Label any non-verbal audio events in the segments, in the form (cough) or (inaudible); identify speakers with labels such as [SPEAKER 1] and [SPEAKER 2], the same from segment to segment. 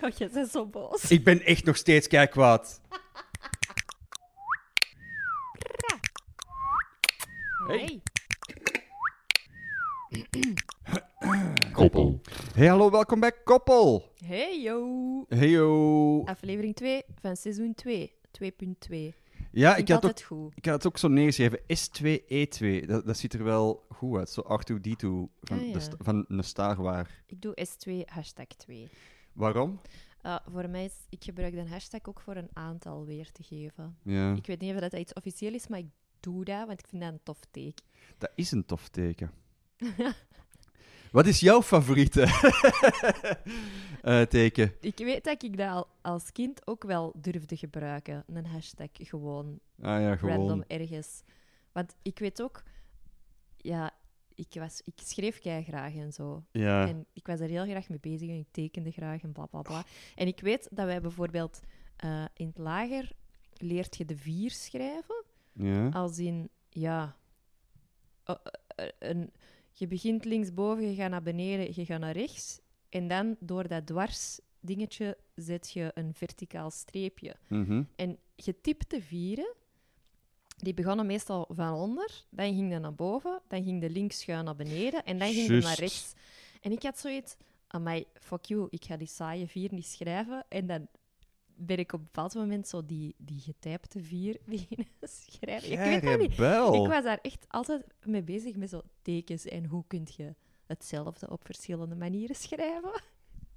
[SPEAKER 1] Oh, je bent zo boos.
[SPEAKER 2] Ik ben echt nog steeds kijk kwaad. Hey.
[SPEAKER 3] Koppel.
[SPEAKER 2] Hey, hallo, welkom bij Koppel.
[SPEAKER 1] Hey, yo.
[SPEAKER 2] Heyo.
[SPEAKER 1] Aflevering 2 van seizoen 2. 2.2.
[SPEAKER 2] Ja,
[SPEAKER 1] Ik had
[SPEAKER 2] ik had, ook,
[SPEAKER 1] het goed.
[SPEAKER 2] ik had het ook zo neergeschreven. S2E2. Dat, dat ziet er wel goed uit. Zo R2D2 van,
[SPEAKER 1] Ah, ja.
[SPEAKER 2] de st- van een Star Wars.
[SPEAKER 1] Ik doe S2, hashtag 2.
[SPEAKER 2] Waarom?
[SPEAKER 1] Eh, voor mij is, ik gebruik de hashtag ook voor een aantal weer te geven.
[SPEAKER 2] Ja,
[SPEAKER 1] Ik weet niet of dat iets officieel is, maar ik doe dat, want ik vind dat een tof teken.
[SPEAKER 2] dat is een
[SPEAKER 1] (laughs)
[SPEAKER 2] tof teken. Wat is jouw favoriete (laughs) eh, teken?
[SPEAKER 1] Ik weet dat ik dat al als kind ook wel durfde gebruiken. Een hashtag gewoon
[SPEAKER 2] Ah ja,
[SPEAKER 1] random
[SPEAKER 2] gewoon.
[SPEAKER 1] ergens. Want ik weet ook, ja, ik, was, ik schreef kei graag en zo.
[SPEAKER 2] Ja.
[SPEAKER 1] En ik was er heel graag mee bezig en ik tekende graag en bla bla bla. En ik weet dat wij bijvoorbeeld eh, in het lager leert je de vier schrijven.
[SPEAKER 2] ja.
[SPEAKER 1] Als in, ja, eh, eh, een, je begint linksboven, je gaat naar beneden, je gaat naar rechts. En dan door dat dwars dingetje zet je een verticaal streepje.
[SPEAKER 2] Mhm.
[SPEAKER 1] En getypte vieren, die begonnen meestal van onder, dan ging de naar boven, dan ging de links schuin naar beneden en dan ging de naar
[SPEAKER 2] Juist.
[SPEAKER 1] rechts. En ik had zoiets, amai, fuck you, ik ga die saaie vier niet schrijven. En dan ben ik op een bepaald moment zo die, die getypte vier (laughs) beginnen schrijven. Ik weet dat niet.
[SPEAKER 2] Jijrebel.
[SPEAKER 1] Ik was daar echt altijd mee bezig met zo tekens en hoe kun je hetzelfde op verschillende manieren schrijven.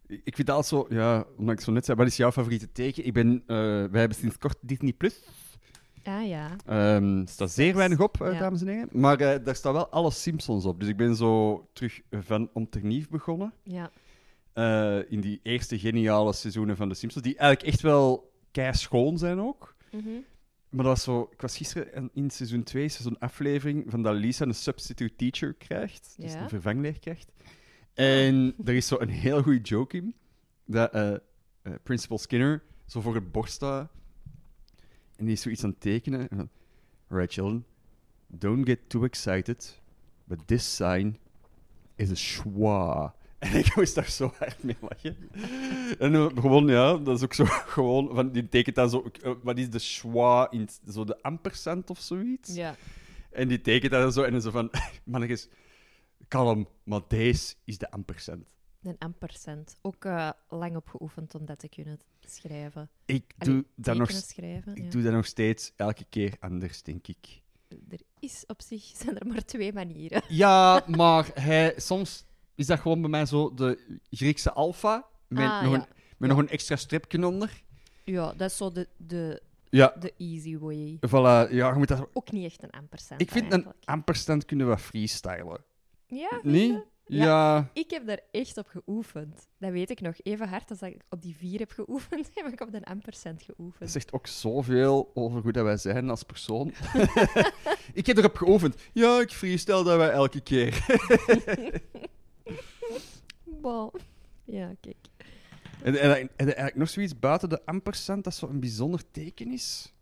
[SPEAKER 2] Ik ik vind dat altijd zo, ja, omdat ik zo net zei, wat is jouw favoriete teken? Ik ben, eh, wij hebben sinds kort Disney Plus.
[SPEAKER 1] Ah ja.
[SPEAKER 2] Ehm, Er staat zeer weinig op, eh,
[SPEAKER 1] Ja.
[SPEAKER 2] dames en heren. Maar eh, daar staan wel alle Simpsons op. Dus ik ben zo terug van Omternief begonnen.
[SPEAKER 1] Ja,
[SPEAKER 2] Eh, in die eerste geniale seizoenen van de Simpsons. Die eigenlijk echt wel kei schoon zijn ook.
[SPEAKER 1] Mhm.
[SPEAKER 2] Maar dat was zo, ik was gisteren in- in seizoen 2, is er zo'n aflevering van dat Lisa een substitute teacher krijgt. Dus
[SPEAKER 1] Ja.
[SPEAKER 2] een vervangleerkracht. En er is zo een heel goede joke in. Dat eh, eh, Principal Skinner zo voor het borst staat. En die is zoiets aan het tekenen. En dan, Alright, children. Don't get too excited. But this sign is a schwa. (laughs) En ik moest daar zo hard mee lachen. En eh, gewoon, ja, dat is ook zo (laughs) gewoon. Van, die tekent dan zo. eh, Wat is de schwa in het- zo de ampersand of zoiets?
[SPEAKER 1] ja.
[SPEAKER 2] En die tekent dat dan zo. En dan zo van. (laughs) Mannetjes, kalm, maar deze is de ampersand.
[SPEAKER 1] Een ampersand. Ook eh, lang op geoefend om dat te kunnen schrijven.
[SPEAKER 2] Ik
[SPEAKER 1] Allee,
[SPEAKER 2] doe, dat, nog,
[SPEAKER 1] Tekenen
[SPEAKER 2] s-
[SPEAKER 1] schrijven.
[SPEAKER 2] ik
[SPEAKER 1] ja.
[SPEAKER 2] doe dat nog steeds elke keer anders, denk ik.
[SPEAKER 1] Er is op zich (laughs) zijn er maar twee manieren.
[SPEAKER 2] Ja, maar hij, soms is dat gewoon bij mij zo de Griekse alfa. Met,
[SPEAKER 1] Ah,
[SPEAKER 2] nog,
[SPEAKER 1] ja.
[SPEAKER 2] een, met nog een extra stripje onder.
[SPEAKER 1] Ja, dat is zo de, de,
[SPEAKER 2] Ja,
[SPEAKER 1] de easy way.
[SPEAKER 2] voilà. Ja, je moet dat...
[SPEAKER 1] Ook niet echt een ampersand.
[SPEAKER 2] Ik vind een
[SPEAKER 1] eigenlijk.
[SPEAKER 2] ampersand kunnen we freestylen.
[SPEAKER 1] Ja,
[SPEAKER 2] Nee?
[SPEAKER 1] Ja.
[SPEAKER 2] Ja.
[SPEAKER 1] ik heb daar echt op geoefend. Dat weet ik nog. Even hard als dat ik op die vier heb geoefend, (laughs) heb ik op de ampersand
[SPEAKER 2] Dat
[SPEAKER 1] geoefend.
[SPEAKER 2] zegt ook zoveel over hoe dat wij zijn als (laughs) persoon. ik heb erop geoefend. Ja, ik freestyle dat wij elke keer.
[SPEAKER 1] Bal. Ja, kijk.
[SPEAKER 2] En, en, en eigenlijk nog zoiets buiten de ampersand dat zo'n bijzonder teken is.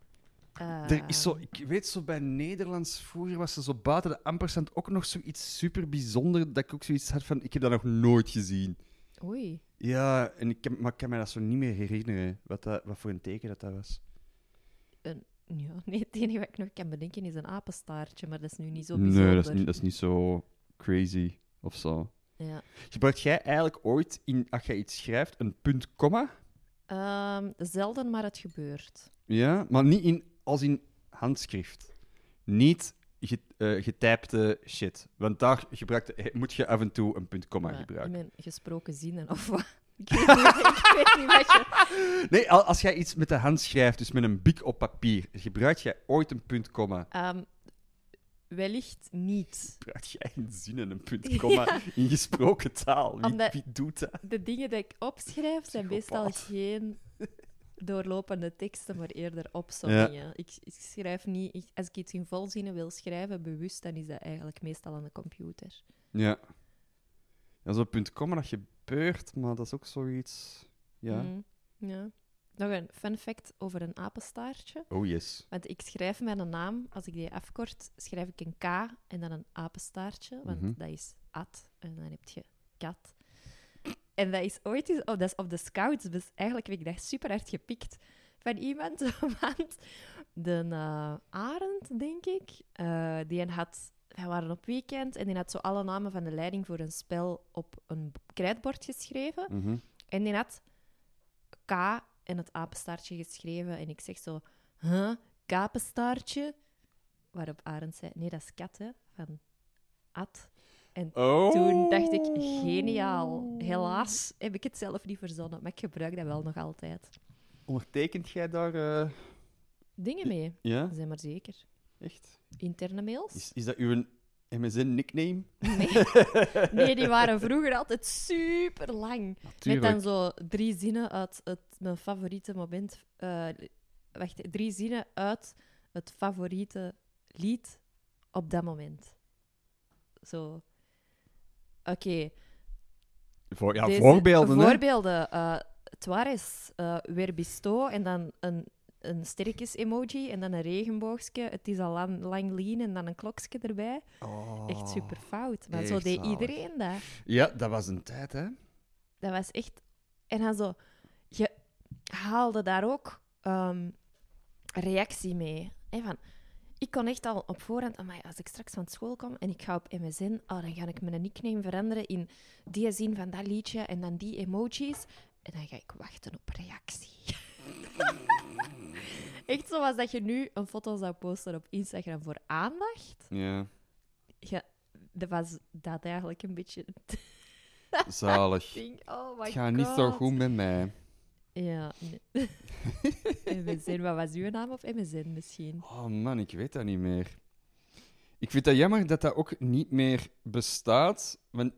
[SPEAKER 1] Eh,
[SPEAKER 2] Er is zo, ik weet zo bij Nederlands vroeger was er zo buiten de ampersand ook nog zoiets super bijzonder dat ik ook zoiets had van ik heb dat nog nooit gezien.
[SPEAKER 1] Oei.
[SPEAKER 2] Ja, en ik kan, maar ik kan me dat zo niet meer herinneren wat, dat, wat voor een teken dat, dat was.
[SPEAKER 1] Ja, nee, het enige wat ik nog kan bedenken is een apenstaartje, maar dat is nu niet zo bijzonder.
[SPEAKER 2] dat is niet zo crazy of zo.
[SPEAKER 1] Ja.
[SPEAKER 2] Gebruikt jij eigenlijk ooit in als jij iets schrijft een punt komma?
[SPEAKER 1] Ehm, zelden, maar het gebeurt.
[SPEAKER 2] Ja, maar niet in, als in handschrift. Niet ge, eh, getypte shit. Want daar gebruikt, eh, moet je af en toe een punt komma
[SPEAKER 1] Maar
[SPEAKER 2] gebruiken.
[SPEAKER 1] In mijn gesproken zinnen of wat. (laughs) Ik weet niet, ik weet niet wat je...
[SPEAKER 2] Nee, al- als jij iets met de hand schrijft, dus met een biek op papier, gebruik jij ooit een punt, komma?
[SPEAKER 1] Ehm, wellicht niet.
[SPEAKER 2] Gebruik jij in zinnen een
[SPEAKER 1] (laughs)
[SPEAKER 2] punt, komma in gesproken taal? Wie,
[SPEAKER 1] Omdat-
[SPEAKER 2] wie doet dat?
[SPEAKER 1] De dingen die ik
[SPEAKER 2] (laughs)
[SPEAKER 1] opschrijf zijn meestal
[SPEAKER 2] Psychopaat.
[SPEAKER 1] geen doorlopende teksten, maar eerder opzommingen. Ik, ik schrijf niet... ik- als ik iets in volzinnen wil schrijven, bewust, dan is dat eigenlijk meestal aan de computer.
[SPEAKER 2] Ja. Ja, zo'n punt, komma, dat gebeurt, maar dat is ook zoiets... Ja.
[SPEAKER 1] Mhm. ja. Nog een fun fact over een apenstaartje.
[SPEAKER 2] Oh, yes.
[SPEAKER 1] Want ik schrijf mijn naam, als ik die afkort, schrijf ik een K en dan een apenstaartje, want
[SPEAKER 2] Mhm.
[SPEAKER 1] dat is at en dan heb je kat. En dat is ooit eens, oh, dat is op de scouts, dus eigenlijk heb ik dat super hard gepikt van iemand. (laughs) Want de eh, Arend, denk ik, eh, die had, wij waren op weekend en die had zo alle namen van de leiding voor een spel op een b- krijtbord geschreven.
[SPEAKER 2] Mhm.
[SPEAKER 1] En die had K en het apenstaartje geschreven. En ik zeg zo, huh, kapenstaartje? Waarop Arend zei, nee, dat is kat, hè, van Ad. En
[SPEAKER 2] Oh.
[SPEAKER 1] toen dacht ik, geniaal. Helaas heb ik het zelf niet verzonnen, maar ik gebruik dat wel nog altijd.
[SPEAKER 2] Ondertekent jij daar... eh,
[SPEAKER 1] Dingen mee,
[SPEAKER 2] Ja,
[SPEAKER 1] zijn maar zeker.
[SPEAKER 2] echt?
[SPEAKER 1] Interne mails?
[SPEAKER 2] (laughs) Is, is dat uw MSN-nickname?
[SPEAKER 1] Nee. nee, die waren vroeger altijd super lang. Met dan zo drie zinnen uit het, mijn favoriete moment. eh, wacht, drie zinnen uit het favoriete lied op dat moment. Zo. Oké.
[SPEAKER 2] Voor, ja,
[SPEAKER 1] Deze-
[SPEAKER 2] voorbeelden, hè?
[SPEAKER 1] Voorbeelden. eh Tuarez, eh weer bisto en dan een, een sterkjes-emoji en dan een regenboogje. Het is al lang, lang lean en dan een klokje erbij.
[SPEAKER 2] Oh.
[SPEAKER 1] Echt super fout. Maar zo
[SPEAKER 2] echt
[SPEAKER 1] deed
[SPEAKER 2] zalig.
[SPEAKER 1] iedereen dat.
[SPEAKER 2] Ja, dat was een tijd, hè?
[SPEAKER 1] Dat was echt. En dan zo. Je haalde daar ook ehm, reactie mee. Hè, van, ik kon echt al op voorhand. Amai, als ik straks van school kom en ik ga op MSN. Oh, dan ga ik mijn nickname veranderen in die zin van dat liedje en dan die emojis. En dan ga ik wachten op reactie. (laughs) echt zoals dat je nu een foto zou posten op Instagram voor aandacht.
[SPEAKER 2] Ja.
[SPEAKER 1] Ja, dat was dat eigenlijk een beetje het
[SPEAKER 2] Zalig.
[SPEAKER 1] ding. Oh my
[SPEAKER 2] Het gaat niet zo
[SPEAKER 1] God.
[SPEAKER 2] goed met mij.
[SPEAKER 1] Ja, nee. MSN, wat was uw naam op MSN misschien?
[SPEAKER 2] Oh man, ik weet dat niet meer. Ik vind dat jammer dat dat ook niet meer bestaat. Want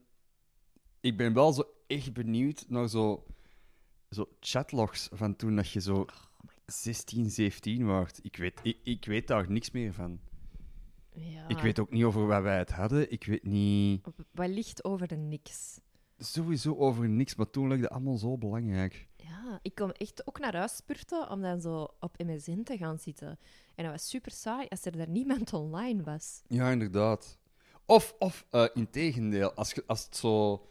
[SPEAKER 2] ik ben wel zo echt benieuwd naar zo, zo chatlogs van toen dat je
[SPEAKER 1] Oh
[SPEAKER 2] zo 16, 17 was. Ik weet, ik, ik weet daar niks meer van.
[SPEAKER 1] Ja.
[SPEAKER 2] Ik weet ook niet over wat wij het hadden. Ik weet niet...
[SPEAKER 1] Wellicht over de niks.
[SPEAKER 2] Sowieso over niks, maar toen leek dat allemaal zo belangrijk.
[SPEAKER 1] Ja, ik kwam echt ook naar huis spurten om dan zo op MSN te gaan zitten. En dat was super saai als er daar niemand online was.
[SPEAKER 2] Ja, inderdaad. Of, of eh, integendeel, als, je- als het zo...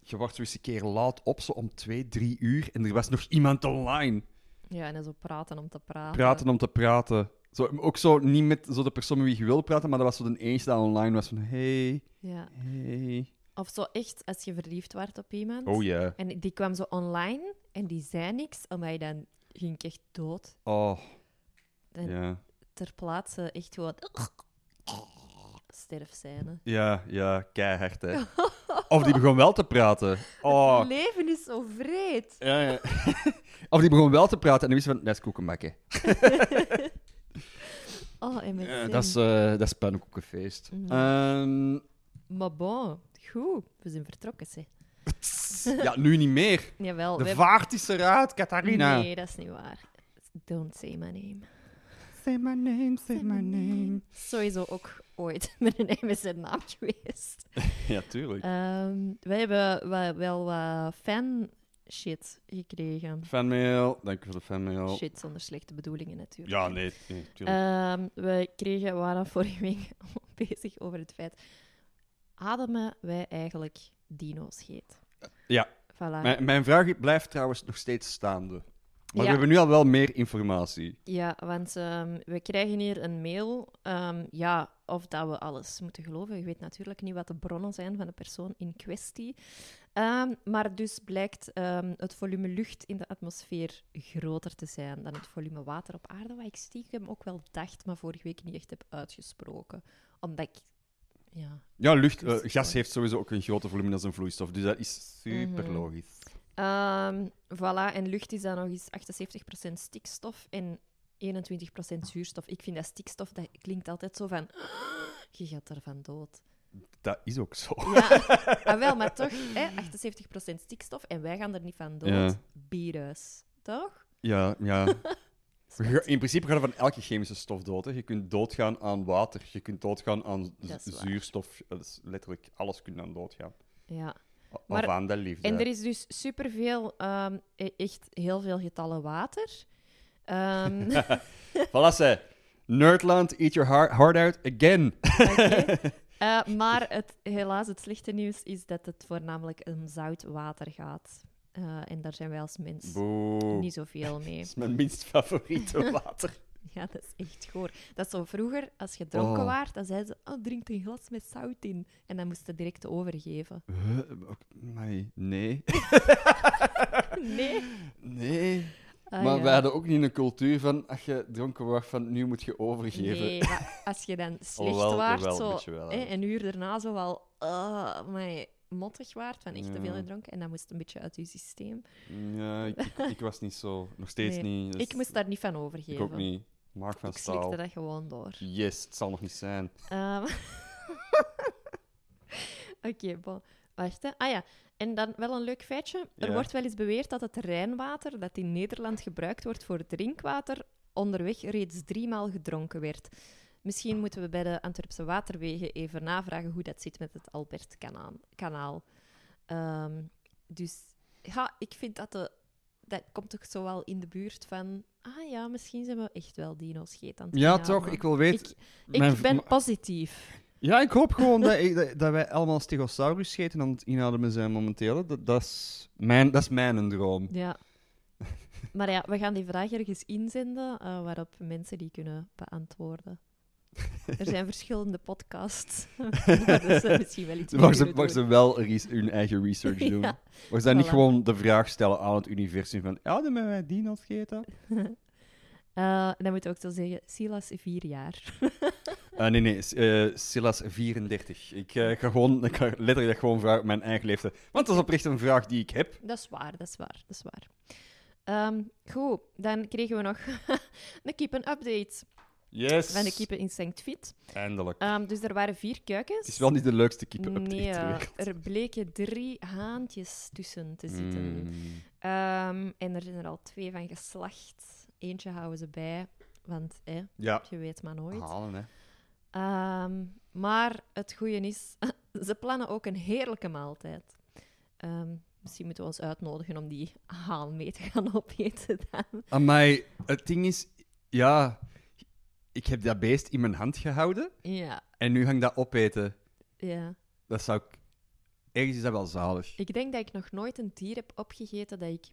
[SPEAKER 2] Je wacht zo eens een keer laat op, zo om twee, drie uur, en er was nog iemand online.
[SPEAKER 1] Ja, en dan zo praten om te praten.
[SPEAKER 2] Praten om te praten. Zo, ook zo niet met zo de persoon met wie je wil praten, maar dat was zo de eerste die online was van... Hey,
[SPEAKER 1] Ja.
[SPEAKER 2] hey.
[SPEAKER 1] Of zo echt als je verliefd werd op iemand.
[SPEAKER 2] Oh ja.
[SPEAKER 1] En die kwam zo online en die zei niks, omdat je dan ging ik echt dood.
[SPEAKER 2] Oh,
[SPEAKER 1] En
[SPEAKER 2] ja.
[SPEAKER 1] ter plaatse echt
[SPEAKER 2] (laughs)
[SPEAKER 1] gewoon... Sterfscène.
[SPEAKER 2] Ja, ja, keihard, hè. Of die begon wel te praten. Oh,
[SPEAKER 1] Het leven is zo vreed.
[SPEAKER 2] Ja, ja. (laughs) of die begon wel te praten en dan wist je van, dat is koekenbakken.
[SPEAKER 1] Oh, en met
[SPEAKER 2] Eh,
[SPEAKER 1] zin.
[SPEAKER 2] dat, is, eh dat is pannenkoekenfeest.
[SPEAKER 1] Mhm.
[SPEAKER 2] Ehm,
[SPEAKER 1] Maar bon, goed. We zijn vertrokken, zeg.
[SPEAKER 2] ja, nu niet meer.
[SPEAKER 1] Jawel.
[SPEAKER 2] De
[SPEAKER 1] Oh, we-
[SPEAKER 2] vaart is eruit, Catharina.
[SPEAKER 1] Nee, dat is niet waar. Don't say my name.
[SPEAKER 2] Say my name, say my name.
[SPEAKER 1] Sowieso ook ooit (laughs) met een MSN-naam geweest.
[SPEAKER 2] Ja, tuurlijk.
[SPEAKER 1] Ehm wij hebben wa- wel wat fan shit gekregen.
[SPEAKER 2] fanmail, dank u voor de fanmail.
[SPEAKER 1] Ehm, Shit zonder slechte bedoelingen natuurlijk.
[SPEAKER 2] Nou. Ja, nee, nee tuurlijk.
[SPEAKER 1] Ehm, we kregen, we waren vorige week (laughs) bezig over het feit... Ademen wij eigenlijk dino's heet?
[SPEAKER 2] Ja.
[SPEAKER 1] Voilà.
[SPEAKER 2] mijn, mijn vraag blijft trouwens nog steeds staande. Maar
[SPEAKER 1] Ja.
[SPEAKER 2] we hebben nu al wel meer informatie.
[SPEAKER 1] Ja, want ehm, we krijgen hier een mail. ehm, ja, of dat we alles moeten geloven. Je weet natuurlijk niet wat de bronnen zijn van de persoon in kwestie. Ehm, maar dus blijkt ehm, het volume lucht in de atmosfeer groter te zijn dan het volume water op aarde. Wat ik stiekem ook wel dacht, maar vorige week niet echt heb uitgesproken. Omdat ik. Ja.
[SPEAKER 2] Ja, lucht, eh,
[SPEAKER 1] Christus.
[SPEAKER 2] gas heeft sowieso ook een groter volume dan zijn vloeistof, dus dat is super
[SPEAKER 1] Mhm.
[SPEAKER 2] logisch.
[SPEAKER 1] Ehm, voilà, en lucht is dan nog eens 78% stikstof en 21% zuurstof. Ik vind dat stikstof, dat klinkt altijd zo van... (gasps) Je gaat ervan dood.
[SPEAKER 2] Dat is ook zo.
[SPEAKER 1] Ja, ah, wel, maar toch, hè, 78% stikstof en wij gaan er niet van dood.
[SPEAKER 2] Ja.
[SPEAKER 1] Bierhuis, toch?
[SPEAKER 2] Ja, ja. We ga- In principe gaat er van elke chemische stof dood. Hè. Je kunt doodgaan aan water, je kunt doodgaan aan z-
[SPEAKER 1] Dat is waar.
[SPEAKER 2] zuurstof. eh, Dat is letterlijk alles kunt aan doodgaan.
[SPEAKER 1] Ja.
[SPEAKER 2] O-
[SPEAKER 1] Maar-
[SPEAKER 2] of aan de liefde.
[SPEAKER 1] En er is dus superveel, ehm, e- echt heel veel getallen water. Ehm,
[SPEAKER 2] Voilà, ze. Nerdland, eat your heart, heart out again.
[SPEAKER 1] Oké. Eh, maar het, helaas, het slechte nieuws is dat het voornamelijk om zout water gaat. Eh, en daar zijn wij als mens
[SPEAKER 2] Boe.
[SPEAKER 1] niet
[SPEAKER 2] (laughs)
[SPEAKER 1] zoveel mee.
[SPEAKER 2] Dat is mijn
[SPEAKER 1] (laughs)
[SPEAKER 2] minst favoriete water.
[SPEAKER 1] Ja, dat is echt goor. Dat is zo vroeger, als je dronken
[SPEAKER 2] Oh.
[SPEAKER 1] waart, dan zeiden ze, oh, drink een glas met zout in. En dan moest je direct
[SPEAKER 2] (laughs)
[SPEAKER 1] overgeven.
[SPEAKER 2] Huh? Ook- amai, nee.
[SPEAKER 1] (laughs) Nee.
[SPEAKER 2] Nee.
[SPEAKER 1] Ah,
[SPEAKER 2] maar
[SPEAKER 1] ja.
[SPEAKER 2] we hadden ook niet een cultuur van, als je dronken wordt, van nu moet je overgeven.
[SPEAKER 1] Nee, maar als je
[SPEAKER 2] (laughs)
[SPEAKER 1] dan slecht
[SPEAKER 2] Alhoewel,
[SPEAKER 1] waart,
[SPEAKER 2] jawel, een
[SPEAKER 1] zo,
[SPEAKER 2] beetje wel, hè.
[SPEAKER 1] hè, een uur daarna zo wel ah, maar mottig waart, van echt te veel
[SPEAKER 2] Ja.
[SPEAKER 1] gedronken. En dat moest een beetje uit je systeem.
[SPEAKER 2] Mm, Ja, ik, ik, ik was niet zo. Nog steeds
[SPEAKER 1] Nee,
[SPEAKER 2] niet. dus
[SPEAKER 1] Ik moest daar niet van
[SPEAKER 2] ik
[SPEAKER 1] overgeven.
[SPEAKER 2] ook niet. Mark van
[SPEAKER 1] Ik slikte
[SPEAKER 2] Staal.
[SPEAKER 1] dat gewoon door.
[SPEAKER 2] Yes, het zal nog niet zijn.
[SPEAKER 1] Ehm. (laughs) Oké, bon. Wacht, hè. Ah ja, en dan wel een leuk feitje. Er
[SPEAKER 2] Ja.
[SPEAKER 1] wordt wel eens beweerd dat het Rijnwater, dat in Nederland gebruikt wordt voor drinkwater, onderweg reeds driemaal gedronken werd. Misschien moeten we bij de Antwerpse Waterwegen even navragen hoe dat zit met het Albertkanaal. kanaal. Ehm, dus ja, ik vind dat de, dat komt toch zo wel in de buurt van... Ah ja, misschien zijn we echt wel dino-scheet aan het
[SPEAKER 2] Ja,
[SPEAKER 1] graven.
[SPEAKER 2] toch? Ik wil weten.
[SPEAKER 1] Ik
[SPEAKER 2] mijn-
[SPEAKER 1] ben
[SPEAKER 2] ma-
[SPEAKER 1] positief.
[SPEAKER 2] Ja, ik hoop gewoon dat, (laughs) ik- dat- dat wij allemaal Stegosaurus scheten aan het inademen zijn momenteel. Dat, dat, is, mijn, dat is
[SPEAKER 1] (laughs)
[SPEAKER 2] mijn droom.
[SPEAKER 1] Ja. Maar ja, we gaan die vraag ergens inzenden eh, waarop mensen die kunnen beantwoorden. Er zijn verschillende podcasts. (laughs) waar dat ze misschien wel iets mee
[SPEAKER 2] (laughs) Waar ze,
[SPEAKER 1] kunnen
[SPEAKER 2] waar
[SPEAKER 1] doen.
[SPEAKER 2] ze wel res- hun eigen research doen.
[SPEAKER 1] (laughs) Ja.
[SPEAKER 2] Waar ze dan niet
[SPEAKER 1] Voilà.
[SPEAKER 2] gewoon de vraag stellen aan het universum van ademen wij dino's scheten?
[SPEAKER 1] (laughs) Eh, en dan moet ik ook zo zeggen, Silas vier jaar. (laughs)
[SPEAKER 2] Ah, nee, nee. S- eh, Silas 34. Ik, eh, ga gewoon, ik ga letterlijk dat gewoon vragen op mijn eigen leeftijd. Want dat is oprecht een vraag die ik heb.
[SPEAKER 1] dat is waar, dat is waar, dat is waar. Ehm, goed, dan kregen we nog (laughs) een kippen-update
[SPEAKER 2] Yes.
[SPEAKER 1] van de kippen in St. Fit.
[SPEAKER 2] Eindelijk.
[SPEAKER 1] Ehm, dus er waren vier kuikens.
[SPEAKER 2] het is wel niet de leukste keeper-update
[SPEAKER 1] Nee,
[SPEAKER 2] ter
[SPEAKER 1] eh,
[SPEAKER 2] wereld.
[SPEAKER 1] er bleken drie haantjes tussen te zitten.
[SPEAKER 2] Mm.
[SPEAKER 1] Ehm, en er zijn er al twee van geslacht. Eentje houden ze bij, want hè,
[SPEAKER 2] Ja,
[SPEAKER 1] je weet maar nooit.
[SPEAKER 2] halen hè.
[SPEAKER 1] Ehm, maar het goede is, (laughs) ze plannen ook een heerlijke maaltijd. Ehm, misschien moeten we ons uitnodigen om die haan mee te gaan (laughs) opeten. Dan.
[SPEAKER 2] Amai, het ding is... Ja, ik heb dat beest in mijn hand gehouden
[SPEAKER 1] Ja,
[SPEAKER 2] en nu ga ik dat opeten.
[SPEAKER 1] ja.
[SPEAKER 2] Dat zou ik... Ergens is dat wel zalig.
[SPEAKER 1] Ik denk dat ik nog nooit een dier heb opgegeten dat ik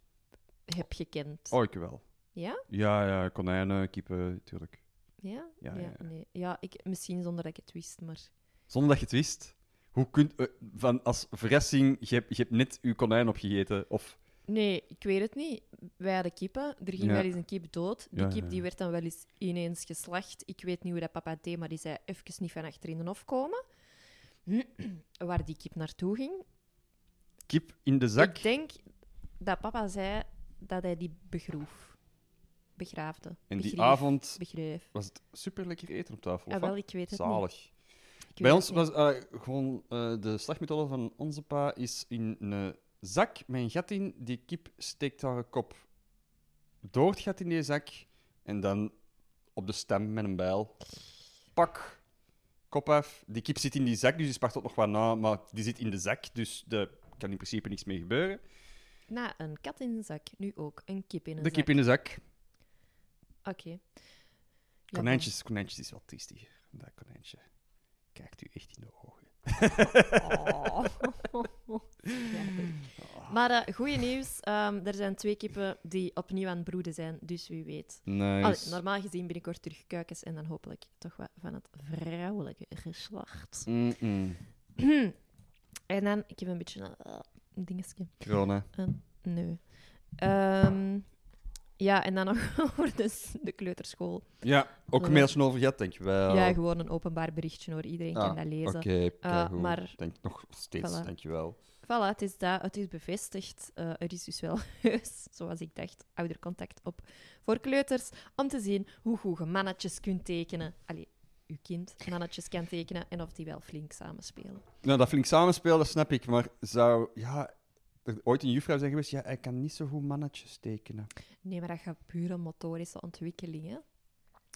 [SPEAKER 1] heb gekend.
[SPEAKER 2] Oh, ik wel.
[SPEAKER 1] Ja?
[SPEAKER 2] Ja, ja, konijnen, kippen, tuurlijk.
[SPEAKER 1] Ja?
[SPEAKER 2] Ja, ja, ja.
[SPEAKER 1] Nee. ja ik, misschien zonder dat ik het wist, maar...
[SPEAKER 2] Zonder dat je het wist. Hoe kunt... eh, van als verrassing, je hebt, je hebt net je konijn opgegeten. Of...
[SPEAKER 1] Nee, ik weet het niet. Wij hadden kippen. Er ging
[SPEAKER 2] Ja.
[SPEAKER 1] wel eens een kip dood. Die
[SPEAKER 2] Ja, ja,
[SPEAKER 1] kip die
[SPEAKER 2] ja.
[SPEAKER 1] werd dan wel eens ineens geslacht. Ik weet niet hoe dat papa deed, maar die zei even niet van achter in de hof komen. (clears throat) Waar die kip naartoe ging.
[SPEAKER 2] Kip in de zak.
[SPEAKER 1] Ik denk dat papa zei dat hij die begroef. Begraafde.
[SPEAKER 2] En die
[SPEAKER 1] Begreef.
[SPEAKER 2] avond
[SPEAKER 1] Begreef.
[SPEAKER 2] was het super lekker eten op tafel.
[SPEAKER 1] Ah,
[SPEAKER 2] of
[SPEAKER 1] wel,
[SPEAKER 2] wat?
[SPEAKER 1] ik weet het niet.
[SPEAKER 2] Zalig.
[SPEAKER 1] Ik weet
[SPEAKER 2] Bij ons
[SPEAKER 1] het niet.
[SPEAKER 2] was eh, gewoon eh, de slagmethode van onze pa is in een zak met een gat in. Die kip steekt haar kop door het gat in die zak en dan op de stem met een bijl. Pak, kop af. Die kip zit in die zak, dus die spartelt nog wat na, maar die zit in de zak, dus daar kan in principe niks mee gebeuren.
[SPEAKER 1] Na een kat in een zak, nu ook een kip in een
[SPEAKER 2] de
[SPEAKER 1] zak.
[SPEAKER 2] kip in de zak.
[SPEAKER 1] Oké. Ja,
[SPEAKER 2] Konijntjes, konijntjes is wel triestig. Dat konijntje kijkt u echt in de ogen.
[SPEAKER 1] Oh. Maar eh goede nieuws, ehm, er zijn twee kippen die opnieuw aan het broeden zijn, dus wie weet.
[SPEAKER 2] Nice.
[SPEAKER 1] Allee, normaal gezien binnenkort terug kuikens en dan hopelijk toch wat van het vrouwelijke geslacht. (clears throat)
[SPEAKER 2] Mm-mm.
[SPEAKER 1] en dan, ik heb een beetje een eh, dingetje.
[SPEAKER 2] Corona.
[SPEAKER 1] Nee. Ehm, ja, en dan nog (laughs) over de, s- de kleuterschool.
[SPEAKER 2] Ja, ook een mailtje over gehad, dankjewel.
[SPEAKER 1] Ja, gewoon een openbaar berichtje hoor, iedereen
[SPEAKER 2] Oh. Ah,
[SPEAKER 1] kan dat lezen.
[SPEAKER 2] Oké, keigoed.
[SPEAKER 1] Eh, maar-
[SPEAKER 2] Dank- nog steeds,
[SPEAKER 1] Voilà.
[SPEAKER 2] dankjewel.
[SPEAKER 1] Voilà, het is, dat, het is bevestigd. Eh, er is dus wel (laughs) heus, zoals ik dacht, oudercontact op voor kleuters. Om te zien hoe goed je mannetjes kunt tekenen. Allee, uw kind mannetjes kan tekenen en of die wel flink samenspelen.
[SPEAKER 2] Nou, dat flink samenspelen, dat snap ik, maar zou... Ja, er ooit een juffrouw zijn geweest, ja, hij kan niet zo goed mannetjes tekenen.
[SPEAKER 1] Nee, maar dat gaat pure motorische ontwikkeling, hè?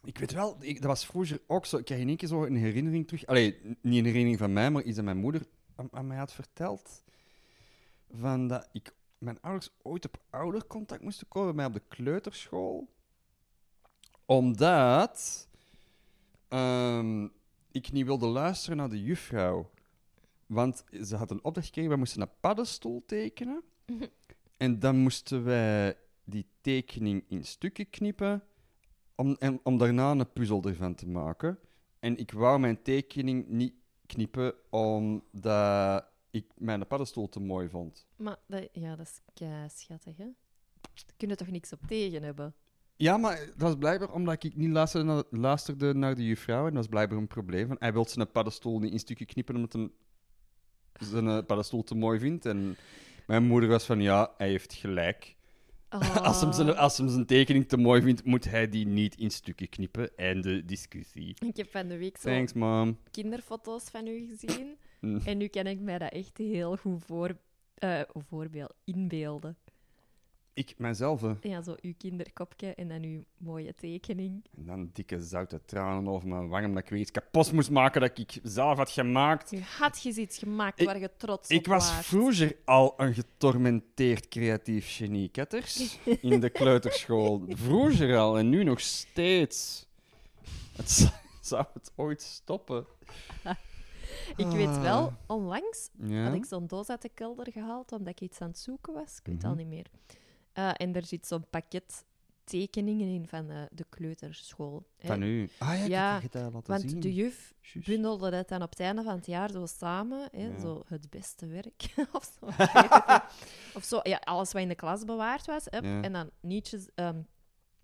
[SPEAKER 2] Ik weet wel, ik- dat was vroeger ook zo. Ik krijg in één keer zo een herinnering terug. Allee, n- niet een herinnering van mij, maar iets dat mijn moeder aan, aan mij had verteld. Van dat ik mijn ouders ooit op oudercontact moesten komen bij mij op de kleuterschool. Omdat ehm, ik niet wilde luisteren naar de juffrouw. Want ze had een opdracht gekregen, wij moesten een paddenstoel tekenen. en dan moesten wij die tekening in stukken knippen om, en, om daarna een puzzel ervan te maken. En ik wou mijn tekening niet knippen omdat ik mijn paddenstoel te mooi vond.
[SPEAKER 1] Maar dat, ja, dat is kei schattig, hè? Daar kun je toch niks op tegen hebben?
[SPEAKER 2] Ja, maar dat is blijkbaar omdat ik niet luisterde naar, luisterde naar de juffrouw. En dat is blijkbaar een probleem. Van, hij wil zijn paddenstoel niet in stukken knippen omdat hij zijn eh, paddenstoel te mooi vindt. En mijn moeder was van, ja, hij heeft gelijk. (laughs)
[SPEAKER 1] Oh.
[SPEAKER 2] Als, hem zijn, als hem zijn tekening te mooi vindt, moet hij die niet in stukken knippen. Einde discussie.
[SPEAKER 1] Ik heb van de week zo
[SPEAKER 2] Thanks, mom.
[SPEAKER 1] kinderfoto's van u gezien.
[SPEAKER 2] Mm.
[SPEAKER 1] en nu kan ik mij dat echt heel goed voor, eh, voorbeeld, inbeelden.
[SPEAKER 2] Ik, mijzelf, hè.
[SPEAKER 1] Ja, zo uw kinderkopje en dan uw mooie tekening.
[SPEAKER 2] En dan dikke zoute tranen over mijn wang, omdat ik weer iets kapot moest maken dat ik zelf had gemaakt.
[SPEAKER 1] U had je iets gemaakt
[SPEAKER 2] Ik-
[SPEAKER 1] waar je trots op
[SPEAKER 2] Ik was
[SPEAKER 1] waart. (laughs)
[SPEAKER 2] vroeger al een getormenteerd creatief genie, ketters. In de kleuterschool. Vroeger al en nu nog steeds. Het (laughs) z- zou het ooit stoppen?
[SPEAKER 1] Ik weet wel,
[SPEAKER 2] Ah.
[SPEAKER 1] onlangs
[SPEAKER 2] Ja.
[SPEAKER 1] had ik zo'n doos uit de kelder gehaald omdat ik iets aan het zoeken was. Ik weet het al
[SPEAKER 2] Mhm.
[SPEAKER 1] niet meer. Eh, en er zit zo'n pakket tekeningen in van eh, de kleuterschool. hè.
[SPEAKER 2] Van u. Ah ja, ik
[SPEAKER 1] eh, Ja,
[SPEAKER 2] heb het je laten
[SPEAKER 1] Want
[SPEAKER 2] zien.
[SPEAKER 1] de juf
[SPEAKER 2] Juist.
[SPEAKER 1] bundelde dat dan op het einde van het jaar zo samen. Hè,
[SPEAKER 2] Ja.
[SPEAKER 1] Zo het beste werk. (laughs) of zo. ik
[SPEAKER 2] (laughs)
[SPEAKER 1] weet het niet. of zo, ja, alles wat in de klas bewaard was. hup,
[SPEAKER 2] Ja.
[SPEAKER 1] En dan nietjes, ehm,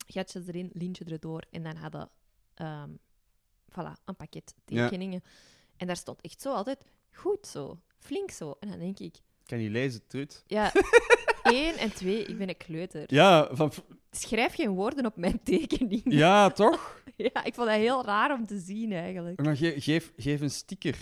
[SPEAKER 1] gatjes erin, lintje erdoor. En dan hadden ehm voilà, een pakket
[SPEAKER 2] Ja.
[SPEAKER 1] tekeningen. En daar stond echt zo altijd goed zo. Flink zo. En dan denk ik,
[SPEAKER 2] Ik kan niet lezen, (laughs) trut.
[SPEAKER 1] ja, één en twee, ik ben een kleuter.
[SPEAKER 2] Ja, van,
[SPEAKER 1] Schrijf geen woorden op mijn tekening.
[SPEAKER 2] ja toch?
[SPEAKER 1] (laughs) Ja, ik vond dat heel raar om te zien eigenlijk.
[SPEAKER 2] Maar ge- geef, geef een sticker.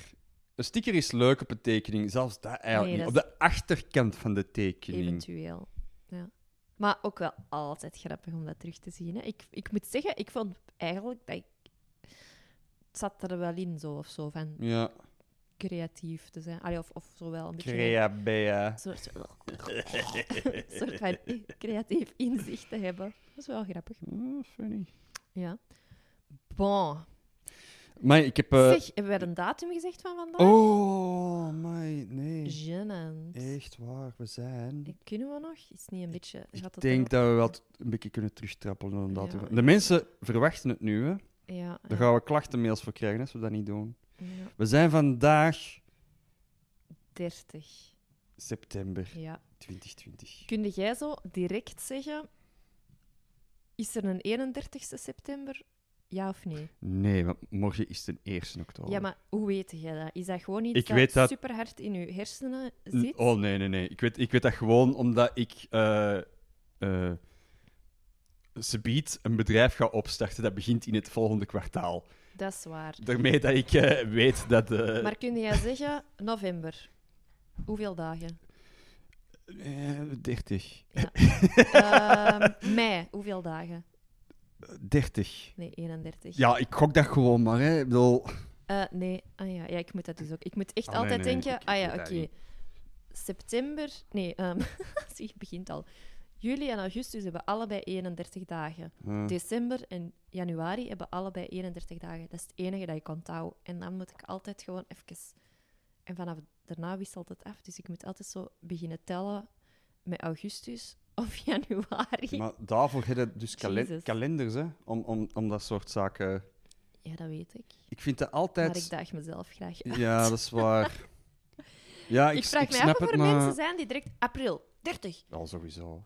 [SPEAKER 2] Een sticker is leuk op een tekening, zelfs dat eigenlijk
[SPEAKER 1] Nee,
[SPEAKER 2] niet.
[SPEAKER 1] dat
[SPEAKER 2] Op de achterkant van de tekening.
[SPEAKER 1] Eventueel. Ja. Maar ook wel altijd grappig om dat terug te zien. Hè. Ik, ik moet zeggen, ik vond eigenlijk dat ik. Het zat er wel in zo of zo, van
[SPEAKER 2] Ja,
[SPEAKER 1] creatief te zijn. Allee, of, of zo wel een beetje.
[SPEAKER 2] crea bea.
[SPEAKER 1] Een soort, een (laughs) soort van i- creatief inzicht te hebben. Dat is wel grappig.
[SPEAKER 2] Oh, funny.
[SPEAKER 1] Ja. Bon.
[SPEAKER 2] Maar ik heb... eh,
[SPEAKER 1] zeg, hebben we een datum gezegd van vandaag?
[SPEAKER 2] Oh, my, nee.
[SPEAKER 1] Gênant. Eh,
[SPEAKER 2] Echt waar, we zijn.
[SPEAKER 1] Kunnen we nog? Is het niet een beetje... gaat
[SPEAKER 2] Ik
[SPEAKER 1] het
[SPEAKER 2] denk
[SPEAKER 1] dan-
[SPEAKER 2] dat we wel t- een beetje kunnen terugtrappelen. aan dat.
[SPEAKER 1] Ja.
[SPEAKER 2] De mensen verwachten het nu, hè.
[SPEAKER 1] Ja.
[SPEAKER 2] Daar
[SPEAKER 1] ja,
[SPEAKER 2] gaan we klachtenmails voor krijgen als we dat niet doen.
[SPEAKER 1] ja.
[SPEAKER 2] We zijn vandaag
[SPEAKER 1] 30.
[SPEAKER 2] september
[SPEAKER 1] Ja.
[SPEAKER 2] 2020.
[SPEAKER 1] Kun jij zo direct zeggen: is er een 31 september? Ja of nee?
[SPEAKER 2] Nee, want morgen is de 1 oktober.
[SPEAKER 1] Ja, maar hoe weet jij dat? Is dat gewoon iets
[SPEAKER 2] Ik
[SPEAKER 1] dat,
[SPEAKER 2] weet dat-
[SPEAKER 1] super hard in je hersenen
[SPEAKER 2] N-
[SPEAKER 1] zit?
[SPEAKER 2] Oh nee, nee, nee. Ik weet, ik weet dat gewoon omdat ik. eh eh subiet een bedrijf ga opstarten dat begint in het volgende kwartaal.
[SPEAKER 1] Dat is waar.
[SPEAKER 2] Daarmee dat ik eh, weet dat. eh,
[SPEAKER 1] Maar kun
[SPEAKER 2] (laughs)
[SPEAKER 1] jij zeggen: november? Hoeveel dagen?
[SPEAKER 2] eh, 30.
[SPEAKER 1] Ehm, mei, hoeveel dagen?
[SPEAKER 2] 30.
[SPEAKER 1] Nee, 31.
[SPEAKER 2] Ja, ik gok dat gewoon maar. Hè. Ik bedoel,
[SPEAKER 1] Eh, nee, ah, ja. ja, ik moet dat dus ook. Ik moet echt
[SPEAKER 2] Ah, nee,
[SPEAKER 1] altijd
[SPEAKER 2] nee,
[SPEAKER 1] denken:
[SPEAKER 2] ik- ik
[SPEAKER 1] ah ja,
[SPEAKER 2] weet
[SPEAKER 1] oké.
[SPEAKER 2] dat niet.
[SPEAKER 1] September, nee, ehm (laughs) zie, het begint al. Juli en augustus hebben allebei 31 dagen.
[SPEAKER 2] eh,
[SPEAKER 1] December en januari hebben allebei 31 dagen. Dat is het enige dat ik onthoud. En dan moet ik altijd gewoon even... En vanaf daarna wisselt het af. Dus ik moet altijd zo beginnen tellen met augustus of (laughs) januari.
[SPEAKER 2] (laughs) maar daarvoor heb je dus kalen-
[SPEAKER 1] Jezus.
[SPEAKER 2] kalenders, hè? Om, om, om dat soort zaken.
[SPEAKER 1] Ja, dat weet ik.
[SPEAKER 2] Ik vind dat
[SPEAKER 1] Maar
[SPEAKER 2] altijd.
[SPEAKER 1] ik daag mezelf graag uit.
[SPEAKER 2] Ja, dat
[SPEAKER 1] (laughs)
[SPEAKER 2] is waar. Ja, Ah, ik,
[SPEAKER 1] ik, vraag
[SPEAKER 2] ik
[SPEAKER 1] me
[SPEAKER 2] snap
[SPEAKER 1] af of
[SPEAKER 2] het,
[SPEAKER 1] er
[SPEAKER 2] maar...
[SPEAKER 1] mensen zijn die direct april, 30,
[SPEAKER 2] Ja, sowieso.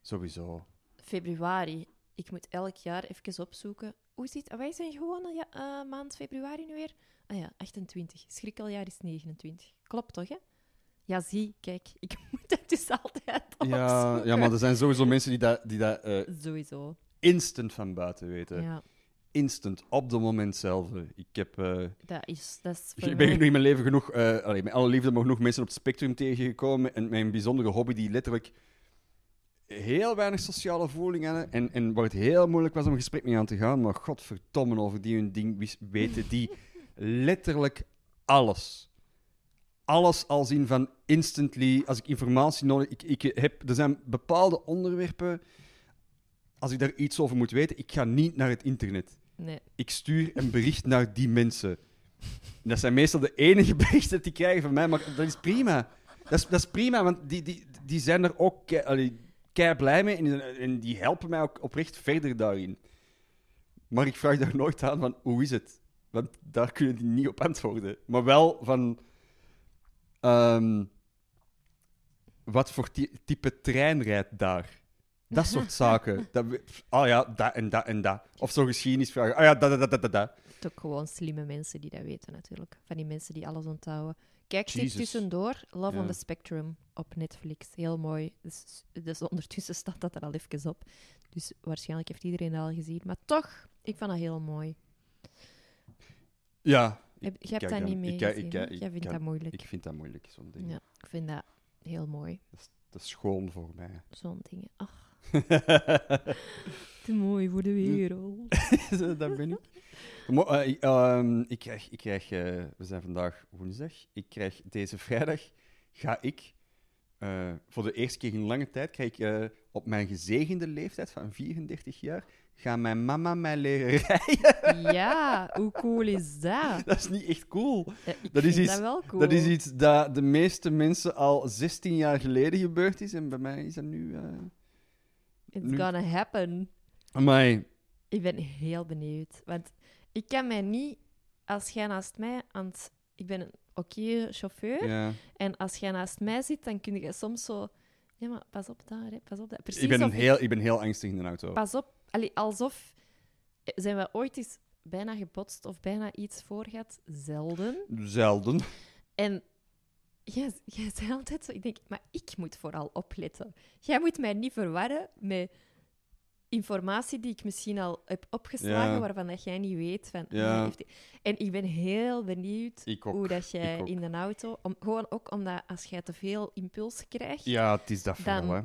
[SPEAKER 2] Sowieso.
[SPEAKER 1] februari. Ik moet elk jaar even opzoeken. Hoe zit... Wij zijn gewone ja, eh, maand februari nu weer. Ah ja, 28. Schrikkeljaar is 29. Klopt toch, hè? Ja, zie, kijk. Ik (laughs) moet dat dus altijd
[SPEAKER 2] Ja,
[SPEAKER 1] opzoeken.
[SPEAKER 2] ja, maar er zijn sowieso mensen die dat, die dat eh,
[SPEAKER 1] Sowieso.
[SPEAKER 2] instant van buiten weten.
[SPEAKER 1] Ja,
[SPEAKER 2] Instant, op de moment zelf. Ik heb... eh,
[SPEAKER 1] dat is... Dat is voor
[SPEAKER 2] Dus ik ben
[SPEAKER 1] mij-
[SPEAKER 2] genoeg in mijn leven genoeg... eh allee, met alle liefde, maar genoeg mensen op het spectrum tegengekomen. En mijn bijzondere hobby die letterlijk heel weinig sociale voeling hadden. En, en waar het heel moeilijk was om een gesprek mee aan te gaan. Maar godverdomme, over die hun ding wis-
[SPEAKER 1] (laughs)
[SPEAKER 2] weten die letterlijk alles. Alles al zien van instantly. Als ik informatie nodig ik, ik heb. Er zijn bepaalde onderwerpen. Als ik daar iets over moet weten, ik ga niet naar het internet.
[SPEAKER 1] Nee.
[SPEAKER 2] Ik stuur een bericht naar die mensen. En dat zijn meestal de enige (laughs) berichten die krijgen van mij, maar dat is prima. Dat is, dat is prima, want die, die, die zijn er ook kei, allee, kei blij mee en die, zijn- en die helpen mij ook oprecht verder daarin. Maar ik vraag daar nooit aan van hoe is het? Want daar kunnen die niet op antwoorden. Maar wel van ehm, wat voor ty- type trein rijdt daar? Dat soort zaken. Dat, we- ah ja, dat en dat en dat. Of zo geschiedenisvragen. Ah ja, dat, dat, dat, dat, dat, dat.
[SPEAKER 1] Het ook gewoon slimme mensen die dat weten, natuurlijk. Van die mensen die alles onthouden. Kijk zich
[SPEAKER 2] Jesus.
[SPEAKER 1] tussendoor Love on
[SPEAKER 2] Ja.
[SPEAKER 1] the Spectrum op Netflix. Heel mooi. Dus, dus ondertussen (laughs) staat dat er al even op. Dus waarschijnlijk heeft iedereen dat al gezien. Maar toch, ik vond dat heel mooi.
[SPEAKER 2] Ja.
[SPEAKER 1] Heb, jij
[SPEAKER 2] kijk
[SPEAKER 1] hebt dat
[SPEAKER 2] dan-
[SPEAKER 1] niet mee
[SPEAKER 2] ik kijk-
[SPEAKER 1] gezien,
[SPEAKER 2] ik
[SPEAKER 1] hè?
[SPEAKER 2] kijk- ik
[SPEAKER 1] Jij vindt
[SPEAKER 2] kijk-
[SPEAKER 1] dat moeilijk.
[SPEAKER 2] Ik vind dat moeilijk, zo'n ding.
[SPEAKER 1] Ja, ik vind dat heel mooi,
[SPEAKER 2] Dat, is, dat is schoon voor
[SPEAKER 1] (laughs)
[SPEAKER 2] mij. (laughs)
[SPEAKER 1] zo'n dingen. Ach, te mooi voor de
[SPEAKER 2] Hm.
[SPEAKER 1] wereld.
[SPEAKER 2] dat ben ik. Mo- eh, ik, ehm, ik krijg, ik krijg eh, we zijn vandaag woensdag. Ik krijg deze vrijdag ga ik eh, voor de eerste keer in lange tijd krijg ik, eh, op mijn gezegende leeftijd van 34 jaar gaan mijn mama mij leren (laughs) rijden.
[SPEAKER 1] ja, hoe cool is dat?
[SPEAKER 2] (laughs) Dat is niet echt cool.
[SPEAKER 1] Ja, ik
[SPEAKER 2] Dat is
[SPEAKER 1] vind
[SPEAKER 2] iets-
[SPEAKER 1] dat wel cool.
[SPEAKER 2] Dat is iets dat de meeste mensen al 16 jaar geleden gebeurd is en bij mij is dat nu. eh
[SPEAKER 1] It's
[SPEAKER 2] nu-
[SPEAKER 1] gonna happen.
[SPEAKER 2] Amai.
[SPEAKER 1] Ik ben heel benieuwd. Want ik kan mij niet, als jij naast mij, want ik ben een oké chauffeur.
[SPEAKER 2] Ja.
[SPEAKER 1] En als jij naast mij zit, dan kun je soms zo. Ja, maar pas op daar, hè, pas op daar. Precies
[SPEAKER 2] Ik ben, een
[SPEAKER 1] of ik-
[SPEAKER 2] heel, ik ben heel angstig in de auto.
[SPEAKER 1] Pas op. Allee, alsof eh, zijn we ooit eens bijna gebotst of bijna iets voor gehad. Zelden.
[SPEAKER 2] Zelden.
[SPEAKER 1] En jij, jij zei altijd zo. Ik denk, maar ik moet vooral opletten. Jij moet mij niet verwarren met informatie die ik misschien al heb opgeslagen,
[SPEAKER 2] Ja.
[SPEAKER 1] waarvan dat jij niet weet. Van, ah,
[SPEAKER 2] Ja.
[SPEAKER 1] heeft die- En ik ben heel benieuwd
[SPEAKER 2] Ik ook.
[SPEAKER 1] hoe dat jij
[SPEAKER 2] ik ook.
[SPEAKER 1] in de auto... Om, gewoon ook omdat als jij te veel impulsen krijgt,
[SPEAKER 2] Ja, het is dat
[SPEAKER 1] Dan- eh,
[SPEAKER 2] vooral.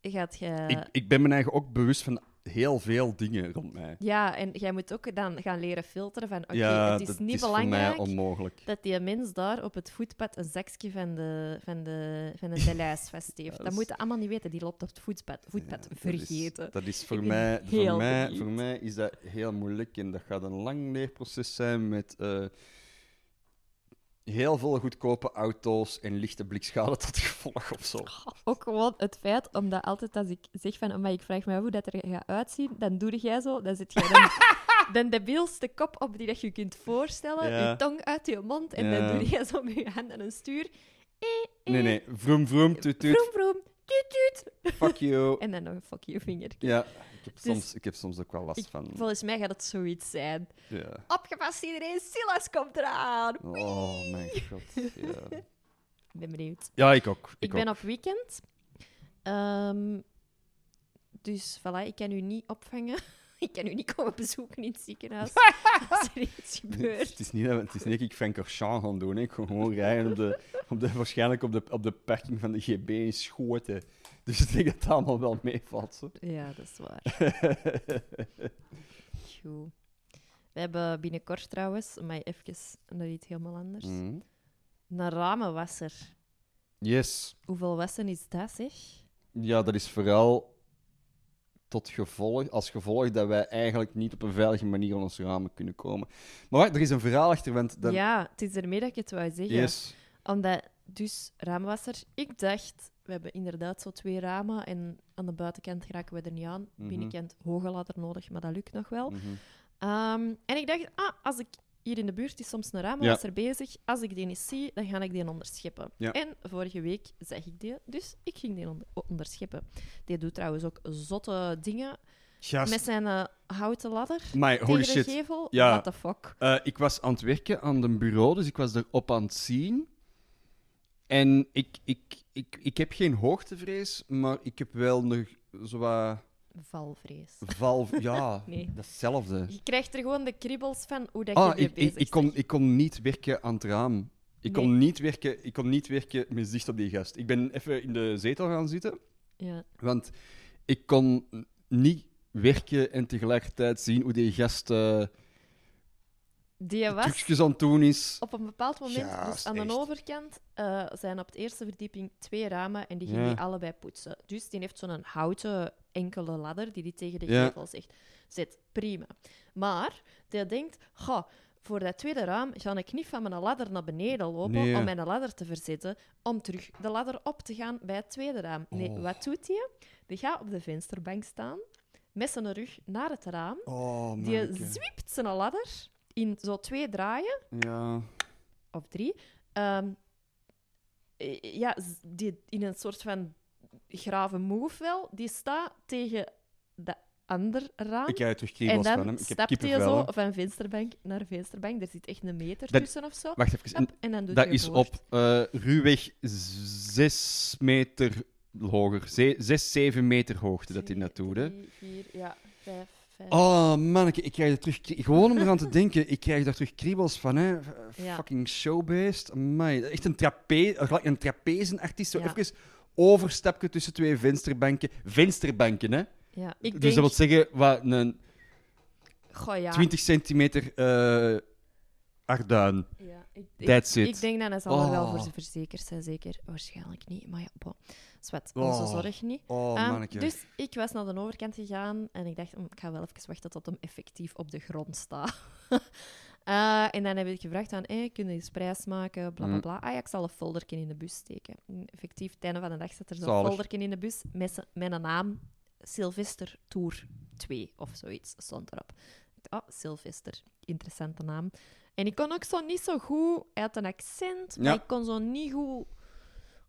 [SPEAKER 2] hè.
[SPEAKER 1] gaat jij...
[SPEAKER 2] Ik, ik ben me eigen ook bewust van heel veel dingen rond mij.
[SPEAKER 1] Ja, en jij moet ook dan gaan leren filteren van... Oké,
[SPEAKER 2] ja,
[SPEAKER 1] het is
[SPEAKER 2] dat
[SPEAKER 1] niet
[SPEAKER 2] is
[SPEAKER 1] belangrijk
[SPEAKER 2] voor mij onmogelijk.
[SPEAKER 1] dat die mens daar op het voetpad een zakje van de, van de, van de Delijs
[SPEAKER 2] (laughs)
[SPEAKER 1] vast heeft.
[SPEAKER 2] dat
[SPEAKER 1] Dat
[SPEAKER 2] is-
[SPEAKER 1] moet je allemaal niet weten. Die loopt op het voetpad. voetpad
[SPEAKER 2] dus- Ja,
[SPEAKER 1] vergeten.
[SPEAKER 2] Dat is, dat is voor,
[SPEAKER 1] Ik ben
[SPEAKER 2] mij,
[SPEAKER 1] heel
[SPEAKER 2] voor, mij,
[SPEAKER 1] benieuwd.
[SPEAKER 2] voor mij is dat heel moeilijk en dat gaat een lang leerproces zijn met eh, heel veel goedkope auto's en lichte blikschade tot gevolg of zo.
[SPEAKER 1] Ook gewoon het feit, omdat altijd als ik zeg van... "Amai, ik vraag me af hoe dat er gaat uitzien, dan doe jij zo. Dan zit jij (laughs) dan... De debielste kop op die dat je kunt voorstellen.
[SPEAKER 2] Ja.
[SPEAKER 1] Je tong uit je mond. En
[SPEAKER 2] Ja.
[SPEAKER 1] dan doe jij zo met je hand aan een stuur. Eh,
[SPEAKER 2] Nee, nee, vroom, vroom, tut, tut,
[SPEAKER 1] Vroom, vroom. Tuut, tuut.
[SPEAKER 2] fuck you.
[SPEAKER 1] En dan nog een fuck you vinger.
[SPEAKER 2] Ja, ik heb, soms, ik heb soms ook wel last
[SPEAKER 1] Ik-
[SPEAKER 2] van.
[SPEAKER 1] Volgens mij gaat het zoiets zijn.
[SPEAKER 2] Ja.
[SPEAKER 1] Opgepast iedereen, Silas komt eraan.
[SPEAKER 2] Oh, mijn god.
[SPEAKER 1] (laughs)
[SPEAKER 2] Ja,
[SPEAKER 1] Ik ben benieuwd.
[SPEAKER 2] ja ik ook. Ik,
[SPEAKER 1] Ik
[SPEAKER 2] ook.
[SPEAKER 1] ben op weekend. Ehm, dus voilà, ik kan u niet opvangen. (laughs) Ik kan u niet komen bezoeken in het (laughs) ziekenhuis. als er iets
[SPEAKER 2] Nee,
[SPEAKER 1] gebeurt.
[SPEAKER 2] Het is niet, dat- het is niet dat ik Frank Archamp ga doen. hè. Ik ga gewoon rijden op de, op de, waarschijnlijk op de, op de parking van de GB in Schoten. Dus ik denk dat het allemaal wel meevalt. (laughs) zo.
[SPEAKER 1] Ja, dat is waar. Goed. We hebben binnenkort trouwens, maar even naar iets helemaal anders.
[SPEAKER 2] Mhm.
[SPEAKER 1] Een ramenwasser.
[SPEAKER 2] Yes.
[SPEAKER 1] Hoeveel wassen is dat, zeg?
[SPEAKER 2] Ja, dat is vooral tot gevolg, als gevolg dat wij eigenlijk niet op een veilige manier aan ons ramen kunnen komen. Maar wacht, er is een verhaal achter, want... Dat,
[SPEAKER 1] Ja, het is ermee dat ik het wou zeggen.
[SPEAKER 2] yes.
[SPEAKER 1] Omdat, dus raamwasser, ik dacht, we hebben inderdaad zo twee ramen en aan de buitenkant raken we er niet aan.
[SPEAKER 2] Mhm.
[SPEAKER 1] Binnenkant hoge ladder nodig, maar dat lukt nog wel.
[SPEAKER 2] Mhm.
[SPEAKER 1] Ehm, en ik dacht, ah, als ik hier in de buurt is soms een raamwasser bezig, als ik die eens zie, dan ga ik die onderscheppen.
[SPEAKER 2] Ja.
[SPEAKER 1] En vorige week zag ik die, dus ik ging die onder- onderscheppen. Die doet trouwens ook zotte dingen
[SPEAKER 2] Gast.
[SPEAKER 1] met zijn eh, houten ladder.
[SPEAKER 2] Maar holy
[SPEAKER 1] tegen de
[SPEAKER 2] shit.
[SPEAKER 1] gevel,
[SPEAKER 2] Ja.
[SPEAKER 1] what the fuck.
[SPEAKER 2] Eh, ik was aan het werken aan een bureau, dus ik was erop aan het zien. En ik, ik, ik, ik heb geen hoogtevrees, maar ik heb wel nog zo'n
[SPEAKER 1] Valvrees. (laughs)
[SPEAKER 2] val... Ja,
[SPEAKER 1] Nee.
[SPEAKER 2] datzelfde.
[SPEAKER 1] Je krijgt er gewoon de kriebels van hoe dat je
[SPEAKER 2] Ah,
[SPEAKER 1] mee
[SPEAKER 2] ik, ik,
[SPEAKER 1] bezig
[SPEAKER 2] ik, kon, ik kon niet werken aan het raam. Ik, kon niet werken, ik kon niet werken met zicht op die gast. Ik ben even in de zetel gaan zitten,
[SPEAKER 1] Ja.
[SPEAKER 2] want ik kon niet werken en tegelijkertijd zien hoe die gast eh
[SPEAKER 1] Die was
[SPEAKER 2] trucjes aan het doen is.
[SPEAKER 1] op een bepaald moment, dus
[SPEAKER 2] Juist,
[SPEAKER 1] aan
[SPEAKER 2] echt.
[SPEAKER 1] de overkant, eh, zijn op de eerste verdieping twee ramen en die
[SPEAKER 2] Ja.
[SPEAKER 1] ging die allebei poetsen. Dus die heeft zo'n houten enkele ladder die die tegen de
[SPEAKER 2] Ja.
[SPEAKER 1] gevel zegt. Zit prima. Maar die denkt, goh, voor dat tweede raam ga ik niet van mijn ladder naar beneden lopen
[SPEAKER 2] Nee.
[SPEAKER 1] om mijn ladder te verzetten, om terug de ladder op te gaan bij het tweede raam. Nee,
[SPEAKER 2] Oh.
[SPEAKER 1] wat doet hij? Die gaat op de vensterbank staan, met zijn rug naar het raam.
[SPEAKER 2] Oh, man.
[SPEAKER 1] Die zwiept zijn ladder in zo twee draaien,
[SPEAKER 2] Ja.
[SPEAKER 1] of drie. Ehm, eh, ja, z- die, in een soort van grave move wel. Die staat tegen de ander raam.
[SPEAKER 2] Ik heb terug
[SPEAKER 1] en
[SPEAKER 2] kriebels van hem.
[SPEAKER 1] dan
[SPEAKER 2] Ik heb
[SPEAKER 1] stapt hij
[SPEAKER 2] kippenvel.
[SPEAKER 1] zo
[SPEAKER 2] hè.
[SPEAKER 1] van vensterbank naar vensterbank. Er zit echt een meter
[SPEAKER 2] Dat-
[SPEAKER 1] tussen of zo.
[SPEAKER 2] Wacht even.
[SPEAKER 1] Hop, en dan doet
[SPEAKER 2] dat
[SPEAKER 1] hij
[SPEAKER 2] is
[SPEAKER 1] boord.
[SPEAKER 2] op eh ruwweg 6 meter hoger. 6, 7 meter hoogte dat hij
[SPEAKER 1] Twee,
[SPEAKER 2] naartoe doet. hè.
[SPEAKER 1] drie, vier, ja, vijf, vijf.
[SPEAKER 2] Oh, manneke, ik krijg er terug... krie- Gewoon om eraan te denken, ik krijg daar terug kriebels van, hè. F-
[SPEAKER 1] Ja.
[SPEAKER 2] Fucking showbeest. Amai. Echt een, trape gelijk een trapezenartiest. Zo
[SPEAKER 1] Ja.
[SPEAKER 2] even overstapje tussen twee vensterbanken. Vensterbanken, hè.
[SPEAKER 1] Ja, ik
[SPEAKER 2] dus
[SPEAKER 1] denk...
[SPEAKER 2] dat wil zeggen, wat, een
[SPEAKER 1] Goh, ja.
[SPEAKER 2] 20 centimeter eh arduin.
[SPEAKER 1] Ja, ik, ik-
[SPEAKER 2] That's it.
[SPEAKER 1] Ik denk dat ze allemaal wel
[SPEAKER 2] Oh.
[SPEAKER 1] voor ze verzekerd zijn, zeker. Waarschijnlijk niet, maar ja, bon. Zwet, onze
[SPEAKER 2] Oh.
[SPEAKER 1] zorg niet.
[SPEAKER 2] Oh,
[SPEAKER 1] Ehm,
[SPEAKER 2] manneke.
[SPEAKER 1] dus ik was naar de overkant gegaan en ik dacht, "Mm, ik ga wel even wachten tot hem effectief op de grond staat. (laughs) Eh, en dan heb ik gevraagd aan, hey, kun je eens prijs maken, bla bla
[SPEAKER 2] Mm.
[SPEAKER 1] bla. Ah ja, ik zal een folderkin in de bus steken. En Effectief, het einde van de dag zit er zo'n
[SPEAKER 2] Zalig.
[SPEAKER 1] folderkin in de bus met, z'n- met een naam, Sylvester Tour 2 of zoiets, stond erop. Ik dacht, Oh, Sylvester, interessante naam. En ik kon ook zo niet zo goed, hij had een accent, maar
[SPEAKER 2] Ja.
[SPEAKER 1] ik kon zo niet goed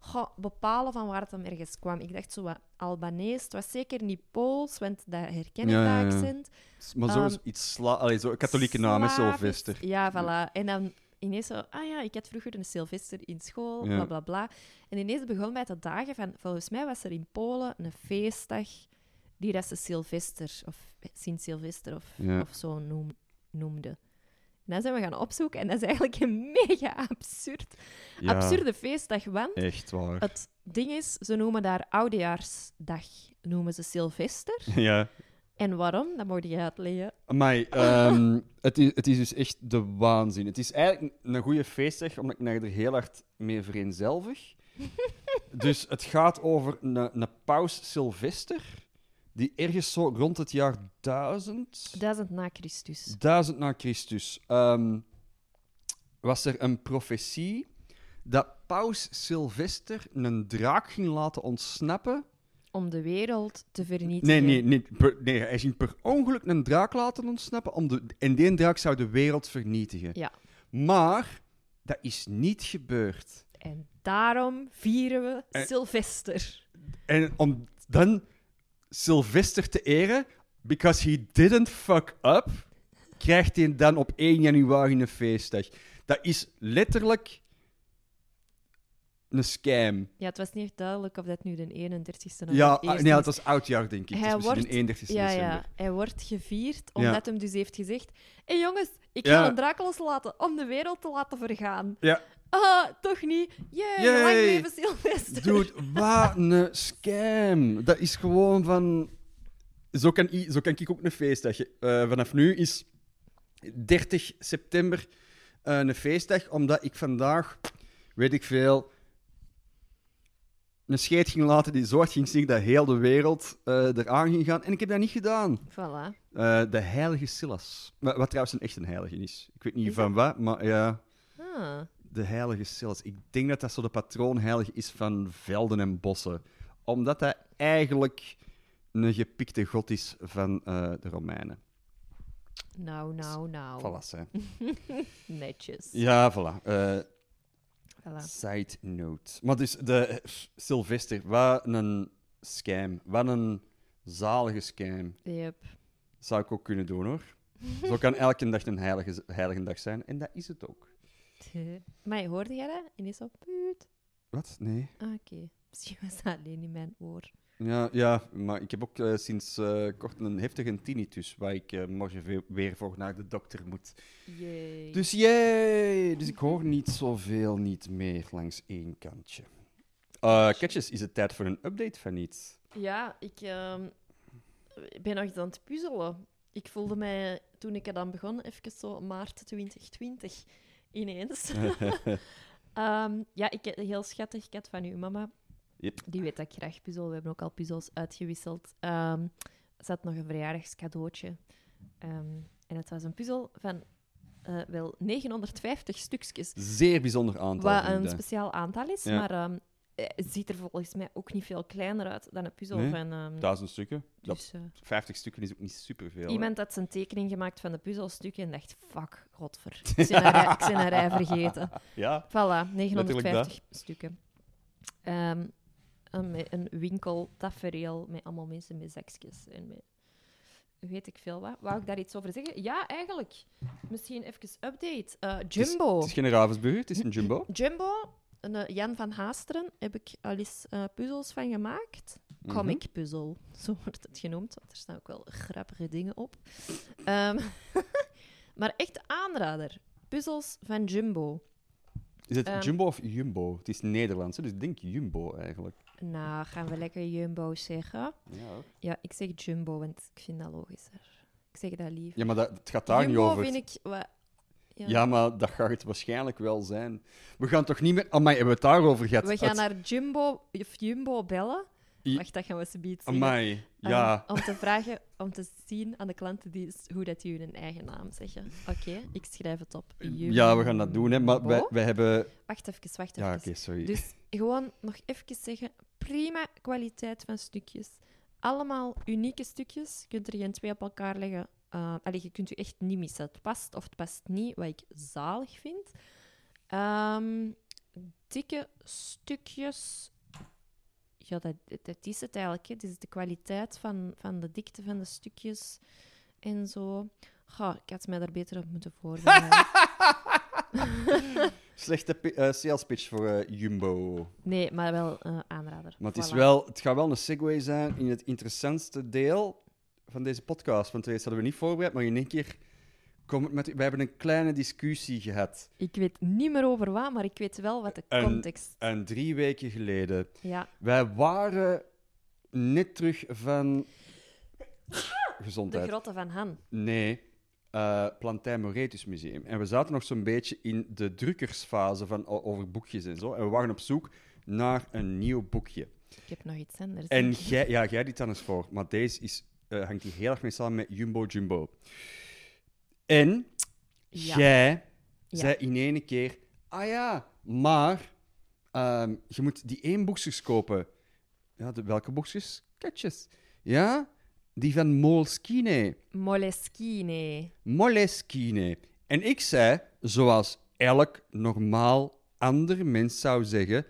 [SPEAKER 1] goh, bepalen van waar het hem ergens kwam. Ik dacht zo wat Albanees, het was zeker niet Pools, want dat herken ik,
[SPEAKER 2] Ja, ja, ja.
[SPEAKER 1] dat accent.
[SPEAKER 2] Maar zo is
[SPEAKER 1] ehm,
[SPEAKER 2] iets sla... Allee, zo, een katholieke naam, hè,
[SPEAKER 1] Slavisch.
[SPEAKER 2] Sylvester.
[SPEAKER 1] Ja, voilà. En dan ineens zo, ah ja, ik had vroeger een Sylvester in school,
[SPEAKER 2] Ja.
[SPEAKER 1] bla bla bla. En ineens begon mij te dagen van, volgens mij was er in Polen een feestdag die dat ze Sylvester of Sint-Sylvester of,
[SPEAKER 2] Ja.
[SPEAKER 1] of zo noem, noemde. En dan zijn we gaan opzoeken en dat is eigenlijk een (laughs) mega absurd,
[SPEAKER 2] Ja,
[SPEAKER 1] absurde feestdag, want
[SPEAKER 2] Echt waar.
[SPEAKER 1] het ding is, ze noemen daar Oudejaarsdag, noemen ze Sylvester.
[SPEAKER 2] Ja.
[SPEAKER 1] En waarom? Dat moet je uitleggen. (laughs)
[SPEAKER 2] Amai, ehm, het, is, het is dus echt de waanzin. Het is eigenlijk een een goede feestdag, omdat ik mij er heel hard
[SPEAKER 1] (laughs)
[SPEAKER 2] mee vereenzelvig. dus het gaat over een, een paus Sylvester, die ergens zo rond het jaar 1000,
[SPEAKER 1] Duizend na Christus.
[SPEAKER 2] 1000 na Christus, ehm, was er een profetie dat paus Sylvester een draak ging laten ontsnappen
[SPEAKER 1] om de wereld te vernietigen.
[SPEAKER 2] Nee, nee, nee, per- nee, hij ging per ongeluk een draak laten ontsnappen. Om de, en die draak zou de wereld vernietigen.
[SPEAKER 1] Ja.
[SPEAKER 2] Maar dat is niet gebeurd.
[SPEAKER 1] En daarom vieren we
[SPEAKER 2] Eh.
[SPEAKER 1] Sylvester.
[SPEAKER 2] En om dan Sylvester te eren, because he didn't fuck up, krijgt hij dan op 1 januari een feestdag. Dat is letterlijk een scam.
[SPEAKER 1] Ja, het was niet echt duidelijk of dat nu de 31ste of
[SPEAKER 2] Ja,
[SPEAKER 1] de eerste
[SPEAKER 2] ah, nee,
[SPEAKER 1] is.
[SPEAKER 2] dat was oudjaar, denk
[SPEAKER 1] Hij
[SPEAKER 2] ik. het is misschien
[SPEAKER 1] wordt-
[SPEAKER 2] de 31
[SPEAKER 1] ja,
[SPEAKER 2] december.
[SPEAKER 1] ja, hij wordt gevierd
[SPEAKER 2] Ja.
[SPEAKER 1] omdat hem dus heeft gezegd: Hé jongens, ik
[SPEAKER 2] Ja.
[SPEAKER 1] ga een draak loslaten om de wereld te laten vergaan.
[SPEAKER 2] Ja.
[SPEAKER 1] Ah, toch niet? Jee,
[SPEAKER 2] Yay.
[SPEAKER 1] lang leven Sylvester.
[SPEAKER 2] Dude, wat een scam. Dat is gewoon van... Zo kan, i- zo kan ik ook een feestdag. eh, vanaf nu is 30 september eh, een feestdag, omdat ik vandaag, weet ik veel, een scheet ging laten die zo hard ging zingen dat heel de wereld eh eraan ging gaan. En ik heb dat niet gedaan.
[SPEAKER 1] (laughs) Voilà.
[SPEAKER 2] Eh, de heilige Silas. Wat, wat trouwens een echt een heilige is. Ik weet niet
[SPEAKER 1] Is
[SPEAKER 2] van wat, maar ja...
[SPEAKER 1] Ah.
[SPEAKER 2] De heilige Silas. Ik denk dat dat zo de patroonheilige is van velden en bossen. Omdat hij eigenlijk een gepikte god is van eh, de Romeinen.
[SPEAKER 1] Nou, nou, nou.
[SPEAKER 2] Voilà, hè.
[SPEAKER 1] Netjes.
[SPEAKER 2] Ja, voilà. Eh,
[SPEAKER 1] Voilà.
[SPEAKER 2] side note. Maar dus, de Sylvester, wat een scam. Wat een zalige scam.
[SPEAKER 1] Yep.
[SPEAKER 2] Zou ik ook kunnen doen, hoor. Zo kan elke dag een heilige, heilige dag zijn. En dat is het ook.
[SPEAKER 1] (laughs) Maar hoorde jij dat? En is op puut.
[SPEAKER 2] Wat? Nee.
[SPEAKER 1] Ah, Oké. (laughs) Misschien was dat alleen in mijn oor.
[SPEAKER 2] Ja, ja, maar ik heb ook eh, sinds eh, kort een heftige tinnitus, waar ik eh, morgen ve- weer voor naar de dokter moet.
[SPEAKER 1] Jee.
[SPEAKER 2] Dus jee, dus ik hoor niet zoveel niet meer langs één kantje. Eh Ketjes, is het tijd voor een update van iets?
[SPEAKER 1] Ja, ik ehm, ben nog eens aan het puzzelen. Ik voelde mij, toen ik eraan begon, even zo maart 2020 ineens. Ehm, ja, ik heb een heel schattig kat van uw mama.
[SPEAKER 2] Yep.
[SPEAKER 1] Die weet dat ik graag puzzel. We hebben ook al puzzels uitgewisseld. Ehm er zat nog een verjaardagscadeautje. Ehm, en het was een puzzel van eh, wel 950 stukjes.
[SPEAKER 2] Zeer bijzonder aantal.
[SPEAKER 1] Wat
[SPEAKER 2] vrienden.
[SPEAKER 1] een speciaal aantal is,
[SPEAKER 2] Ja.
[SPEAKER 1] maar ehm, eh, ziet er volgens mij ook niet veel kleiner uit dan een puzzel.
[SPEAKER 2] Nee,
[SPEAKER 1] van, ehm,
[SPEAKER 2] Duizend stukken. Dat,
[SPEAKER 1] dus, eh,
[SPEAKER 2] 50 stukken is ook niet superveel. hè.
[SPEAKER 1] iemand had zijn tekening gemaakt van de puzzelstukken en dacht, fuck,
[SPEAKER 2] (laughs)
[SPEAKER 1] godver, ik ben haar, rij- ik ben haar rij vergeten.
[SPEAKER 2] Ja,
[SPEAKER 1] Voilà,
[SPEAKER 2] Letterlijk
[SPEAKER 1] 950 stukken. Ehm, en met een winkel, tafereel, met allemaal mensen met zakjes en met weet ik veel wat. Wou ik daar iets over zeggen? Ja, eigenlijk. Misschien even update. Eh,
[SPEAKER 2] het is-
[SPEAKER 1] Jumbo.
[SPEAKER 2] Het is, geen Ravensburger, het is een
[SPEAKER 1] (laughs)
[SPEAKER 2] Jumbo.
[SPEAKER 1] Jumbo, een, eh, Jan van Haasteren, heb ik al eens eh, puzzels van gemaakt.
[SPEAKER 2] Mhm.
[SPEAKER 1] Comic puzzel, (laughs) zo wordt het genoemd. Want er staan ook wel grappige dingen op. Ehm, (laughs) maar echt aanrader. Puzzels van Jumbo.
[SPEAKER 2] Is het
[SPEAKER 1] Ehm.
[SPEAKER 2] Jumbo of Jumbo? Het is Nederlands, hè, dus ik denk Jumbo eigenlijk.
[SPEAKER 1] Nou, gaan we lekker Jumbo zeggen?
[SPEAKER 2] Ja, hoor.
[SPEAKER 1] Ja, ik zeg Jumbo, want ik vind dat logischer. Ik zeg dat lief.
[SPEAKER 2] ja maar dat, het gaat daar
[SPEAKER 1] Jumbo
[SPEAKER 2] niet over.
[SPEAKER 1] vind ik... wa-
[SPEAKER 2] ja.
[SPEAKER 1] ja.
[SPEAKER 2] maar dat gaat het waarschijnlijk wel zijn. We gaan toch niet meer... Amai, hebben we het daarover gehad?
[SPEAKER 1] We gaan
[SPEAKER 2] Het-
[SPEAKER 1] naar Jumbo, of Jumbo bellen.
[SPEAKER 2] I-
[SPEAKER 1] Wacht, dat gaan we ze bieden.
[SPEAKER 2] Amai, ja.
[SPEAKER 1] om te vragen, om te zien aan de klantendienst hoe dat jullie hun eigen naam zeggen. Oké, ik schrijf het op.
[SPEAKER 2] Ja, we gaan dat doen, hè. Maar wij,
[SPEAKER 1] Jumbo.
[SPEAKER 2] wij hebben...
[SPEAKER 1] Wacht even, wacht even.
[SPEAKER 2] Ja, oké, sorry.
[SPEAKER 1] Dus (laughs) gewoon nog even zeggen: prima kwaliteit van stukjes. Allemaal unieke stukjes. Je kunt er geen twee op elkaar leggen. Eh, allee, je kunt je echt niet missen. Het past of het past niet, wat ik zalig vind. Ehm, dikke stukjes. Ja, dat, dat is het eigenlijk. Hè. Het is de kwaliteit van, van de dikte van de stukjes en zo. Goh, ik had mij daar beter op moeten
[SPEAKER 2] (laughs)
[SPEAKER 1] voorbereiden.
[SPEAKER 2] (laughs) Slechte pi- eh, sales pitch voor eh, Jumbo.
[SPEAKER 1] Nee, maar wel eh, aanrader.
[SPEAKER 2] Maar het, is
[SPEAKER 1] Voilà.
[SPEAKER 2] wel, het gaat wel een segue zijn in het interessantste deel van deze podcast. Want deze hadden we niet voorbereid, maar in één keer... Kom het met, wij hebben een kleine discussie gehad.
[SPEAKER 1] Ik weet niet meer over wat, maar ik weet wel wat de
[SPEAKER 2] Een-
[SPEAKER 1] context.
[SPEAKER 2] En drie weken geleden.
[SPEAKER 1] Ja,
[SPEAKER 2] Wij waren net terug van...
[SPEAKER 1] de
[SPEAKER 2] Gezondheid.
[SPEAKER 1] grotten van Han.
[SPEAKER 2] Nee, eh Plantijn Moretus Museum. En we zaten nog zo'n beetje in de drukkersfase van, o- over boekjes en zo. En we waren op zoek naar een nieuw boekje.
[SPEAKER 1] Ik heb nog iets anders.
[SPEAKER 2] En
[SPEAKER 1] denk ik.
[SPEAKER 2] jij, ja, jij dit dan eens voor, maar deze is, eh, hangt hier heel erg mee samen met Jumbo Jumbo. En
[SPEAKER 1] Ja.
[SPEAKER 2] jij
[SPEAKER 1] Ja.
[SPEAKER 2] zei in één keer: Ah ja, maar ehm, je moet die één boekjes kopen. Ja, de, welke boekjes? Ketjes. Ja, die van Moleskine.
[SPEAKER 1] Moleskine.
[SPEAKER 2] Moleskine. En ik zei, zoals elk normaal ander mens zou
[SPEAKER 1] (laughs)
[SPEAKER 2] zeggen: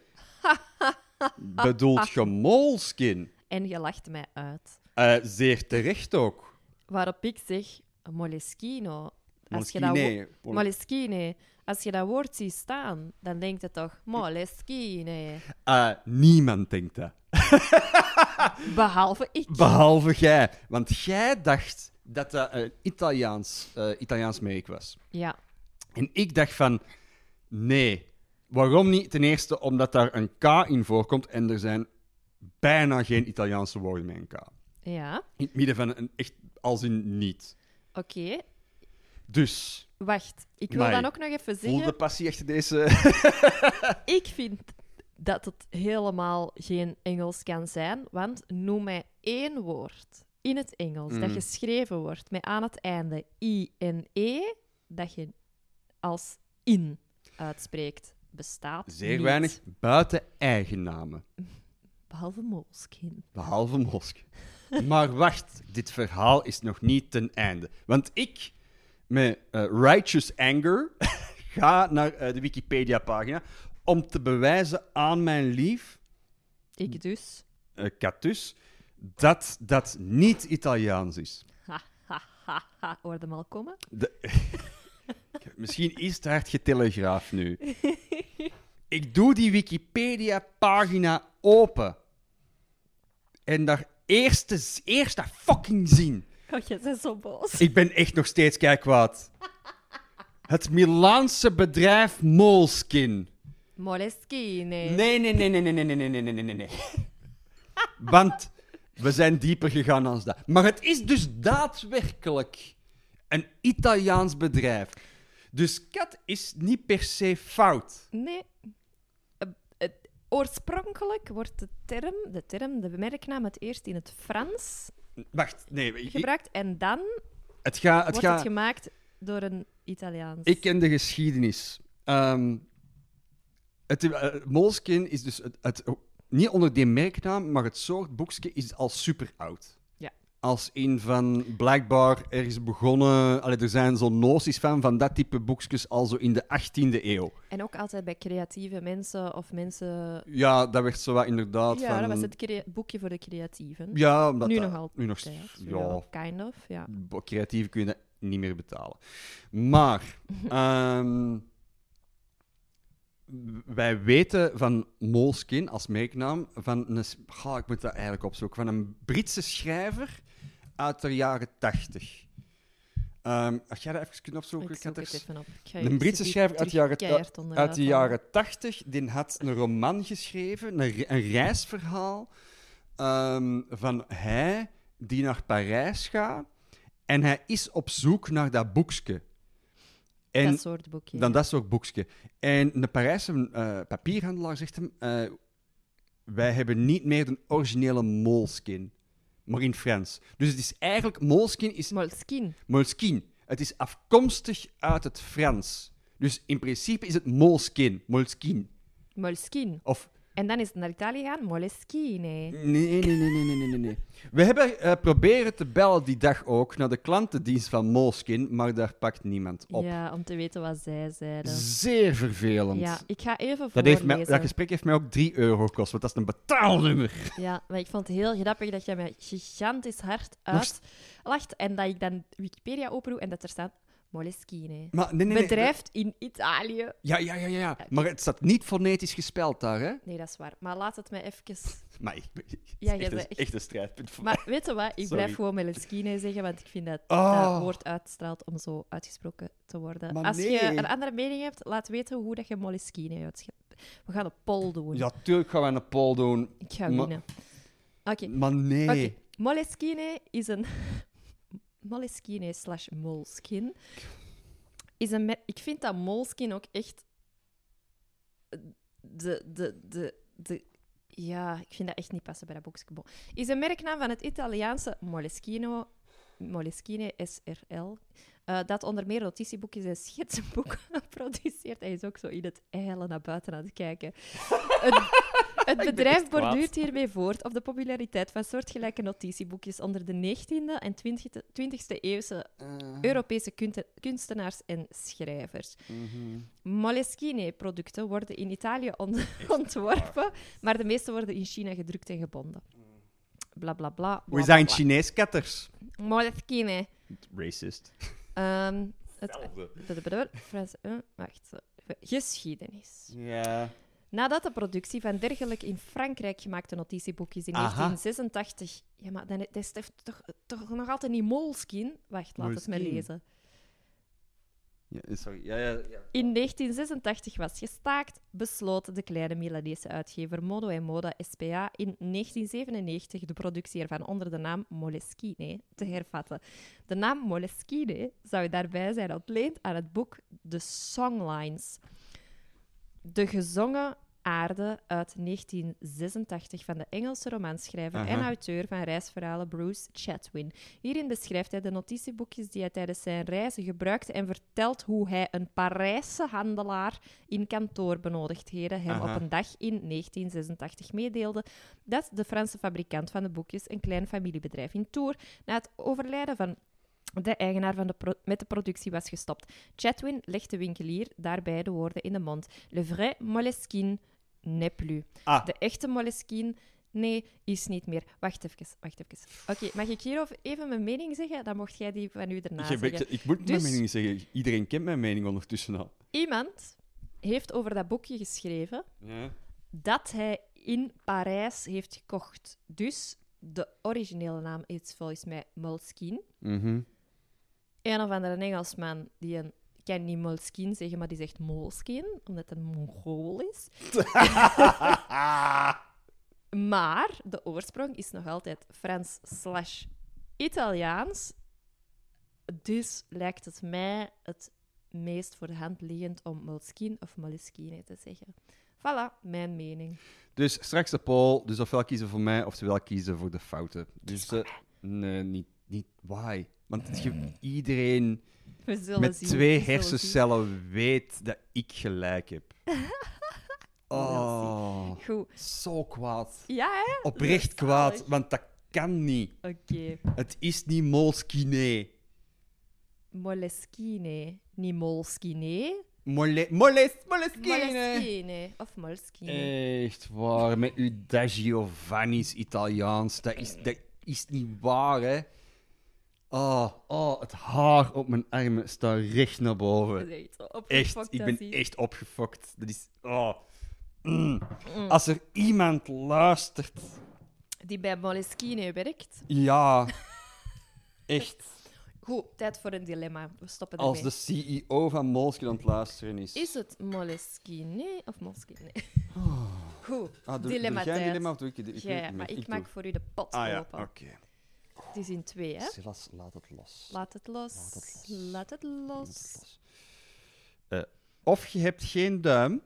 [SPEAKER 2] Bedoelt je molskin?
[SPEAKER 1] En je lacht mij uit.
[SPEAKER 2] Eh, zeer terecht ook.
[SPEAKER 1] Waarop ik zeg, Moleskino. Als je dat wo-
[SPEAKER 2] Moleskine. Mol-
[SPEAKER 1] Moleskine. Als je dat woord ziet staan, dan denkt het toch Moleskine.
[SPEAKER 2] Eh, niemand denkt dat.
[SPEAKER 1] Behalve ik.
[SPEAKER 2] Behalve jij. Want jij dacht dat dat een Italiaans, eh, Italiaans merk was.
[SPEAKER 1] Ja,
[SPEAKER 2] En ik dacht van, nee. Waarom niet? Ten eerste omdat daar een K in voorkomt en er zijn bijna geen Italiaanse woorden met een K.
[SPEAKER 1] ja.
[SPEAKER 2] In het midden van een echt, als in niet.
[SPEAKER 1] Oké,
[SPEAKER 2] Dus,
[SPEAKER 1] wacht. Ik wil
[SPEAKER 2] Mai,
[SPEAKER 1] dan ook nog even
[SPEAKER 2] voel
[SPEAKER 1] zeggen.
[SPEAKER 2] de passie echt deze...
[SPEAKER 1] Ik vind dat het helemaal geen Engels kan zijn, want noem mij één woord in het Engels dat
[SPEAKER 2] Mm.
[SPEAKER 1] geschreven wordt met aan het einde i en e dat je als in uitspreekt. Bestaat
[SPEAKER 2] Zeer
[SPEAKER 1] niet,
[SPEAKER 2] weinig buiten eigen namen.
[SPEAKER 1] Behalve Moleskine.
[SPEAKER 2] Behalve Mosk. Maar wacht, dit verhaal is nog niet ten einde. Want ik, met eh, righteous anger, (laughs) ga naar eh, de Wikipedia-pagina om te bewijzen aan mijn lief,
[SPEAKER 1] Ik dus.
[SPEAKER 2] eh, Catus, dat dat niet Italiaans is.
[SPEAKER 1] Ha, ha, ha, ha. Hoor hem al komen?
[SPEAKER 2] (laughs) Misschien is het hard getelegraaf nu. Ik doe die Wikipedia-pagina open. En daar eerste, eerste fucking zin...
[SPEAKER 1] Oh, je bent zo boos.
[SPEAKER 2] Ik ben echt nog steeds kijkwaad. Het Milaanse bedrijf Molskin.
[SPEAKER 1] Moleskine.
[SPEAKER 2] Nee, nee, nee, nee, nee, nee, nee, nee, nee, nee, nee, (laughs) nee, nee. Want we zijn dieper gegaan dan dat. Maar het is dus daadwerkelijk een Italiaans bedrijf. Dus kat is niet per se fout.
[SPEAKER 1] Nee. Eh, het- oorspronkelijk wordt de term, de term, de merknaam het eerst in het Frans
[SPEAKER 2] Wacht, nee. ik-
[SPEAKER 1] gebruikt en dan
[SPEAKER 2] het gaat... Het
[SPEAKER 1] wordt het
[SPEAKER 2] gaat
[SPEAKER 1] gemaakt door een Italiaans.
[SPEAKER 2] Ik ken de geschiedenis. Ehm, het, eh, Moleskine is dus het, het- niet onder die merknaam, maar het soort boekje is al super oud.
[SPEAKER 1] Ja.
[SPEAKER 2] Als in van blijkbaar er is begonnen. Allee, er zijn zo'n noties van, van dat type boekjes al zo in de 18e eeuw.
[SPEAKER 1] En ook altijd bij creatieve mensen of mensen...
[SPEAKER 2] Ja, dat werd zo wat inderdaad.
[SPEAKER 1] ja,
[SPEAKER 2] van,
[SPEAKER 1] dat was het crea- boekje voor de creatieven.
[SPEAKER 2] Ja, omdat
[SPEAKER 1] nu
[SPEAKER 2] dat-
[SPEAKER 1] nog altijd.
[SPEAKER 2] Nu nog
[SPEAKER 1] Ja,
[SPEAKER 2] steeds. Ja,
[SPEAKER 1] wel, Kind of, ja.
[SPEAKER 2] Bo- creatief kun je dat niet meer betalen.
[SPEAKER 1] (laughs)
[SPEAKER 2] Maar ehm, w- wij weten van Moleskine als merknaam van een, s- Goh, ik moet dat eigenlijk opzoeken, van een Britse schrijver uit de jaren 80. Ehm als jij dat even kunt opzoeken,
[SPEAKER 1] Ik
[SPEAKER 2] ik had
[SPEAKER 1] zoek het
[SPEAKER 2] er s-
[SPEAKER 1] even op. Ik ga
[SPEAKER 2] Een
[SPEAKER 1] jullie
[SPEAKER 2] Britse
[SPEAKER 1] die
[SPEAKER 2] schrijver uit de
[SPEAKER 1] terug
[SPEAKER 2] jaren-
[SPEAKER 1] keihard onderuit
[SPEAKER 2] uit de
[SPEAKER 1] halen.
[SPEAKER 2] jaren 80. Die had een roman geschreven, een, re- een reisverhaal ehm, van hij die naar Parijs gaat. En hij is op zoek naar dat boekje. En
[SPEAKER 1] dat soort boekje.
[SPEAKER 2] dan dat soort boekje. En de Parijse eh, papierhandelaar zegt hem: eh, Wij hebben niet meer de originele molskin, maar in Frans. Dus het is eigenlijk: molskin is
[SPEAKER 1] Moleskine.
[SPEAKER 2] Moleskine. Het is afkomstig uit het Frans. Dus in principe is het Moleskine. Moleskine.
[SPEAKER 1] Moleskine.
[SPEAKER 2] Of...
[SPEAKER 1] En dan is het naar Italië gaan. Moleskine.
[SPEAKER 2] Nee, nee, nee, nee, nee, nee, nee, nee. We hebben eh, proberen te bellen die dag ook naar de klantendienst van Moleskine, maar daar pakt niemand op.
[SPEAKER 1] Ja, om te weten wat zij zeiden.
[SPEAKER 2] Zeer vervelend.
[SPEAKER 1] Ja, ik ga even
[SPEAKER 2] dat, heeft
[SPEAKER 1] voorlezen.
[SPEAKER 2] mij, dat gesprek heeft mij ook 3 euro gekost, want dat is een betaalnummer.
[SPEAKER 1] Ja, maar ik vond het heel grappig dat jij mij gigantisch hard uitlacht en dat ik dan Wikipedia opendoe en dat er staat Moleskine.
[SPEAKER 2] Maar, nee, nee, nee,
[SPEAKER 1] Bedrijf in Italië.
[SPEAKER 2] Ja, ja, ja, ja, ja. Maar het staat niet fonetisch gespeld daar, hè?
[SPEAKER 1] Nee, dat is waar. Maar laat het mij even...
[SPEAKER 2] Maar ik, ik- het is
[SPEAKER 1] jij
[SPEAKER 2] (laughs) echt, een,
[SPEAKER 1] bent echt-
[SPEAKER 2] echt een strijdpunt voor
[SPEAKER 1] Maar weet je wat? Ik
[SPEAKER 2] Sorry.
[SPEAKER 1] blijf gewoon Moleskine zeggen, want ik vind dat
[SPEAKER 2] Oh.
[SPEAKER 1] dat woord uitstraalt om zo uitgesproken te worden.
[SPEAKER 2] Maar
[SPEAKER 1] Als je
[SPEAKER 2] nee.
[SPEAKER 1] een andere mening hebt, laat weten hoe dat je Moleskine uitschrijft. We gaan een poll doen.
[SPEAKER 2] mij. Ja, tuurlijk gaan we een poll doen.
[SPEAKER 1] Ik ga
[SPEAKER 2] maar-
[SPEAKER 1] winnen. Oké.
[SPEAKER 2] Maar nee.
[SPEAKER 1] Oké, Moleskine is een... (laughs) Moleskine slash Moleskin is een... mer- Ik vind dat Moleskin ook echt... De, de, de, de... Ja, ik vind dat echt niet passen bij dat boekje. Bon. Is een merknaam van het Italiaanse Moleschino... Moleskine SRL, eh, dat onder meer notitieboekjes en schetsenboeken (laughs) produceert. Hij is ook zo in het eilen naar buiten aan het kijken.
[SPEAKER 2] (laughs)
[SPEAKER 1] Het, het bedrijf
[SPEAKER 2] echt kwaad.
[SPEAKER 1] borduurt hiermee voort op de populariteit van soortgelijke notitieboekjes onder de 19e en 20e 20e eeuwse
[SPEAKER 2] Eh.
[SPEAKER 1] Europese kunte- kunstenaars en schrijvers.
[SPEAKER 2] Mhm.
[SPEAKER 1] Moleskine-producten worden in Italië on- ontworpen, maar de meeste worden in China gedrukt en gebonden. Bla bla bla.
[SPEAKER 2] We
[SPEAKER 1] bla,
[SPEAKER 2] zijn
[SPEAKER 1] bla,
[SPEAKER 2] Chinees ketters.
[SPEAKER 1] bla. Moleskine.
[SPEAKER 2] Racist.
[SPEAKER 1] Ehm, het, Blablabla. Frans- eh, wacht. eh, Geschiedenis.
[SPEAKER 2] Ja.
[SPEAKER 1] Nadat de productie van dergelijke in Frankrijk gemaakte notitieboekjes in
[SPEAKER 2] Aha.
[SPEAKER 1] 1986... Ja, maar dan, dat is toch- toch, toch nog altijd niet Moleskine? Wacht, laat het mij
[SPEAKER 2] Moleskine.
[SPEAKER 1] lezen.
[SPEAKER 2] sorry. Ja, ja, ja.
[SPEAKER 1] In 1986 was gestaakt, besloot de kleine Milanese uitgever Modo en Moda SPA in 1997 de productie ervan onder de naam Moleskine te hervatten. De naam Moleskine zou daarbij zijn ontleend aan het boek The Songlines. De gezongen aarde uit 1986 van de Engelse romanschrijver en
[SPEAKER 2] Aha.
[SPEAKER 1] auteur van reisverhalen Bruce Chatwin. Hierin beschrijft hij de notitieboekjes die hij tijdens zijn reizen gebruikte en vertelt hoe hij een Parijse handelaar in kantoorbenodigdheden hem
[SPEAKER 2] Aha.
[SPEAKER 1] op een dag in 1986 meedeelde dat de Franse fabrikant van de boekjes een klein familiebedrijf in Tours na het overlijden van de eigenaar van de pro- met de productie was gestopt. Chatwin legt de winkelier daarbij de woorden in de mond. Le vrai Moleskine n'est plus.
[SPEAKER 2] Ah.
[SPEAKER 1] De echte Moleskine, nee, is niet meer. Wacht even, wacht even. Oké, mag ik hierover even mijn mening zeggen? Dan mocht jij die van u erna
[SPEAKER 2] Ik,
[SPEAKER 1] zeggen.
[SPEAKER 2] ik moet mijn
[SPEAKER 1] Dus-
[SPEAKER 2] mening zeggen. Iedereen kent mijn mening ondertussen al.
[SPEAKER 1] Iemand heeft over dat boekje geschreven
[SPEAKER 2] Ja.
[SPEAKER 1] dat hij in Parijs heeft gekocht. Dus de originele naam is volgens mij Moleskine.
[SPEAKER 2] Mhm. (laughs)
[SPEAKER 1] Een of andere Engelsman die een ik kan niet Moleskine zeggen, maar die zegt Moleskine, omdat het een Mongool is. Maar de oorsprong is nog altijd Frans slash Italiaans. Dus lijkt het mij het meest voor de hand liggend om Moleskine of Moleskine te zeggen. Voilà, mijn mening.
[SPEAKER 2] Dus straks de poll. Dus ofwel kiezen voor mij, oftewel kiezen voor de fouten. Dus eh, nee, niet, niet. Why? Want je- iedereen
[SPEAKER 1] We zullen
[SPEAKER 2] Met
[SPEAKER 1] zien.
[SPEAKER 2] twee
[SPEAKER 1] We zullen
[SPEAKER 2] hersencellen weet dat ik gelijk
[SPEAKER 1] (laughs)
[SPEAKER 2] heb. Oh,
[SPEAKER 1] zien. Goed.
[SPEAKER 2] zo kwaad.
[SPEAKER 1] Ja, hè?
[SPEAKER 2] Oprecht kwaad, want dat kan niet.
[SPEAKER 1] Oké.
[SPEAKER 2] Het is niet Moleskine.
[SPEAKER 1] Moleskine. Niet Moleskine.
[SPEAKER 2] Mole, moles, Moleskine.
[SPEAKER 1] Moleskine. Of
[SPEAKER 2] Eh,
[SPEAKER 1] Moleskine.
[SPEAKER 2] Echt waar, met uw Da Giovanni's Italiaans. Dat is, dat is niet waar, hè. Oh, oh, het haar op mijn armen staat recht naar boven. Echt, ik ben echt opgefokt. Dat is. Oh. Mm. Als er iemand luistert.
[SPEAKER 1] Die bij Moleskine werkt.
[SPEAKER 2] (laughs) Ja. Echt.
[SPEAKER 1] Goed, tijd voor een dilemma. We stoppen ermee.
[SPEAKER 2] Als de CEO van Moleskine aan het luisteren is.
[SPEAKER 1] Is het Moleskine of Moleskine? Goed,
[SPEAKER 2] Ah, doe,
[SPEAKER 1] dilemma
[SPEAKER 2] doe jij een
[SPEAKER 1] tijd.
[SPEAKER 2] dilemma of doe ik het? Ik
[SPEAKER 1] Ja,
[SPEAKER 2] weet het niet
[SPEAKER 1] maar
[SPEAKER 2] meer.
[SPEAKER 1] ik,
[SPEAKER 2] doe.
[SPEAKER 1] maak voor u de pot
[SPEAKER 2] Ah ja,
[SPEAKER 1] open.
[SPEAKER 2] oké.
[SPEAKER 1] Het is in twee, hè?
[SPEAKER 2] Silas, laat het los.
[SPEAKER 1] Laat het los.
[SPEAKER 2] Laat het los.
[SPEAKER 1] Laat het
[SPEAKER 2] Laat het
[SPEAKER 1] los.
[SPEAKER 2] los. Eh, of je hebt
[SPEAKER 1] (laughs)
[SPEAKER 2] geen duim.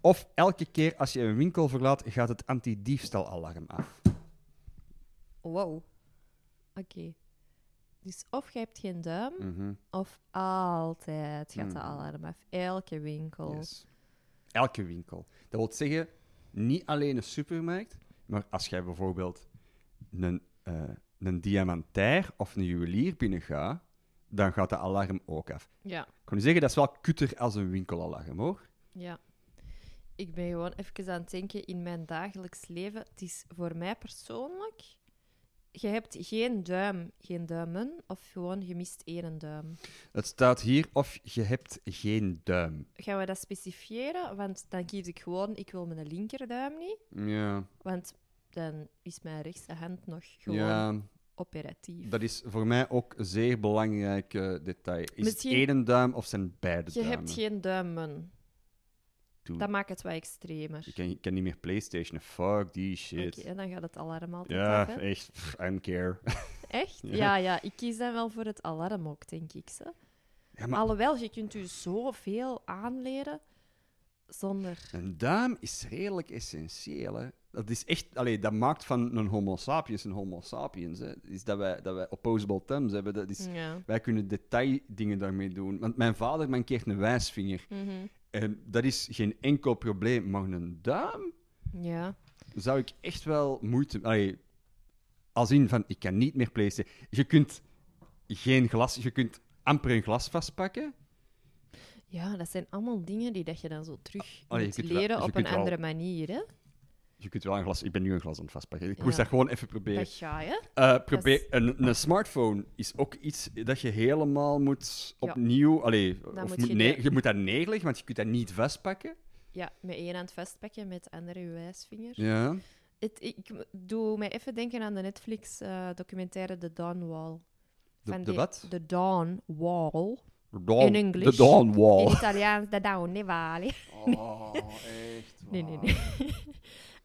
[SPEAKER 2] of elke keer als je een winkel verlaat, gaat het antidiefstalalarm af.
[SPEAKER 1] Wow. Oké. Dus of je hebt geen duim,
[SPEAKER 2] Mhm.
[SPEAKER 1] of altijd gaat de alarm af. Elke winkel.
[SPEAKER 2] Hmm. Yes. Elke winkel. Dat wil zeggen, niet alleen een supermarkt, maar als jij bijvoorbeeld een, eh een diamantair of een juwelier binnengaat, dan gaat de alarm ook af.
[SPEAKER 1] Ja,
[SPEAKER 2] Ik kan je zeggen, dat is wel kutter als een winkelalarm, hoor.
[SPEAKER 1] ja. Ik ben gewoon even aan het denken in mijn dagelijks leven. Het is voor mij persoonlijk. Je hebt geen duim, geen duimen, of gewoon je mist één duim.
[SPEAKER 2] Het staat hier, of je hebt geen duim.
[SPEAKER 1] Gaan we dat specifieren? Want dan kies ik gewoon, ik wil mijn linkerduim niet.
[SPEAKER 2] Ja,
[SPEAKER 1] Want dan is mijn rechtse hand nog gewoon
[SPEAKER 2] ja,
[SPEAKER 1] operatief.
[SPEAKER 2] dat is voor mij ook een zeer belangrijk eh, detail. Is
[SPEAKER 1] Misschien-
[SPEAKER 2] het één duim of zijn beide
[SPEAKER 1] Je
[SPEAKER 2] duimen?
[SPEAKER 1] hebt geen duimen.
[SPEAKER 2] Doe.
[SPEAKER 1] Dat maakt het wat extremer.
[SPEAKER 2] Ik kan, ik kan niet meer Playstation. Fuck die shit.
[SPEAKER 1] Oké, en dan gaat het alarm altijd af,
[SPEAKER 2] Ja,
[SPEAKER 1] hè?
[SPEAKER 2] echt. pff, I don't care. (laughs)
[SPEAKER 1] Echt?
[SPEAKER 2] Ja.
[SPEAKER 1] Ja. ja, ik kies dan wel voor het alarm ook, denk ik. Ze.
[SPEAKER 2] Ja, maar-
[SPEAKER 1] Alhoewel, je kunt u zoveel aanleren zonder...
[SPEAKER 2] Een duim is redelijk essentieel. Hè? Dat is echt, allee, dat maakt van een Homo sapiens een Homo sapiens. Hè? Is dat wij, dat wij opposable thumbs hebben. Dat is,
[SPEAKER 1] Ja.
[SPEAKER 2] Wij kunnen detaildingen daarmee doen. Want mijn vader mankeert een wijsvinger. En dat is geen enkel probleem. Maar een duim
[SPEAKER 1] Ja.
[SPEAKER 2] zou ik echt wel moeite. Allee, als in van ik kan niet meer placen. Je kunt geen glas, je kunt amper een glas vastpakken.
[SPEAKER 1] ja, dat zijn allemaal dingen die dat je dan zo terug
[SPEAKER 2] Ah, Allee, je
[SPEAKER 1] moet
[SPEAKER 2] kunt wel-
[SPEAKER 1] leren
[SPEAKER 2] je
[SPEAKER 1] op
[SPEAKER 2] kunt
[SPEAKER 1] een
[SPEAKER 2] wel-
[SPEAKER 1] andere manier. Hè?
[SPEAKER 2] Je kunt wel een glas. Ik ben nu een glas aan het vastpakken. Ik
[SPEAKER 1] Ja.
[SPEAKER 2] moest dat gewoon even proberen.
[SPEAKER 1] Dat ga je.
[SPEAKER 2] Eh, probeer,
[SPEAKER 1] Dat is-
[SPEAKER 2] een, een smartphone is ook iets dat je helemaal moet
[SPEAKER 1] Ja.
[SPEAKER 2] opnieuw. Allee, of
[SPEAKER 1] moet
[SPEAKER 2] moet
[SPEAKER 1] je
[SPEAKER 2] nee,
[SPEAKER 1] de-
[SPEAKER 2] je moet dat neerleggen, want je kunt dat niet vastpakken.
[SPEAKER 1] Ja, met één hand vastpakken, met de andere je wijsvinger.
[SPEAKER 2] Ja.
[SPEAKER 1] Het, ik m- doe mij even denken aan de Netflix-documentaire The Dawn Wall.
[SPEAKER 2] De-
[SPEAKER 1] Van
[SPEAKER 2] de
[SPEAKER 1] die-
[SPEAKER 2] wat?
[SPEAKER 1] The Dawn Wall.
[SPEAKER 2] Dawn,
[SPEAKER 1] In English.
[SPEAKER 2] De Dawn
[SPEAKER 1] In
[SPEAKER 2] Wall.
[SPEAKER 1] Italiaans, The Dawn Valley.
[SPEAKER 2] Oh, echt
[SPEAKER 1] (laughs) Nee, nee, nee.
[SPEAKER 2] Ah.
[SPEAKER 1] (laughs)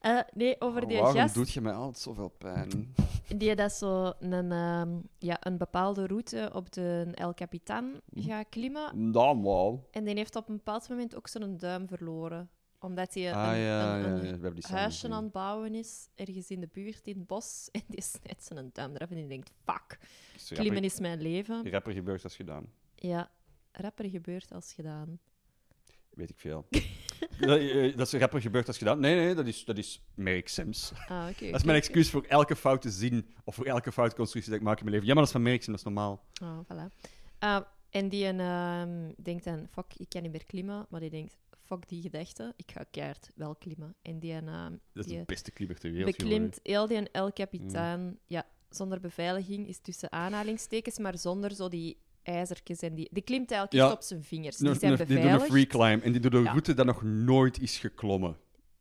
[SPEAKER 1] Eh, nee, over die
[SPEAKER 2] Waarom
[SPEAKER 1] gast
[SPEAKER 2] doet je mij altijd zoveel pijn?
[SPEAKER 1] die dat zo een, ehm, ja, een bepaalde route op de El Capitan
[SPEAKER 2] Mhm.
[SPEAKER 1] gaat klimmen.
[SPEAKER 2] Dawn Wall.
[SPEAKER 1] En die heeft op een bepaald moment ook zijn duim verloren. Omdat hij een,
[SPEAKER 2] Ah ja, ja,
[SPEAKER 1] een-
[SPEAKER 2] ja,
[SPEAKER 1] een
[SPEAKER 2] we hebben die samen
[SPEAKER 1] huisje
[SPEAKER 2] gezien.
[SPEAKER 1] aan het bouwen is, ergens in de buurt, in het bos. (laughs) En die snijdt zijn duim eraf en die denkt, fuck,
[SPEAKER 2] Is rapper-
[SPEAKER 1] klimmen is mijn leven.
[SPEAKER 2] Rapper gebeurt als gedaan.
[SPEAKER 1] Ja, rapper gebeurt als gedaan.
[SPEAKER 2] Weet ik
[SPEAKER 1] (laughs)
[SPEAKER 2] veel. dat, eh, dat is rapper gebeurt als gedaan. Nee, nee, dat is, dat is Merrick Sims.
[SPEAKER 1] Ah, oké.
[SPEAKER 2] Dat is mijn excuus voor elke foute zin of voor elke foute constructie dat ik maak in mijn leven. Ja, maar dat is van Merrick Sims, dat is normaal.
[SPEAKER 1] Ah, voilà. Ah, en die een, ehm, denkt dan, fuck, ik kan niet meer klimmen. Maar die denkt, fuck die gedachte, ik ga keihard wel klimmen. En die, een, ehm,
[SPEAKER 2] Dat is
[SPEAKER 1] die
[SPEAKER 2] de beste klimmer ter wereld.
[SPEAKER 1] beklimt heel die een El Capitan.
[SPEAKER 2] Mm.
[SPEAKER 1] Ja, zonder beveiliging is tussen aanhalingstekens, maar zonder zo die ijzertjes en die... Die klimt eigenlijk
[SPEAKER 2] Ja.
[SPEAKER 1] echt op zijn vingers. Die zijn
[SPEAKER 2] die doen een
[SPEAKER 1] beveiligd
[SPEAKER 2] free climb en die doen een
[SPEAKER 1] Ja.
[SPEAKER 2] route dat nog nooit is geklommen.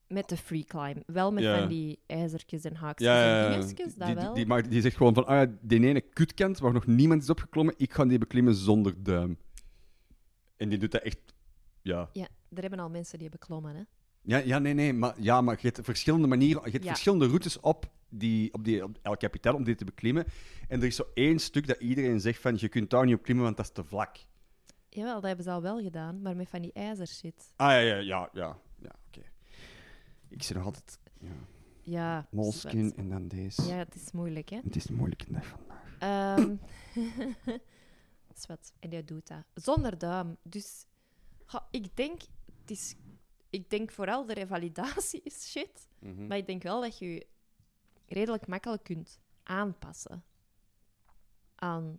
[SPEAKER 1] met de free climb. Wel met
[SPEAKER 2] Ja.
[SPEAKER 1] van die ijzertjes en haakjes
[SPEAKER 2] Ja,
[SPEAKER 1] en
[SPEAKER 2] ja, ja.
[SPEAKER 1] dingetjes, dat
[SPEAKER 2] die,
[SPEAKER 1] wel.
[SPEAKER 2] Die, maakt- die zegt gewoon van, ah ja, die ene kutkant waar nog niemand is opgeklommen, ik ga die beklimmen zonder duim. En die doet dat echt, ja.
[SPEAKER 1] Ja, er hebben al mensen die hebben klommen, hè.
[SPEAKER 2] Ja, ja nee, nee, maar, ja, maar je hebt verschillende manieren, je hebt
[SPEAKER 1] Ja.
[SPEAKER 2] verschillende routes op, die, op, die, op El Capitan om die te beklimmen. En er is zo één stuk dat iedereen zegt van, je kunt daar niet op klimmen, want dat is te vlak.
[SPEAKER 1] Jawel, dat hebben ze al wel gedaan, maar met van die ijzershit.
[SPEAKER 2] Ah ja, ja, ja, ja, ja oké. Ik zit nog altijd... Ja.
[SPEAKER 1] Ja.
[SPEAKER 2] Moleskin
[SPEAKER 1] zwart.
[SPEAKER 2] en dan deze.
[SPEAKER 1] Ja, het is moeilijk, hè?
[SPEAKER 2] Het is een moeilijke dag vandaag.
[SPEAKER 1] Ehm (laughs) zwart. En jij doet dat. Zonder duim. Dus goh, ik denk, het is, ik denk vooral de revalidatie is shit.
[SPEAKER 2] Mhm.
[SPEAKER 1] Maar ik denk wel dat je je redelijk makkelijk kunt aanpassen. Aan...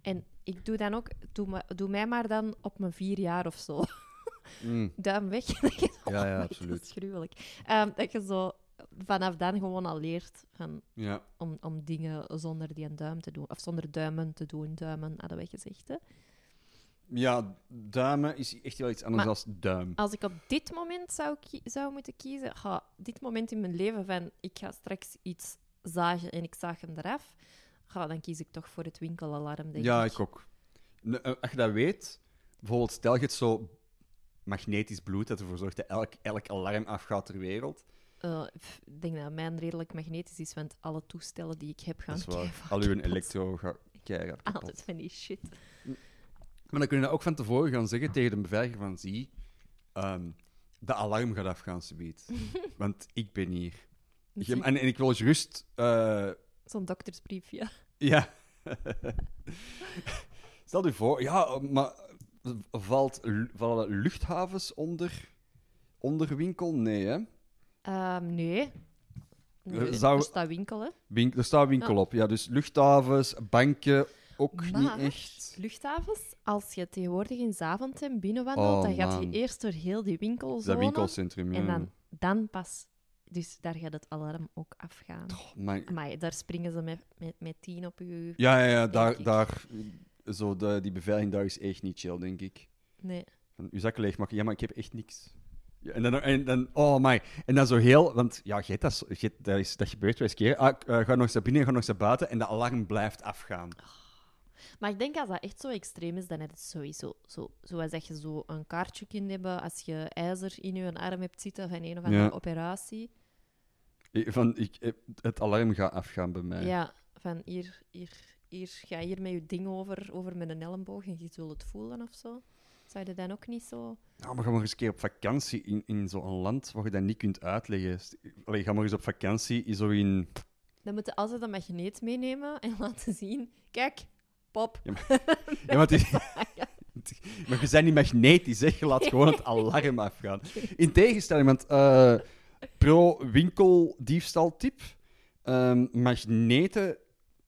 [SPEAKER 1] En ik doe dan ook, doe, ma- doe mij maar dan op mijn vier jaar of zo. (laughs)
[SPEAKER 2] Mm.
[SPEAKER 1] Duim weg. (laughs) Dat je zo-
[SPEAKER 2] Ja, ja,
[SPEAKER 1] Dat
[SPEAKER 2] absoluut.
[SPEAKER 1] is gruwelijk. Ehm, dat je zo vanaf dan gewoon al leert van,
[SPEAKER 2] Ja.
[SPEAKER 1] om, om dingen zonder die een duim te doen. Of zonder duimen te doen. Duimen hadden wij gezegd. Hè?
[SPEAKER 2] ja, dame is echt wel iets anders
[SPEAKER 1] Maar-
[SPEAKER 2] dan duim.
[SPEAKER 1] Als ik op dit moment zou, ki- zou moeten kiezen, ga dit moment in mijn leven van ik ga straks iets zagen en ik zaag hem eraf, ga, dan kies ik toch voor het winkelalarm. Denk
[SPEAKER 2] Ja,
[SPEAKER 1] ik.
[SPEAKER 2] ik ook. Ne- eh, Als je dat weet, bijvoorbeeld stel je het zo magnetisch bloed dat ervoor zorgt dat elk, elk alarm afgaat ter wereld.
[SPEAKER 1] Eh, pff, ik denk dat mijn redelijk magnetisch is, want alle toestellen die ik heb gaan
[SPEAKER 2] Dat is waar.
[SPEAKER 1] keihard
[SPEAKER 2] Al uw
[SPEAKER 1] kapot.
[SPEAKER 2] elektro gaat keihard kapot.
[SPEAKER 1] Altijd van die shit.
[SPEAKER 2] Maar dan kun je dat ook van tevoren gaan zeggen tegen de beveiliger van zie, ehm, de alarm gaat
[SPEAKER 1] (laughs)
[SPEAKER 2] afgaan subiet. Want ik ben hier. Ik- en, en ik wil gerust... eh, (laughs)
[SPEAKER 1] Zo'n doktersbrief, ja. (laughs)
[SPEAKER 2] ja. Stel je voor, ja, maar valt, lu- vallen luchthavens onder, onder winkel? Nee, hè?
[SPEAKER 1] Ehm, nee. nee.
[SPEAKER 2] Eh, zou-
[SPEAKER 1] Er staat winkel, hè.
[SPEAKER 2] Winkel, er staat winkel op, ja. Dus luchthavens, banken, ook
[SPEAKER 1] Maar-
[SPEAKER 2] niet echt.
[SPEAKER 1] Luchthavens, als je tegenwoordig in Zaventem binnenwandelt,
[SPEAKER 2] Oh,
[SPEAKER 1] dan gaat je
[SPEAKER 2] man. mm.
[SPEAKER 1] eerst door heel die winkelzone.
[SPEAKER 2] Dat winkelcentrum, ja.
[SPEAKER 1] En dan, dan pas. Dus daar gaat het alarm ook afgaan.
[SPEAKER 2] Goh, maar-
[SPEAKER 1] Maar daar springen ze met, met, met tien op je uur.
[SPEAKER 2] Ja, ja, ja
[SPEAKER 1] Denk
[SPEAKER 2] daar,
[SPEAKER 1] ik.
[SPEAKER 2] daar, zo de, die beveiliging daar is echt niet chill, denk ik.
[SPEAKER 1] Nee.
[SPEAKER 2] Van, uw zakken leegmaken, ja, maar ik heb echt niks. Ja, en, dan, en dan, oh my. En dan zo heel, want ja, je hebt dat, zo- je hebt- dat, is, dat gebeurt wel eens een keer. Ah, ik, eh, ga nog eens naar binnen, ga nog eens naar buiten en dat alarm blijft afgaan.
[SPEAKER 1] Oh. Maar ik denk als dat echt zo extreem is, dan is het sowieso zo. Zoals dat je zo een kaartje kunt hebben als je ijzer in je arm hebt zitten van een of andere
[SPEAKER 2] Ja.
[SPEAKER 1] operatie.
[SPEAKER 2] Ik- Van, ik, eh, het alarm gaat afgaan bij mij.
[SPEAKER 1] Ja, van hier, hier, hier, ga hier met je ding over, over met een elleboog en je zult het voelen of zo. Zou je dan ook niet zo...
[SPEAKER 2] Nou, maar ga maar eens een keer op vakantie in, in zo'n land waar je dat niet kunt uitleggen. St- Allee, ga maar eens op vakantie in zo'n...
[SPEAKER 1] Dan moet je altijd een magneet meenemen en (laughs) laten zien. Kijk, pop.
[SPEAKER 2] Ja, maar, het is- maar je bent niet magnetisch, zeg. Je laat gewoon het alarm afgaan. In tegenstelling, want eh, pro-winkeldiefstaltip, ehm magneten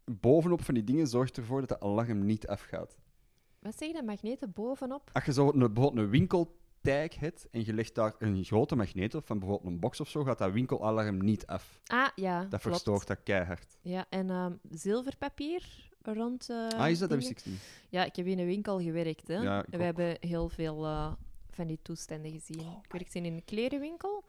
[SPEAKER 2] bovenop van die dingen zorgt ervoor dat de alarm niet afgaat.
[SPEAKER 1] Wat zeg je, dat magneten bovenop?
[SPEAKER 2] Als je zo een, bijvoorbeeld een winkeltijk hebt en je legt daar een grote magneet op, van bijvoorbeeld een box of zo, gaat dat winkelalarm niet af.
[SPEAKER 1] Ah, ja.
[SPEAKER 2] Dat
[SPEAKER 1] klopt.
[SPEAKER 2] verstoort dat keihard.
[SPEAKER 1] Ja, en ehm, zilverpapier rond... eh,
[SPEAKER 2] ah, is dat? Dat wist
[SPEAKER 1] dingen.
[SPEAKER 2] ik niet.
[SPEAKER 1] Ja, ik heb in een winkel gewerkt. Hè.
[SPEAKER 2] Ja, ik
[SPEAKER 1] we
[SPEAKER 2] ook.
[SPEAKER 1] hebben heel veel eh, van die toestanden gezien.
[SPEAKER 2] Oh,
[SPEAKER 1] ik werkte in een klerenwinkel.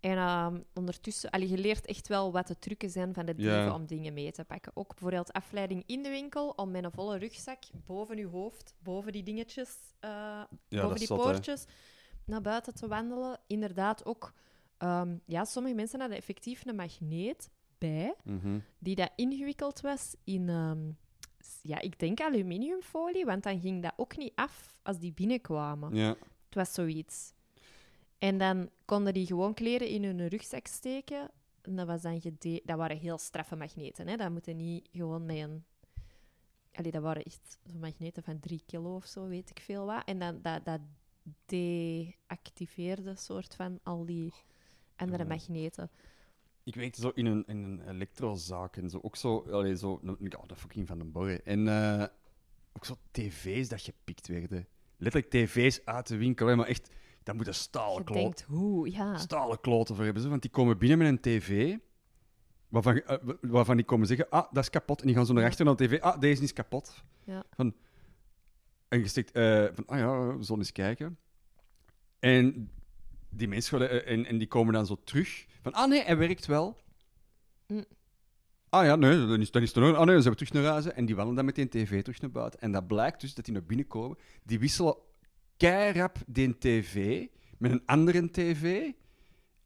[SPEAKER 1] En ehm, ondertussen, allee, je leert echt wel wat de trucken zijn van de dieven
[SPEAKER 2] Ja.
[SPEAKER 1] om dingen mee te pakken. Ook bijvoorbeeld afleiding in de winkel om met een volle rugzak boven je hoofd, boven die dingetjes, eh, boven die
[SPEAKER 2] zot, hè.
[SPEAKER 1] poortjes, naar buiten te wandelen. Inderdaad ook, ehm, ja, sommige mensen hadden effectief een magneet bij
[SPEAKER 2] Mhm.
[SPEAKER 1] die dat ingewikkeld was in, ehm, s- ja, ik denk aluminiumfolie, want dan ging dat ook niet af als die binnenkwamen.
[SPEAKER 2] Ja.
[SPEAKER 1] Het was zoiets. En dan konden die gewoon kleren in hun rugzak steken. En dat, was dan gede- dat waren heel straffe magneten. Hè? Dat moeten niet gewoon met een... Allee, dat waren echt zo'n magneten van 3 kilo of zo, weet ik veel wat. En dan, dat, dat deactiveerde soort van al die andere
[SPEAKER 2] Ja.
[SPEAKER 1] magneten.
[SPEAKER 2] Ik werkte zo in een, in een elektrozaak en zo. Ook zo, allee, zo ja, dat fucking van den Borre. En eh, ook zo tv's dat gepikt werden. Letterlijk tv's uit de winkel, hè, maar echt, daar moeten stalen,
[SPEAKER 1] Je
[SPEAKER 2] klo
[SPEAKER 1] denkt, hoe, ja.
[SPEAKER 2] stalen kloten voor hebben. Zo, want die komen binnen met een tv, waarvan, eh, wa- waarvan die komen zeggen, ah, dat is kapot. En die gaan zo naar achter naar de tv, ah, deze is kapot.
[SPEAKER 1] Ja.
[SPEAKER 2] Van, en je steekt, eh, van, ah ja, we zullen eens kijken. En die mensen gaan, eh, en, en die komen dan zo terug. Van, ah nee, hij werkt wel.
[SPEAKER 1] Mm.
[SPEAKER 2] Ah ja, nee, dan is, dan is het nog. Ah nee, dan zijn we terug naar huis. hè. En die wandelen dan meteen tv terug naar buiten. En dat blijkt dus dat die naar binnen komen. Die wisselen keirap die tv met een andere tv.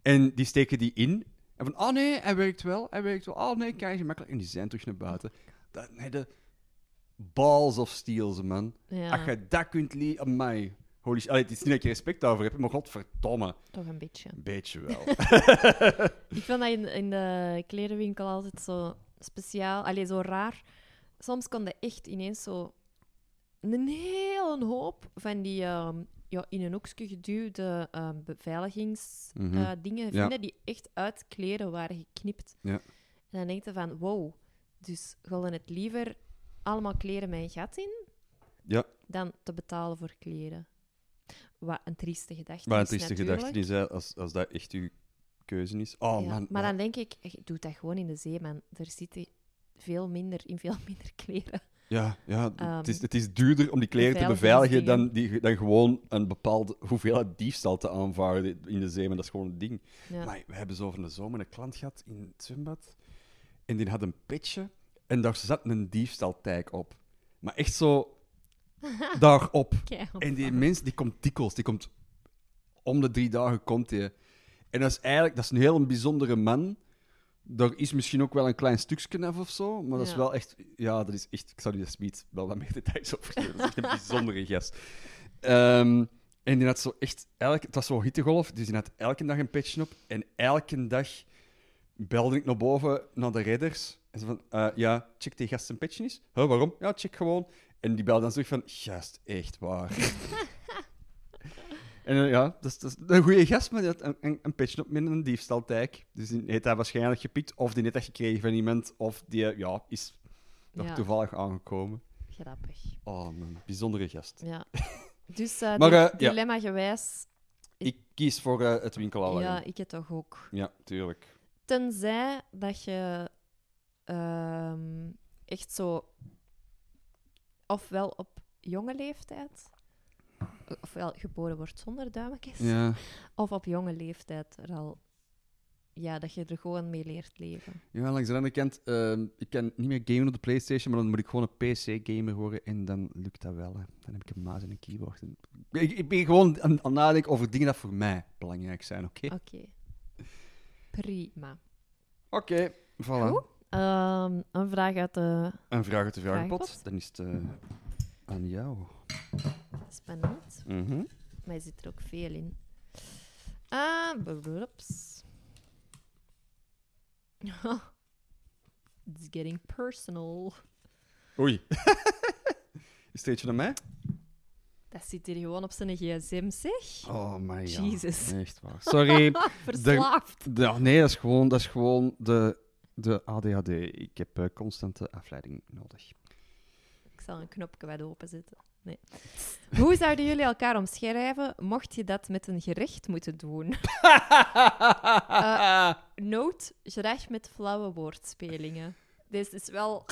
[SPEAKER 2] En die steken die in. En van, ah nee, hij werkt wel, hij werkt wel. Ah nee, kijk, is makkelijk. En die zijn terug naar buiten. Dat, nee, de balls of steel, ze, man.
[SPEAKER 1] ja.
[SPEAKER 2] Als je dat kunt leren, mij. Holy shit. Allee, het is niet dat ik respect daarvoor heb, maar godverdomme.
[SPEAKER 1] Toch een beetje.
[SPEAKER 2] Een beetje
[SPEAKER 1] (laughs)
[SPEAKER 2] wel.
[SPEAKER 1] Ik vind dat in, in de klerenwinkel altijd zo speciaal, alleen zo raar. Soms kon je echt ineens zo een hele hoop van die ehm, ja, in een hoekje geduwde ehm, beveiligingsdingen eh,
[SPEAKER 2] Mhm.
[SPEAKER 1] dingen
[SPEAKER 2] Ja.
[SPEAKER 1] vinden die echt uit kleren waren geknipt.
[SPEAKER 2] Ja.
[SPEAKER 1] En dan denk je van, wow, dus gaan het liever allemaal kleren mijn gat in
[SPEAKER 2] Ja.
[SPEAKER 1] dan te betalen voor kleren. Wat een trieste gedachte
[SPEAKER 2] maar
[SPEAKER 1] is
[SPEAKER 2] het is de
[SPEAKER 1] natuurlijk.
[SPEAKER 2] gedachte is, hè, als, als dat echt uw keuze is. Oh
[SPEAKER 1] Ja,
[SPEAKER 2] man.
[SPEAKER 1] maar dan denk ik, ik doe dat gewoon in de zee, man. Er zitten veel minder, in veel (laughs) minder kleren.
[SPEAKER 2] Ja, ja
[SPEAKER 1] Ehm,
[SPEAKER 2] het, is, het is duurder om die kleren te beveiligen dan,
[SPEAKER 1] beveiligingsdingen.
[SPEAKER 2] die, dan gewoon een bepaalde hoeveelheid diefstal te aanvaarden in de zee. Maar dat is gewoon een ding.
[SPEAKER 1] Ja.
[SPEAKER 2] Maar we hebben zo van de zomer een klant gehad in het zwembad. En die had een petje. En daar zat een diefstaltijk op. Maar echt zo daarop.
[SPEAKER 1] Kei (laughs)
[SPEAKER 2] En die
[SPEAKER 1] opvallend.
[SPEAKER 2] mens die komt dikwijls. Die komt om de drie dagen komt hij. En dat is eigenlijk dat is een heel bijzondere man. Daar is misschien ook wel een klein stukje af of zo. Maar dat is
[SPEAKER 1] Ja.
[SPEAKER 2] wel echt. Ja, dat is echt. Ik zou die Smit wel wat meer (laughs) details over geven. Dat is echt een bijzondere gast. Ehm, en die had zo echt. Elke, het was zo'n hittegolf. Dus die had elke dag een petje op. En elke dag belde ik naar boven naar de redders. En ze van, eh, ja, check die gast zijn petje eens. Huh, waarom? Ja, check gewoon. En die belde dan terug van, gast, echt waar. en eh, ja, dat is, dat is een goede gast, maar die had een, een, een petje op met een diefstaltijk. Dus die heeft dat waarschijnlijk gepikt, of die net dat gekregen van iemand, of die eh, ja, is nog
[SPEAKER 1] Ja,
[SPEAKER 2] toevallig aangekomen.
[SPEAKER 1] grappig.
[SPEAKER 2] Oh, een bijzondere gast. (laughs)
[SPEAKER 1] Ja. Dus eh
[SPEAKER 2] Maar,
[SPEAKER 1] di-
[SPEAKER 2] eh, ja.
[SPEAKER 1] dilemma gewijs,
[SPEAKER 2] Ik kies voor eh, het winkelallergen.
[SPEAKER 1] ja,
[SPEAKER 2] Ja.
[SPEAKER 1] ik het toch ook.
[SPEAKER 2] tuurlijk.
[SPEAKER 1] Tenzij dat je ehm, echt zo, ofwel op jonge leeftijd, ofwel geboren wordt zonder duimpjes,
[SPEAKER 2] Ja.
[SPEAKER 1] of op jonge leeftijd er al, ja, dat je er gewoon mee leert leven.
[SPEAKER 2] Ja, langs de andere kant, ehm, ik kan niet meer gamen op de PlayStation, maar dan moet ik gewoon een PC-gamer worden en dan lukt dat wel. Hè. Dan heb ik een muis en een keyboard. En- Ik, ik ben gewoon aan aan het nadenken over dingen dat voor mij belangrijk zijn, oké?
[SPEAKER 1] Oké. Prima.
[SPEAKER 2] Oké, voilà.
[SPEAKER 1] Goed. Ehm, een vraag uit de
[SPEAKER 2] Een vraag uit de
[SPEAKER 1] Vragenpot.
[SPEAKER 2] vragenpot. Dan is het eh, aan jou.
[SPEAKER 1] Spannend.
[SPEAKER 2] Mhm.
[SPEAKER 1] Maar je zit er ook veel in. Ah, blubs. (laughs) It's getting personal.
[SPEAKER 2] (laughs) Oei. is het eentje naar mij?
[SPEAKER 1] Dat zit hier gewoon op zijn gsm, zeg.
[SPEAKER 2] Oh my god.
[SPEAKER 1] Jesus.
[SPEAKER 2] Echt waar. Sorry.
[SPEAKER 1] Verslaafd.
[SPEAKER 2] Ja, nee, dat is gewoon, dat is gewoon de, de ADHD. Ik heb eh, constante afleiding nodig.
[SPEAKER 1] Ik zal een knopje wat openzetten. Nee. Hoe zouden jullie elkaar omschrijven mocht je dat met een gerecht moeten doen? Eh, Note, graag met flauwe woordspelingen. Dit is wel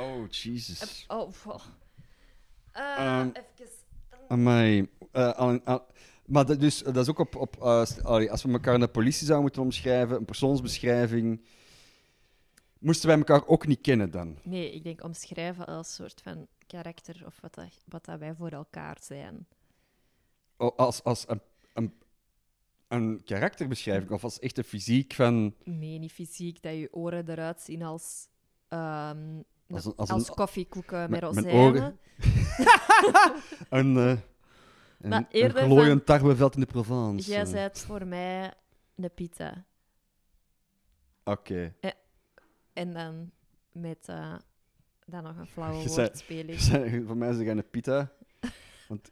[SPEAKER 2] Oh, Jesus.
[SPEAKER 1] Oh, wow. Eh,
[SPEAKER 2] Ehm,
[SPEAKER 1] even.
[SPEAKER 2] Amai. Eh, al- al- maar dat, dus, dat is ook op... op eh, st- allee, als we elkaar in de politie zouden moeten omschrijven, een persoonsbeschrijving... Moesten wij elkaar ook niet kennen dan?
[SPEAKER 1] Nee, ik denk omschrijven als soort van karakter of wat, dat, wat dat wij voor elkaar zijn.
[SPEAKER 2] O- als als een, een, een karakterbeschrijving of als echt de fysiek van...
[SPEAKER 1] Nee, niet fysiek, dat je oren eruit zien als, ehm,
[SPEAKER 2] Als
[SPEAKER 1] nou,
[SPEAKER 2] een- als een-
[SPEAKER 1] koffiekoeken met
[SPEAKER 2] Mijn- mijn
[SPEAKER 1] rozijnen.
[SPEAKER 2] oren.
[SPEAKER 1] (laughs)
[SPEAKER 2] (laughs) Een, eh, een,
[SPEAKER 1] Maar
[SPEAKER 2] een
[SPEAKER 1] eerder
[SPEAKER 2] glooiend tarweveld in de Provence.
[SPEAKER 1] Jij
[SPEAKER 2] Eh,
[SPEAKER 1] bent voor mij een pita.
[SPEAKER 2] Oké. (laughs)
[SPEAKER 1] En dan met eh, dan nog een flauwe
[SPEAKER 2] (laughs) Je zei-
[SPEAKER 1] woordspeling.
[SPEAKER 2] Voor mij is het een pita. Want...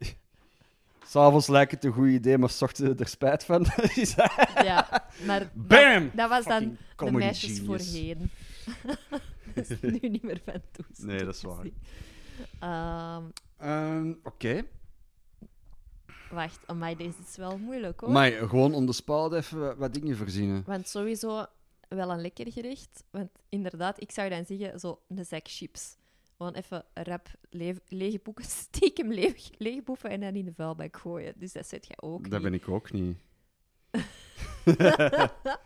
[SPEAKER 2] (laughs) S'avonds lijkt het een goed idee, maar 's ochtends er spijt van. (laughs) Is dat- (laughs)
[SPEAKER 1] Ja, maar
[SPEAKER 2] Bam!
[SPEAKER 1] dat was dan
[SPEAKER 2] Fucking
[SPEAKER 1] de
[SPEAKER 2] comedy
[SPEAKER 1] meisjes
[SPEAKER 2] genius.
[SPEAKER 1] voorheen. (laughs) dat
[SPEAKER 2] (laughs)
[SPEAKER 1] is nu niet meer van toestel.
[SPEAKER 2] Nee, dat is waar.
[SPEAKER 1] Ehm,
[SPEAKER 2] Ehm, Oké.
[SPEAKER 1] wacht, amai, deze is wel moeilijk hoor.
[SPEAKER 2] Maar gewoon om de spaal even wat- wat dingen verzinnen.
[SPEAKER 1] Want sowieso wel een lekker gericht. Want inderdaad, ik zou dan zeggen, zo een zak chips. Gewoon even rap leef- lege boeken, (laughs) stiekem leeg, lege boeven en dan in de vuilbak gooien. Dus dat zet jij ook
[SPEAKER 2] Dat
[SPEAKER 1] niet.
[SPEAKER 2] ben ik ook niet.
[SPEAKER 1] (laughs)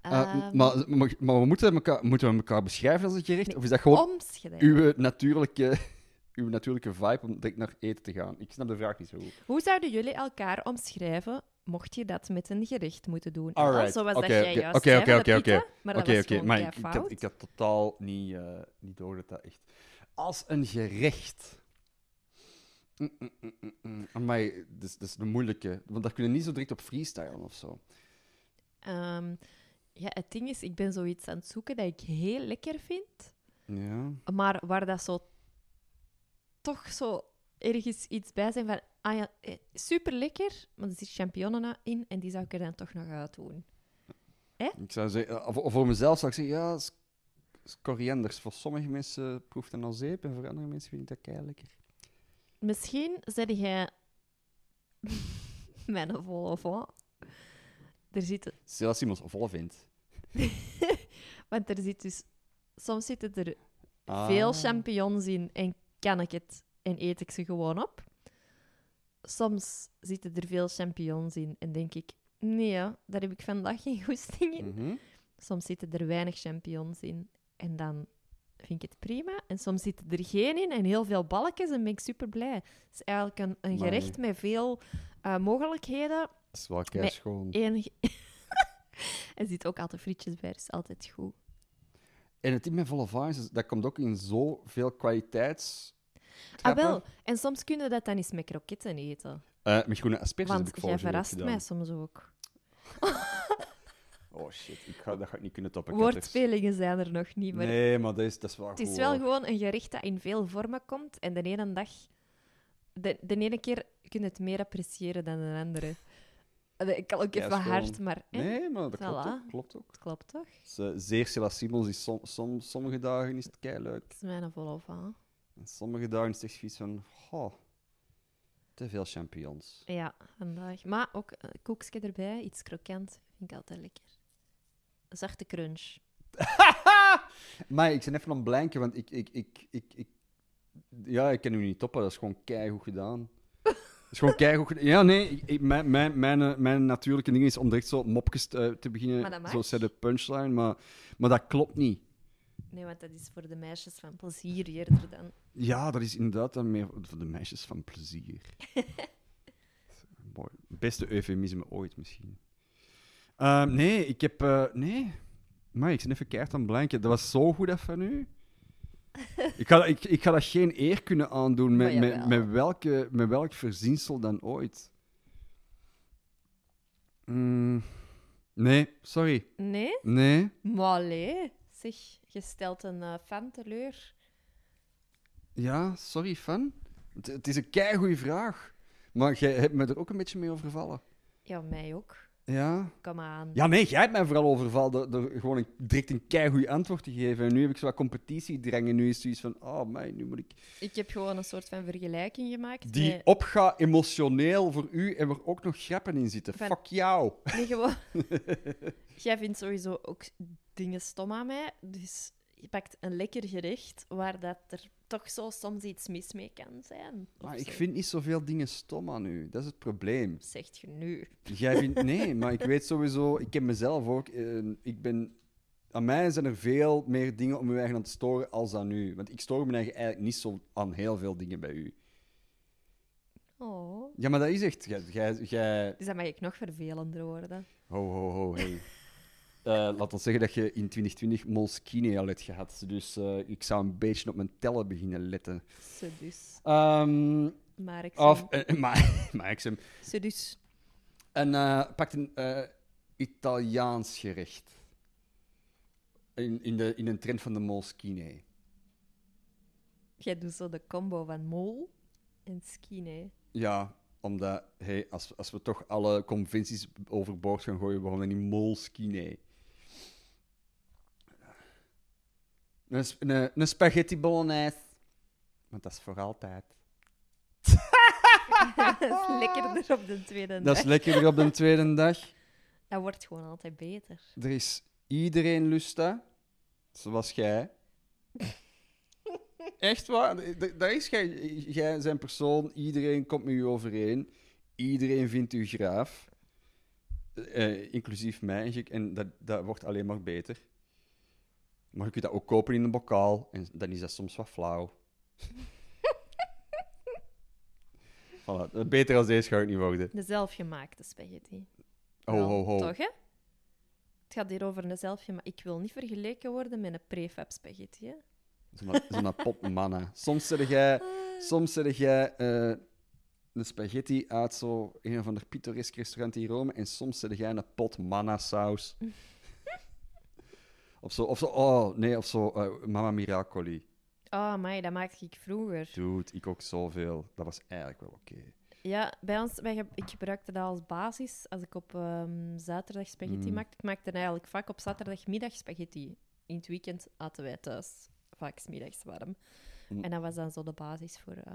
[SPEAKER 2] Eh,
[SPEAKER 1] Ehm,
[SPEAKER 2] maar, maar, maar we moeten, elkaar, moeten we elkaar beschrijven als een gericht?
[SPEAKER 1] Nee,
[SPEAKER 2] Of is dat gewoon
[SPEAKER 1] omschrijven.
[SPEAKER 2] uw, natuurlijke, (laughs) uw natuurlijke vibe om direct naar eten te gaan? Ik snap de vraag niet zo goed.
[SPEAKER 1] Hoe zouden jullie elkaar omschrijven mocht je dat met een gericht moeten doen? En
[SPEAKER 2] Alright,
[SPEAKER 1] wel Zoals
[SPEAKER 2] oké,
[SPEAKER 1] dat jij
[SPEAKER 2] oké,
[SPEAKER 1] juist
[SPEAKER 2] oké,
[SPEAKER 1] zei
[SPEAKER 2] oké,
[SPEAKER 1] van
[SPEAKER 2] oké,
[SPEAKER 1] de
[SPEAKER 2] oké.
[SPEAKER 1] pita, maar dat
[SPEAKER 2] Oké,
[SPEAKER 1] was
[SPEAKER 2] oké,
[SPEAKER 1] gewoon
[SPEAKER 2] maar ik, ik,
[SPEAKER 1] keifout.
[SPEAKER 2] had, ik had totaal niet, eh, niet door dat dat echt... Als een gerecht. Mm, mm, mm, mm, mm. Amai, dat is, dat is een moeilijke. Want daar kunnen niet zo direct op freestylen of zo.
[SPEAKER 1] Ehm, ja, het ding is, ik ben zoiets aan het zoeken dat ik heel lekker vind,
[SPEAKER 2] Ja.
[SPEAKER 1] maar waar dat zo toch zo ergens iets bij zijn van, ah ja, super lekker, maar er zit champignonnen in en die zou ik er dan toch nog uit doen.
[SPEAKER 2] Ik zou zeggen, of, of voor mezelf zou ik zeggen, ja, is- is korianders. Voor sommige mensen proeft dat al zeep en voor andere mensen vind ik dat kei lekker.
[SPEAKER 1] Misschien zet jij (laughs) mijn vol of wat. Er zit,
[SPEAKER 2] Stel als iemand vol vindt.
[SPEAKER 1] want er zit dus, soms zitten er
[SPEAKER 2] Ah.
[SPEAKER 1] veel champignons in en kan ik het en eet ik ze gewoon op. Soms zitten er veel champignons in en denk ik, nee, ja, daar heb ik vandaag geen (laughs) goesting in.
[SPEAKER 2] Mhm.
[SPEAKER 1] Soms zitten er weinig champignons in en dan vind ik het prima. En soms zitten er geen in en heel veel balkjes en ben ik super blij. Het is eigenlijk een, een
[SPEAKER 2] Amai.
[SPEAKER 1] gerecht met veel eh, mogelijkheden.
[SPEAKER 2] Dat is wel
[SPEAKER 1] Nee.
[SPEAKER 2] kei schoon.
[SPEAKER 1] Eén ge- (laughs) er zitten ook altijd frietjes bij, dus altijd goed.
[SPEAKER 2] En het ding met volle vines, is- dat komt ook in zoveel kwaliteits...
[SPEAKER 1] Ah,
[SPEAKER 2] trappen.
[SPEAKER 1] wel. En soms kunnen we dat dan eens met kroketten eten.
[SPEAKER 2] Eh, met groene asperges heb
[SPEAKER 1] Want
[SPEAKER 2] ik
[SPEAKER 1] jij
[SPEAKER 2] vorige week
[SPEAKER 1] verrast
[SPEAKER 2] gedaan.
[SPEAKER 1] mij soms ook.
[SPEAKER 2] Oh shit, ik ga, dat ga ik niet kunnen toppen.
[SPEAKER 1] (laughs)
[SPEAKER 2] ketters.
[SPEAKER 1] Woordspelingen zijn er nog niet, maar
[SPEAKER 2] Nee, maar dat is, dat is wel
[SPEAKER 1] het is
[SPEAKER 2] goed,
[SPEAKER 1] wel
[SPEAKER 2] hoor.
[SPEAKER 1] gewoon een gerecht dat in veel vormen komt. En de ene dag, de, de ene keer kun je het meer appreciëren dan de andere. Eh, Ik kan ook
[SPEAKER 2] Ja,
[SPEAKER 1] even
[SPEAKER 2] is gewoon-
[SPEAKER 1] hard, maar hè,
[SPEAKER 2] Nee, maar dat klopt
[SPEAKER 1] Voilà.
[SPEAKER 2] ook. Klopt ook.
[SPEAKER 1] het klopt toch?
[SPEAKER 2] Het is, eh, zeer Sela Simons is som, som- sommige dagen is het kei leuk.
[SPEAKER 1] Het is mijn volop aan.
[SPEAKER 2] En sommige dagen is het echt zoiets van, oh, te veel champignons.
[SPEAKER 1] Ja, vandaag. Maar ook eh, een koekje erbij, iets krokant, vind ik altijd lekker. Een Zachte crunch.
[SPEAKER 2] (laughs) maar ik ben even aan het blanken, want ik, ik, ik, ik, ik- ja, ik kan u niet toppen. Dat is gewoon keigoed gedaan. Dat is gewoon keigoed gedaan. Ja, nee, ik- ik- mijn, mijn, mijn, eh, mijn natuurlijke ding is om direct zo mopjes te, te
[SPEAKER 1] Maar dat
[SPEAKER 2] beginnen,
[SPEAKER 1] mag.
[SPEAKER 2] zo set de punchline, maar, maar dat klopt niet.
[SPEAKER 1] Nee, want dat is voor de meisjes van plezier eerder dan.
[SPEAKER 2] Ja, dat is inderdaad dan meer voor de meisjes van plezier. Mooi. Beste eufemisme ooit misschien. Ehm, nee, ik heb. eh, nee. Maar ik ben even keihard aan het blanken. Dat was zo goed even nu. Ik ga, ik, ik ga dat geen eer kunnen aandoen met,
[SPEAKER 1] Maar
[SPEAKER 2] met,
[SPEAKER 1] jawel.
[SPEAKER 2] met, welke, met welk verzinsel dan ooit. Mm, nee, sorry.
[SPEAKER 1] Nee?
[SPEAKER 2] Nee.
[SPEAKER 1] Maar allee, zeg, je stelt een eh, fan teleur.
[SPEAKER 2] Ja, sorry, fan. Het, het is een keigoede vraag. Maar jij hebt me er ook een beetje mee overvallen.
[SPEAKER 1] Ja, mij ook.
[SPEAKER 2] Ja.
[SPEAKER 1] Kom aan.
[SPEAKER 2] Ja, nee, jij hebt mij vooral overvallen door, door gewoon een, direct een keigoed antwoord te geven. En nu heb ik zo wat competitiedrang en nu is het zoiets van, oh mij, nu moet ik...
[SPEAKER 1] Ik heb gewoon een soort van vergelijking gemaakt.
[SPEAKER 2] Die
[SPEAKER 1] Met,
[SPEAKER 2] opga emotioneel voor u en waar ook nog grappen in zitten.
[SPEAKER 1] Van-
[SPEAKER 2] Fuck jou.
[SPEAKER 1] nee,
[SPEAKER 2] (laughs)
[SPEAKER 1] gewoon... Jij vindt sowieso ook dingen stom aan mij. Dus je pakt een lekker gerecht waar dat er toch zo soms iets mis mee kan zijn. of
[SPEAKER 2] Maar ik
[SPEAKER 1] zo.
[SPEAKER 2] vind niet zoveel dingen stom aan u. Dat is het probleem.
[SPEAKER 1] Zegt je nu.
[SPEAKER 2] Jij vindt... Nee, maar ik weet sowieso... Ik ken mezelf ook. eh, ik ben... Aan mij zijn er veel meer dingen om je eigen aan te storen als aan u. Want ik stoor me eigen eigenlijk niet zo aan heel veel dingen bij u.
[SPEAKER 1] Oh.
[SPEAKER 2] Ja, maar dat is echt... Jij... jij, jij-
[SPEAKER 1] Dus dan mag ik nog vervelender worden.
[SPEAKER 2] Ho, ho, ho, hey. Eh, laat ons zeggen dat je in 2020 Moleskine al hebt gehad. Dus eh, ik zou een beetje op mijn tellen beginnen letten.
[SPEAKER 1] Ze dus.
[SPEAKER 2] Ehm,
[SPEAKER 1] Maar ik
[SPEAKER 2] of... eh, (laughs) maar, maar ik zeg...
[SPEAKER 1] Ze dus.
[SPEAKER 2] En eh pakt een eh, Italiaans gerecht. In, in, de, in een trend van de Moleskine.
[SPEAKER 1] Jij doet zo de combo van mol en skine.
[SPEAKER 2] Ja, omdat hey, als, als we toch alle conventies overboord gaan gooien, waarom dan niet Moleskine? Een, sp- een, een spaghetti bolognese. Want dat is voor altijd.
[SPEAKER 1] dat is lekkerder op de tweede
[SPEAKER 2] Dat
[SPEAKER 1] dag.
[SPEAKER 2] is lekkerder op de tweede dag.
[SPEAKER 1] Dat wordt gewoon altijd beter.
[SPEAKER 2] (laughs) Er is iedereen lust dat, zoals jij. Echt waar, d- daar is jij. Jij zijn persoon, iedereen komt met u overeen. Iedereen vindt u graaf. Eh, inclusief mij. en ik- En dat, dat wordt alleen maar beter. Maar je kunt dat ook kopen in een bokaal. En dan is dat soms wat flauw. voilà, beter als deze ga ik niet worden.
[SPEAKER 1] De zelfgemaakte spaghetti.
[SPEAKER 2] Ho,
[SPEAKER 1] Wel,
[SPEAKER 2] ho, ho.
[SPEAKER 1] Nou, Toch, hè? Het gaat hier over een zelfgemaakte... Ik wil niet vergeleken worden met een prefab spaghetti, hè?
[SPEAKER 2] (laughs) Zo'n zo'n pot mannen. Soms zeg jij, soms zeg jij eh, een spaghetti uit zo een of ander pittoresk restaurant in Rome en soms zet jij een pot (laughs) manna-saus. of zo, of zo, oh nee, of zo, eh, Mamma Miracoli.
[SPEAKER 1] Oh, mij, dat maakte ik vroeger.
[SPEAKER 2] Dude, ik ook zoveel. Dat was eigenlijk wel oké.
[SPEAKER 1] Ja, bij ons, wij, ge- ik gebruikte dat als basis als ik op ehm, zaterdag spaghetti
[SPEAKER 2] Mm.
[SPEAKER 1] maakte. Ik maakte eigenlijk vaak op zaterdagmiddag spaghetti. In het weekend aten wij thuis vaak 's middags warm.
[SPEAKER 2] Mm.
[SPEAKER 1] En dat was dan zo de basis voor eh,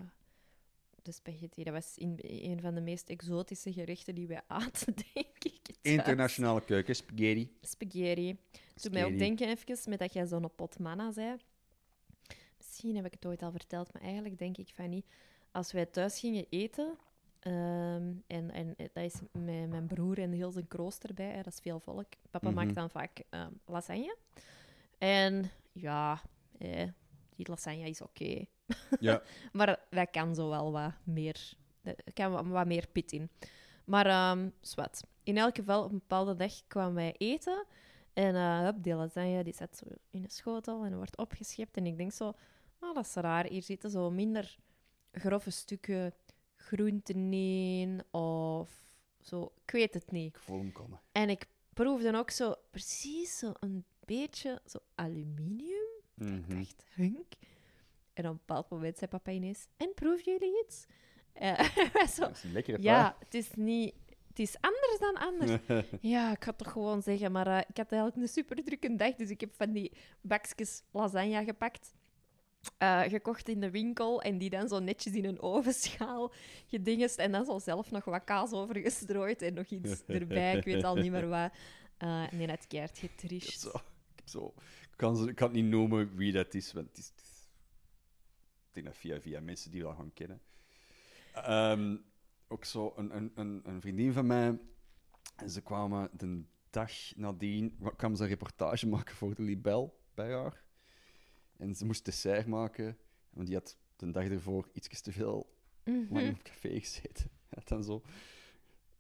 [SPEAKER 1] de spaghetti. Dat was in, een van de meest exotische gerechten die wij aten, (laughs) denk ik. thuis.
[SPEAKER 2] Internationale keuken, spaghetti.
[SPEAKER 1] Spaghetti. Doet Dus mij ook
[SPEAKER 2] Spaghetti.
[SPEAKER 1] denken even met dat jij zo'n pot manna zei. Misschien heb ik het ooit al verteld, maar eigenlijk denk ik van niet. Als wij thuis gingen eten, ehm, en, en dat is met mijn broer en heel zijn kroost erbij, hè, dat is veel volk. Papa
[SPEAKER 2] Mhm.
[SPEAKER 1] maakt dan vaak ehm, lasagne. En ja, eh, die lasagne is oké.
[SPEAKER 2] Ja.
[SPEAKER 1] (laughs) Maar dat kan zo wel wat meer. eh, Er kan wat, wat meer pit in. Maar ehm zwart. In elk geval, op een bepaalde dag kwamen wij eten. En eh hup, die lasagne die zat zo in een schotel en wordt opgeschept. En ik denk zo, oh, dat is raar. Hier zitten zo minder grove stukken groenten in. Of zo, ik weet het niet.
[SPEAKER 2] Ik voel hem komen.
[SPEAKER 1] En ik proefde ook zo precies zo een beetje zo aluminium. Ik
[SPEAKER 2] Mhm.
[SPEAKER 1] dacht, Hunk. En op een bepaald moment zei papa ineens, en proef jullie iets? Eh, (laughs) wij zo,
[SPEAKER 2] Dat is lekker,
[SPEAKER 1] ja, het is niet... Het is anders dan anders.
[SPEAKER 2] (laughs)
[SPEAKER 1] Ja, ik ga het toch gewoon zeggen, maar eh, ik had eigenlijk een super drukke dag, dus ik heb van die bakjes lasagne gepakt, eh, gekocht in de winkel en die dan zo netjes in een ovenschaal gedingest en dan zo zelf nog wat kaas overgestrooid en nog iets
[SPEAKER 2] (laughs)
[SPEAKER 1] erbij, ik weet al niet meer wat. Eh nee, dat keert getricht.
[SPEAKER 2] Zo, zo. Ik, kan ze, ik kan het niet noemen wie dat is, want het is, het is- ik denk dat via, via mensen die we al gaan kennen. Ehm, ook zo, een, een, een, een vriendin van mij, en ze kwamen de dag nadien, wa- kwamen ze een reportage maken voor de Libel bij haar. En ze moest dessert maken, want die had de dag ervoor iets te veel
[SPEAKER 1] Mhm.
[SPEAKER 2] lang
[SPEAKER 1] Hm.
[SPEAKER 2] op café gezeten. (laughs) Hij had dan zo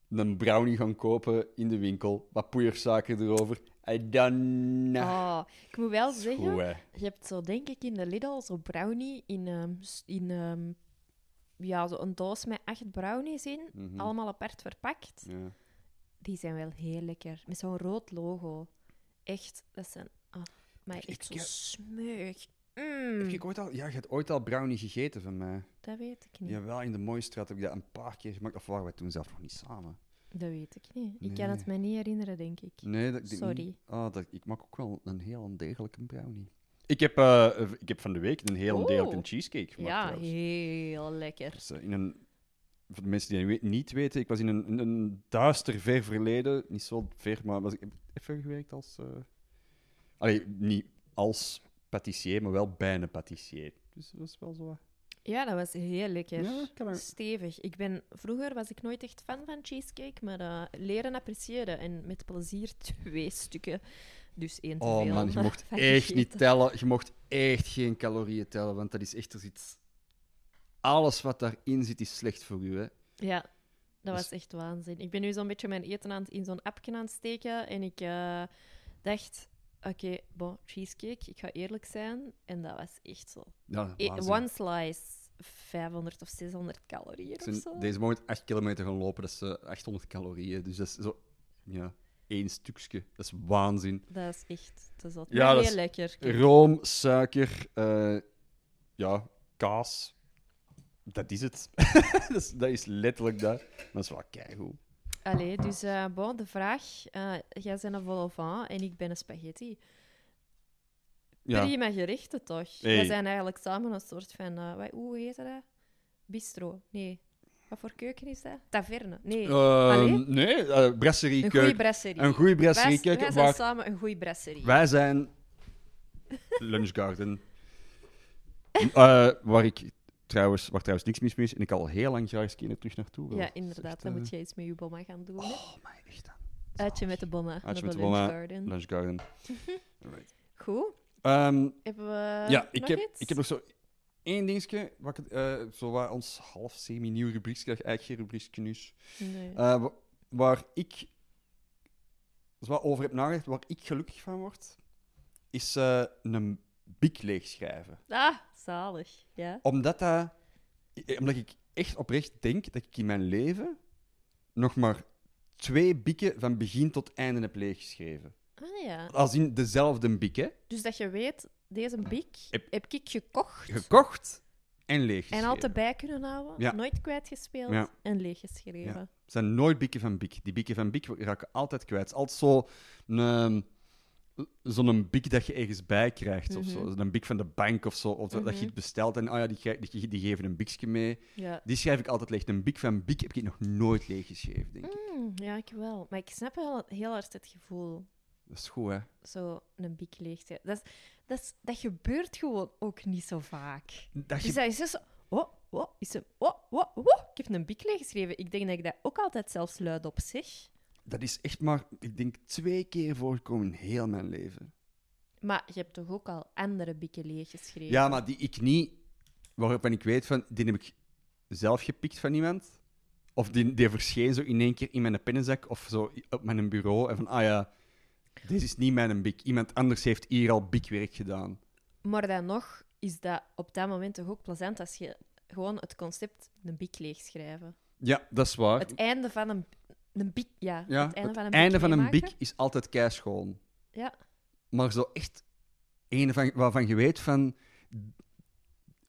[SPEAKER 2] een brownie gaan kopen in de winkel, wat poeiersuiker erover. En dan...
[SPEAKER 1] Oh, ik moet wel
[SPEAKER 2] Dat Nou. is
[SPEAKER 1] zeggen,
[SPEAKER 2] goed, hè.
[SPEAKER 1] Je hebt zo, denk ik, in de Lidl zo brownie in, ehm, s- in ehm, ja, zo een doos met acht brownies in.
[SPEAKER 2] Mhm.
[SPEAKER 1] Allemaal apart verpakt.
[SPEAKER 2] Ja.
[SPEAKER 1] Die zijn wel heel lekker. Met zo'n rood logo. Echt, dat zijn... Oh, maar
[SPEAKER 2] Ik-
[SPEAKER 1] echt zo
[SPEAKER 2] ik-
[SPEAKER 1] smeug.
[SPEAKER 2] Heb
[SPEAKER 1] Mm,
[SPEAKER 2] ik ooit al... Ja, je hebt ooit al brownie gegeten van mij.
[SPEAKER 1] dat weet ik niet.
[SPEAKER 2] Jawel, in de mooie straat heb ik dat een paar keer gemaakt. Of waren wij toen zelf nog niet samen?
[SPEAKER 1] Dat weet ik niet. Ik kan het
[SPEAKER 2] Nee.
[SPEAKER 1] me niet herinneren, denk ik.
[SPEAKER 2] Nee, dat, ik denk
[SPEAKER 1] Sorry.
[SPEAKER 2] niet. Ah, dat, ik maak ook wel een heel degelijke brownie. Ik heb, eh, ik heb van de week een heel
[SPEAKER 1] Oeh.
[SPEAKER 2] degelijke cheesecake gemaakt.
[SPEAKER 1] Oh. Ja,
[SPEAKER 2] trouwens.
[SPEAKER 1] heel lekker.
[SPEAKER 2] Dus, eh, in een, voor de mensen die dat weet- niet weten, ik was in een, in een duister ver verleden, niet zo ver, maar was ik heb ik even gewerkt als. eh allee, niet als patissier, maar wel bijna patissier. Dus dat was wel zo. wat-
[SPEAKER 1] Ja, dat was heel lekker.
[SPEAKER 2] Ja, kan er-
[SPEAKER 1] Stevig. Ik ben, vroeger was ik nooit echt fan van cheesecake, maar eh, leren appreciëren en met plezier twee stukken. Dus één te
[SPEAKER 2] Oh
[SPEAKER 1] veel.
[SPEAKER 2] man, je
[SPEAKER 1] maar
[SPEAKER 2] mocht
[SPEAKER 1] (laughs) van
[SPEAKER 2] echt niet
[SPEAKER 1] gegeten.
[SPEAKER 2] tellen. Je mocht echt geen calorieën tellen, want dat is echt er zit- Alles wat daarin zit is slecht voor u. Hè.
[SPEAKER 1] Ja, dat
[SPEAKER 2] Dus-
[SPEAKER 1] was echt waanzin. Ik ben nu zo'n beetje mijn eten aan het- in zo'n appje aan het steken en ik eh, dacht... Oké, bon, cheesecake, ik ga eerlijk zijn. En dat was echt zo.
[SPEAKER 2] Ja,
[SPEAKER 1] E-
[SPEAKER 2] waanzin.
[SPEAKER 1] one slice, 500 of 600 calorieën
[SPEAKER 2] Ik
[SPEAKER 1] of
[SPEAKER 2] ben
[SPEAKER 1] zo.
[SPEAKER 2] deze moment 8 kilometer gaan lopen, dat is eh, 800 calorieën. Dus dat is zo. Ja, één stukje. Dat is waanzin.
[SPEAKER 1] Dat is echt te zot.
[SPEAKER 2] Ja,
[SPEAKER 1] maar
[SPEAKER 2] dat
[SPEAKER 1] heel
[SPEAKER 2] is-
[SPEAKER 1] lekker.
[SPEAKER 2] Room, suiker, eh, ja, kaas. Dat is het. (laughs) dat, is, dat is letterlijk dat. Dat is wel keigoed.
[SPEAKER 1] Allee, dus eh, bon, de vraag. eh, jij bent een vol au vent en ik ben een spaghetti.
[SPEAKER 2] Ja,
[SPEAKER 1] Prima gerichten, toch?
[SPEAKER 2] Hey.
[SPEAKER 1] We zijn eigenlijk samen een soort van... eh, wat, hoe heet dat? Bistro? Nee. Wat voor keuken is dat? Taverne? Nee. Allee?
[SPEAKER 2] Ehm, nee, eh brasserie
[SPEAKER 1] een goede
[SPEAKER 2] keuken.
[SPEAKER 1] brasserie.
[SPEAKER 2] Een goede brasserie
[SPEAKER 1] Wij-
[SPEAKER 2] keuken.
[SPEAKER 1] Wij zijn
[SPEAKER 2] waar
[SPEAKER 1] samen een goede brasserie.
[SPEAKER 2] wij zijn Lunchgarden. Eh, waar ik trouwens, waar trouwens niks mis mee is en ik al heel lang graag eens een keer terug naartoe wil. eh,
[SPEAKER 1] Ja, inderdaad. Dan moet je iets met je bomma gaan doen. hè.
[SPEAKER 2] Oh, mij echt aan.
[SPEAKER 1] Uitje met de bomma.
[SPEAKER 2] Uitje
[SPEAKER 1] naar
[SPEAKER 2] met
[SPEAKER 1] de
[SPEAKER 2] de bomma.
[SPEAKER 1] lunchgarden. (laughs)
[SPEAKER 2] Lunchgarden. Alright.
[SPEAKER 1] Goed.
[SPEAKER 2] Ehm,
[SPEAKER 1] Hebben we
[SPEAKER 2] ja, ik
[SPEAKER 1] nog
[SPEAKER 2] heb,
[SPEAKER 1] Eh, iets?
[SPEAKER 2] ik heb nog zo één dingetje. Wat ik, het, eh, zo waar ons half semi-nieuw rubriekje, dat eigenlijk geen rubriekje is.
[SPEAKER 1] Nee.
[SPEAKER 2] eh, wa- waar ik zo wat over heb nagedacht, waar ik gelukkig van word, is eh, een bik leegschrijven.
[SPEAKER 1] Ah, zalig. Ja.
[SPEAKER 2] Omdat dat... eh, Omdat ik echt oprecht denk dat ik in mijn leven nog maar twee bieken van begin tot einde heb leeggeschreven.
[SPEAKER 1] Ah ja.
[SPEAKER 2] Als in dezelfde bik, hè.
[SPEAKER 1] Dus dat je weet, deze biek
[SPEAKER 2] Heb-
[SPEAKER 1] heb ik gekocht
[SPEAKER 2] Gekocht en leeggeschreven.
[SPEAKER 1] en altijd bij kunnen houden.
[SPEAKER 2] Ja.
[SPEAKER 1] Nooit kwijtgespeeld
[SPEAKER 2] Ja.
[SPEAKER 1] en leeggeschreven.
[SPEAKER 2] Het zijn nooit bieken van bik. Die bieken van bik raken altijd kwijt. Het is altijd zo een, eh, zo'n bik dat je ergens bij krijgt of zo.
[SPEAKER 1] Mhm.
[SPEAKER 2] Een bik van de bank of zo. Of dat- dat je het bestelt en ah ja, die, krijg- die, die geven een bikje mee.
[SPEAKER 1] Ja.
[SPEAKER 2] Die schrijf ik altijd leeg. Een bik van bik heb ik nog nooit leeggeschreven, denk ik.
[SPEAKER 1] Hmm, ja, ik wel. Maar ik snap wel heel hard het gevoel.
[SPEAKER 2] Dat is goed, hè?
[SPEAKER 1] Zo een biek leeg te- Dat, is, dat, is, dat gebeurt gewoon ook niet zo vaak.
[SPEAKER 2] Dat je-
[SPEAKER 1] Dus dat is dus... Oh, oh, is hem... Oh, oh, oh. Ik heb een biek leeggeschreven. Ik denk dat ik dat ook altijd zelfs luid op zeg.
[SPEAKER 2] Dat is echt maar, ik denk, twee keer voorgekomen in heel mijn leven.
[SPEAKER 1] Maar je hebt toch ook al andere bieken leeggeschreven?
[SPEAKER 2] Ja, maar die ik niet, waarvan ik weet van, die heb ik zelf gepikt van iemand. Of die, die verscheen zo in één keer in mijn pennenzak of zo op mijn bureau. En van, ah ja, dit is niet mijn bik. Iemand anders heeft hier al bikwerk gedaan.
[SPEAKER 1] Maar dan nog is dat op dat moment toch ook plezant als je gewoon het concept een biek leegschrijven.
[SPEAKER 2] Ja, dat is waar.
[SPEAKER 1] Het einde van een, een biek, ja.
[SPEAKER 2] ja,
[SPEAKER 1] het einde van een biek,
[SPEAKER 2] einde van een
[SPEAKER 1] meemaken.
[SPEAKER 2] bik is altijd keischoon.
[SPEAKER 1] Ja.
[SPEAKER 2] maar zo echt een van, waarvan je weet van...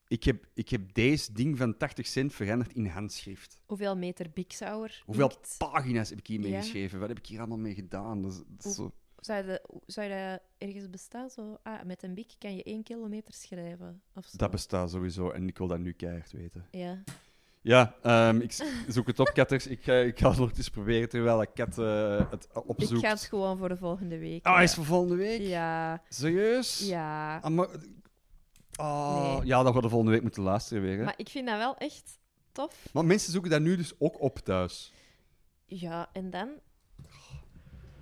[SPEAKER 2] Ik heb, ik heb deze ding van 80 cent veranderd in handschrift.
[SPEAKER 1] Hoeveel meter bik zou er
[SPEAKER 2] Hoeveel
[SPEAKER 1] inkt?
[SPEAKER 2] pagina's heb ik hiermee
[SPEAKER 1] Ja.
[SPEAKER 2] geschreven? Wat heb ik hier allemaal mee gedaan? Dat is, dat is zo...
[SPEAKER 1] Zou je, zou je ergens bestaan? Zo, ah, met een bik kan je één kilometer schrijven. Of zo.
[SPEAKER 2] Dat bestaat sowieso en ik wil dat nu keihard weten.
[SPEAKER 1] Ja.
[SPEAKER 2] Ja, ehm, ik zoek het op, Katters. Ik, ga- ik ga het nog eens proberen terwijl ik Kat eh, het
[SPEAKER 1] Ik
[SPEAKER 2] opzoekt.
[SPEAKER 1] ga het gewoon voor de volgende week.
[SPEAKER 2] Ah,
[SPEAKER 1] ja.
[SPEAKER 2] hij is voor volgende week?
[SPEAKER 1] Ja,
[SPEAKER 2] Serieus?
[SPEAKER 1] ja.
[SPEAKER 2] Ah, maar- Ah,
[SPEAKER 1] Nee.
[SPEAKER 2] Ja, dan gaan we volgende week moeten luisteren weer. Hè?
[SPEAKER 1] Maar ik vind dat wel echt tof.
[SPEAKER 2] maar mensen zoeken dat nu dus ook op thuis.
[SPEAKER 1] Ja, en dan.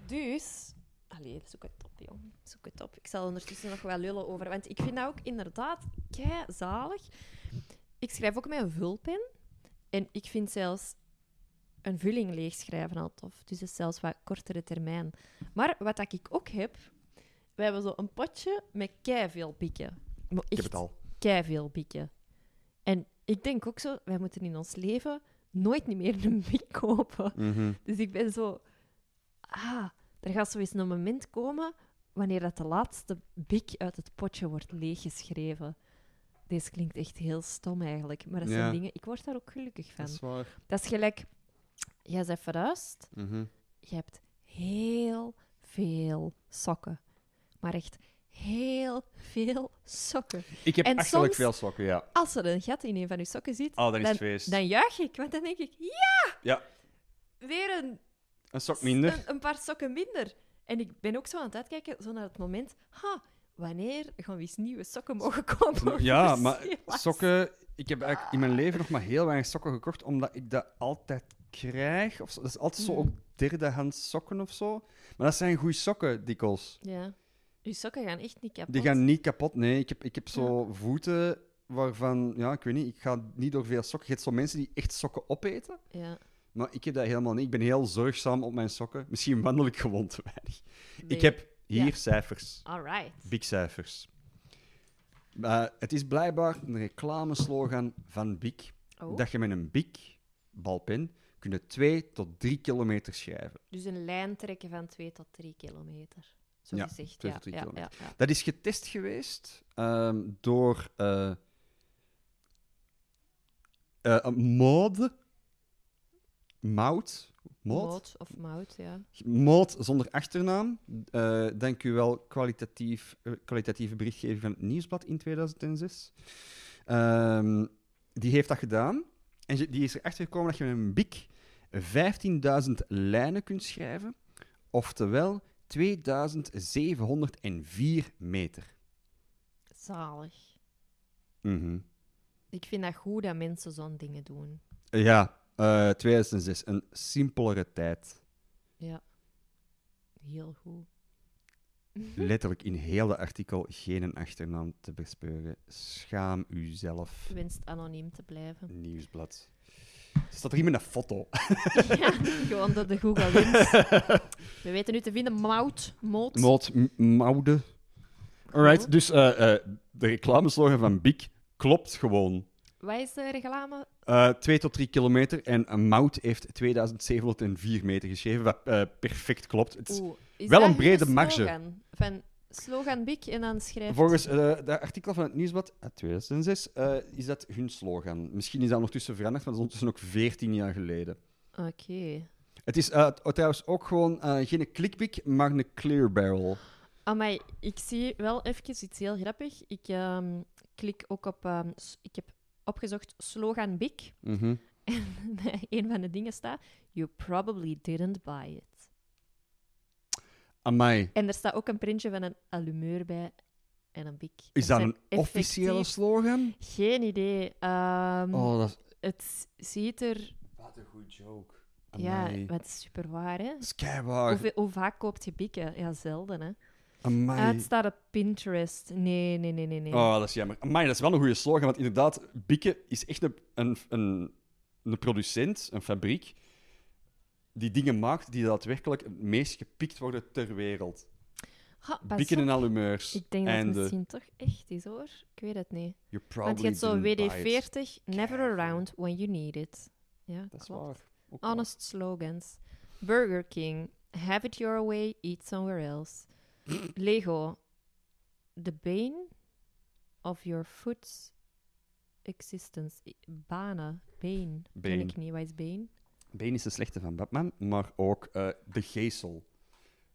[SPEAKER 1] Dus. Allee, zoek het op, jong. Zoek het op. Ik zal ondertussen nog wel lullen over. Want ik vind dat ook inderdaad kei zalig. Ik schrijf ook met een vulpen. En ik vind zelfs een vulling leegschrijven al tof. Dus dat is zelfs wat kortere termijn. Maar wat dat ik ook heb. We hebben zo een potje met kei veel pikken.
[SPEAKER 2] Ik heb het al.
[SPEAKER 1] veel pikken. En ik denk ook zo, wij moeten in ons leven nooit niet meer een pik kopen.
[SPEAKER 2] Mhm.
[SPEAKER 1] Dus ik ben zo... Ah, er gaat zo eens een moment komen wanneer dat de laatste bik uit het potje wordt leeggeschreven. Deze klinkt echt heel stom eigenlijk, maar dat zijn
[SPEAKER 2] Ja.
[SPEAKER 1] dingen... Ik word daar ook gelukkig van.
[SPEAKER 2] Dat is waar.
[SPEAKER 1] Dat is gelijk... Jij bent verhuisd,
[SPEAKER 2] Mhm.
[SPEAKER 1] je hebt heel veel sokken. Maar echt heel veel sokken.
[SPEAKER 2] Ik heb
[SPEAKER 1] En
[SPEAKER 2] achterlijk
[SPEAKER 1] soms-
[SPEAKER 2] veel sokken, ja.
[SPEAKER 1] Als er een gat in een van je sokken zit,
[SPEAKER 2] Ah, dan is
[SPEAKER 1] dan,
[SPEAKER 2] het feest.
[SPEAKER 1] dan juich ik. Want dan denk ik, ja!
[SPEAKER 2] Ja.
[SPEAKER 1] Weer een
[SPEAKER 2] Een
[SPEAKER 1] (laughs)
[SPEAKER 2] sok minder.
[SPEAKER 1] Een, een paar sokken minder. En ik ben ook zo aan het uitkijken, zo naar het moment. Ha, wanneer gaan we eens nieuwe sokken mogen kopen?
[SPEAKER 2] Ja,
[SPEAKER 1] (laughs) voor
[SPEAKER 2] maar
[SPEAKER 1] Silas?
[SPEAKER 2] sokken... Ik heb eigenlijk in mijn leven nog maar heel weinig sokken gekocht, omdat ik dat altijd krijg. Of zo. Dat is altijd zo
[SPEAKER 1] Mhm.
[SPEAKER 2] ook derdehands sokken of zo. Maar dat zijn goede sokken, dikwijls.
[SPEAKER 1] Ja. Uw sokken gaan echt niet kapot.
[SPEAKER 2] Die gaan niet kapot, nee. Ik heb, ik heb zo voeten waarvan... Ja, ik weet niet, ik ga niet door veel sokken. Je hebt zo mensen die echt sokken opeten.
[SPEAKER 1] Ja.
[SPEAKER 2] Maar ik heb dat helemaal niet. Ik ben heel zorgzaam op mijn sokken. Misschien wandel ik gewoon te weinig.
[SPEAKER 1] Nee.
[SPEAKER 2] Ik heb hier
[SPEAKER 1] Ja.
[SPEAKER 2] cijfers.
[SPEAKER 1] Alright.
[SPEAKER 2] Big cijfers. Maar het is blijkbaar een reclameslogan van Bic
[SPEAKER 1] Oh,
[SPEAKER 2] dat je met een Bic balpen kunt 2 tot 3 kilometer schrijven.
[SPEAKER 1] Dus een lijn trekken van 2 tot 3 kilometer. Zo
[SPEAKER 2] Ja,
[SPEAKER 1] gezegd.
[SPEAKER 2] twee
[SPEAKER 1] ja,
[SPEAKER 2] tot drie
[SPEAKER 1] ja,
[SPEAKER 2] kilometer.
[SPEAKER 1] Ja, ja.
[SPEAKER 2] Dat is getest geweest ehm, door eh, eh, een mode, mout, mout,
[SPEAKER 1] Mout of mout, ja.
[SPEAKER 2] mout zonder achternaam. Eh dank u wel, kwalitatief, eh, kwalitatieve berichtgeving van het Nieuwsblad in 2006. Ehm, die heeft dat gedaan. En ze- die is erachter gekomen dat je met een bik 15.000 lijnen kunt schrijven. Oftewel 2704 meter.
[SPEAKER 1] Zalig.
[SPEAKER 2] Mhm.
[SPEAKER 1] Ik vind dat goed dat mensen zo'n dingen doen.
[SPEAKER 2] Ja, eh, 2006. Een simpelere tijd.
[SPEAKER 1] Ja. Heel goed.
[SPEAKER 2] Letterlijk in heel het artikel geen een achternaam te bespeuren. Schaam u zelf.
[SPEAKER 1] Je (laughs) wenst anoniem te blijven.
[SPEAKER 2] Nieuwsblad. Ze staat er hier met een foto.
[SPEAKER 1] (laughs) Ja, gewoon door de Google
[SPEAKER 2] (laughs)
[SPEAKER 1] Lens. We weten nu te vinden Mout, Mot.
[SPEAKER 2] Mout, m- moude. Alright, dus eh, eh, de reclameslogan van Bic klopt gewoon.
[SPEAKER 1] Wat is de reclame?
[SPEAKER 2] Eh, Twee tot drie kilometer. En een Mout heeft 2704 meter geschreven, wat eh, perfect klopt. Het is-
[SPEAKER 1] Oeh, is
[SPEAKER 2] wel
[SPEAKER 1] dat
[SPEAKER 2] een brede
[SPEAKER 1] geen
[SPEAKER 2] marge.
[SPEAKER 1] slogan? Van slogan bik en dan schrijft...
[SPEAKER 2] Volgens het artikel van het Nieuwsblad uit 2006 eh, is dat hun slogan. Misschien is dat ondertussen veranderd, want dat is ondertussen ook 14 jaar geleden.
[SPEAKER 1] Oké.
[SPEAKER 2] Het is eh, trouwens ook gewoon eh, geen clickpick, maar een clear barrel.
[SPEAKER 1] Amai, ik zie wel even iets heel grappig. Ik ehm, klik ook op... ehm, s- ik heb opgezocht slogan (laughs) bik.
[SPEAKER 2] Mhm.
[SPEAKER 1] En bij een van de dingen staat... You probably didn't buy it.
[SPEAKER 2] Amai.
[SPEAKER 1] En er staat ook een printje van een allumeur bij en een bik.
[SPEAKER 2] Is
[SPEAKER 1] Het
[SPEAKER 2] dat een
[SPEAKER 1] zijn
[SPEAKER 2] officiële
[SPEAKER 1] effectief-
[SPEAKER 2] slogan?
[SPEAKER 1] Geen idee. Ehm,
[SPEAKER 2] Oh, dat is...
[SPEAKER 1] Het ziet er...
[SPEAKER 2] Wat een goed joke.
[SPEAKER 1] Ja,
[SPEAKER 2] Amai.
[SPEAKER 1] wat super waar, hè?
[SPEAKER 2] Skybar.
[SPEAKER 1] Hoe, hoe vaak koopt je bikken? Ja, zelden, hè? Ah,
[SPEAKER 2] Amai.
[SPEAKER 1] het staat op Pinterest. Nee, nee, nee, nee. nee.
[SPEAKER 2] Oh, dat is jammer. Amai, dat is wel een goede slogan, want inderdaad, Bikke is echt een, een, een, een producent, een fabriek, die dingen maakt die daadwerkelijk het meest gepikt worden ter wereld.
[SPEAKER 1] Ha, pas
[SPEAKER 2] Bikken
[SPEAKER 1] op.
[SPEAKER 2] en allumeurs.
[SPEAKER 1] Ik denk dat
[SPEAKER 2] en
[SPEAKER 1] het
[SPEAKER 2] de-
[SPEAKER 1] misschien toch echt is, hoor. Ik weet het niet.
[SPEAKER 2] You
[SPEAKER 1] Want je hebt zo
[SPEAKER 2] probably didn't buy it.
[SPEAKER 1] WD-40, never
[SPEAKER 2] Keiveel.
[SPEAKER 1] around when you need it. Ja,
[SPEAKER 2] Dat is
[SPEAKER 1] klopt. Oh,
[SPEAKER 2] waar. Ook waar.
[SPEAKER 1] Honest slogans. Burger King. Have it your way, eat somewhere
[SPEAKER 2] (coughs)
[SPEAKER 1] else. Lego. The bane of your food's existence. I- Banen. Bane. Ken
[SPEAKER 2] Bane.
[SPEAKER 1] ik niet. Wat is bane?
[SPEAKER 2] Bane is de slechte van Batman, maar ook eh, de geesel.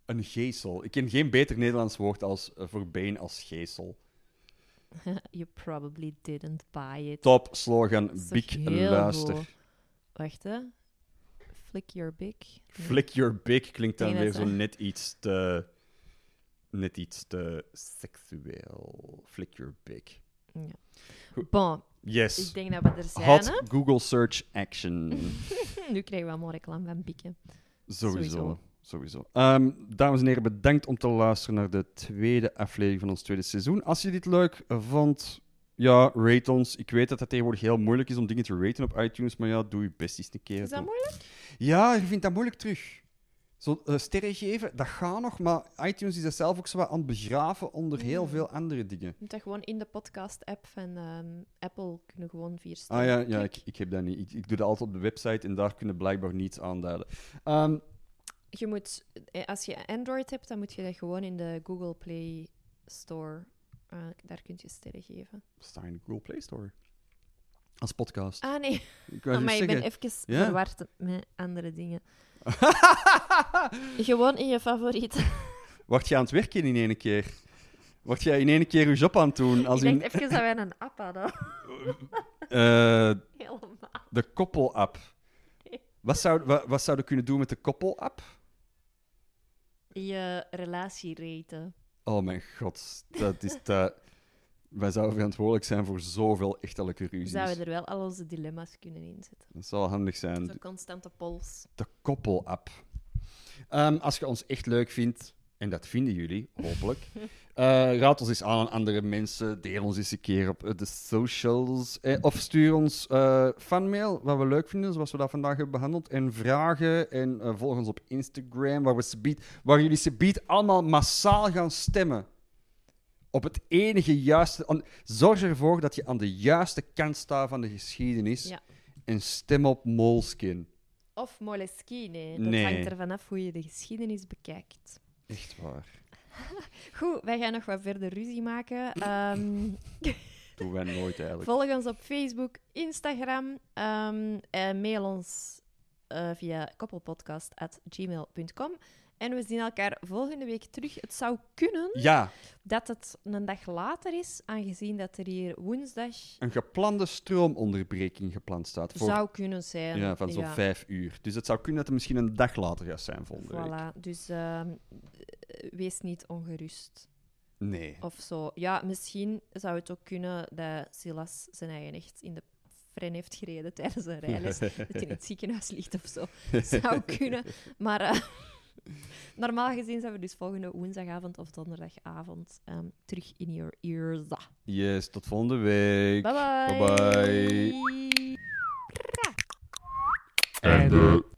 [SPEAKER 2] Een geesel. Ik ken geen beter Nederlands woord als, eh, voor been als geesel.
[SPEAKER 1] you probably didn't buy it.
[SPEAKER 2] Top slogan,
[SPEAKER 1] Dat is toch
[SPEAKER 2] bik
[SPEAKER 1] heel
[SPEAKER 2] luister.
[SPEAKER 1] goed. Wacht, hè. Flick your big.
[SPEAKER 2] Flick your big klinkt dan
[SPEAKER 1] Nee,
[SPEAKER 2] weer
[SPEAKER 1] dat is
[SPEAKER 2] zo
[SPEAKER 1] waar.
[SPEAKER 2] net iets te... Net iets te seksueel. Flick your big.
[SPEAKER 1] Bon, ik
[SPEAKER 2] Yes.
[SPEAKER 1] denk dat we er zijn.
[SPEAKER 2] Hot Google search action.
[SPEAKER 1] hè. nu krijgen we allemaal reclame van Bikken.
[SPEAKER 2] Sowieso.
[SPEAKER 1] Sowieso.
[SPEAKER 2] Sowieso. Ehm, dames en heren, bedankt om te luisteren naar de tweede aflevering van ons tweede seizoen. Als je dit leuk vond, ja, rate ons. Ik weet dat dat tegenwoordig heel moeilijk is om dingen te raten op iTunes, maar ja, doe je best eens een keer.
[SPEAKER 1] Is dat moeilijk?
[SPEAKER 2] Ja, je vindt dat moeilijk terug. Zo eh, sterren geven, dat gaat nog, maar iTunes is dat zelf ook zo wat aan het begraven onder heel
[SPEAKER 1] Mm.
[SPEAKER 2] veel andere dingen.
[SPEAKER 1] Je moet dat gewoon in de podcast-app van ehm, Apple kunnen gewoon vier
[SPEAKER 2] Ah
[SPEAKER 1] sterren.
[SPEAKER 2] ja, ja ik, ik heb dat niet. Ik, ik doe dat altijd op de website en daar kunnen blijkbaar niets aanduiden. Ehm,
[SPEAKER 1] Je moet, eh, als je Android hebt, dan moet je dat gewoon in de Google Play Store. eh, daar kun je sterren geven.
[SPEAKER 2] staan in de Google Play Store. Als podcast.
[SPEAKER 1] Ah nee,
[SPEAKER 2] Ik wou
[SPEAKER 1] (laughs) maar
[SPEAKER 2] juist
[SPEAKER 1] ik ben
[SPEAKER 2] zeggen.
[SPEAKER 1] even
[SPEAKER 2] Ja.
[SPEAKER 1] verward met andere dingen.
[SPEAKER 2] (laughs)
[SPEAKER 1] Gewoon in je favorieten.
[SPEAKER 2] Word je aan het werken in één keer? Word jij in één keer je job aan het doen? Als
[SPEAKER 1] ik dacht
[SPEAKER 2] in,
[SPEAKER 1] even dat wij een app
[SPEAKER 2] (laughs)
[SPEAKER 1] hadden. (laughs)
[SPEAKER 2] eh,
[SPEAKER 1] Helemaal.
[SPEAKER 2] de koppel-app. Wat, zou, wat, wat zouden we kunnen doen met de koppel-app?
[SPEAKER 1] Je relatie raten.
[SPEAKER 2] Oh mijn god, dat is te... Wij zouden verantwoordelijk zijn voor zoveel echterlijke ruzies.
[SPEAKER 1] Zouden Dus we er wel al onze dilemma's kunnen inzetten.
[SPEAKER 2] Dat zou wel handig zijn.
[SPEAKER 1] Zo'n constante pols.
[SPEAKER 2] De koppel-app. Ehm, als je ons echt leuk vindt, en dat vinden jullie, hopelijk, eh, raad ons eens aan aan andere mensen. Deel ons eens een keer op eh, de socials. eh, of stuur ons eh, fanmail, wat we leuk vinden, zoals we dat vandaag hebben behandeld. En vragen. En eh, volg ons op Instagram, waar, we subiet, waar jullie subiet allemaal massaal gaan stemmen. Op het enige juiste. an- zorg ervoor dat je aan de juiste kant staat van de geschiedenis.
[SPEAKER 1] Ja.
[SPEAKER 2] En stem op Moleskin.
[SPEAKER 1] Of Moleskine. Dat
[SPEAKER 2] Nee.
[SPEAKER 1] hangt ervan af hoe je de geschiedenis bekijkt.
[SPEAKER 2] Echt waar.
[SPEAKER 1] Goed, wij gaan nog wat verder ruzie
[SPEAKER 2] (clears throat)
[SPEAKER 1] maken. Ehm,
[SPEAKER 2] Doen wij nooit eigenlijk.
[SPEAKER 1] volg ons op Facebook, Instagram. ehm, en mail ons eh, via koppelpodcast.gmail.com. En we zien elkaar volgende week terug. Het zou kunnen
[SPEAKER 2] Ja,
[SPEAKER 1] dat het een dag later is, aangezien dat er hier woensdag
[SPEAKER 2] een geplande stroomonderbreking gepland staat voor
[SPEAKER 1] zou kunnen zijn.
[SPEAKER 2] ja, van zo'n vijf uur. Dus het zou kunnen dat er misschien een dag later gaat zijn volgende week.
[SPEAKER 1] Voilà, dus ehm, wees niet ongerust.
[SPEAKER 2] Nee.
[SPEAKER 1] Of zo. Ja, misschien zou het ook kunnen dat Silas zijn eigen echt in de fren heeft gereden tijdens een (laughs) rijles. dat hij in het ziekenhuis ligt of zo. Zou kunnen. Maar eh, (laughs) normaal gezien zijn we dus volgende woensdagavond of donderdagavond ehm, terug in your ears.
[SPEAKER 2] Yes, tot volgende week.
[SPEAKER 1] Bye bye.
[SPEAKER 2] Bye-bye.
[SPEAKER 1] Ra.
[SPEAKER 2] Einde.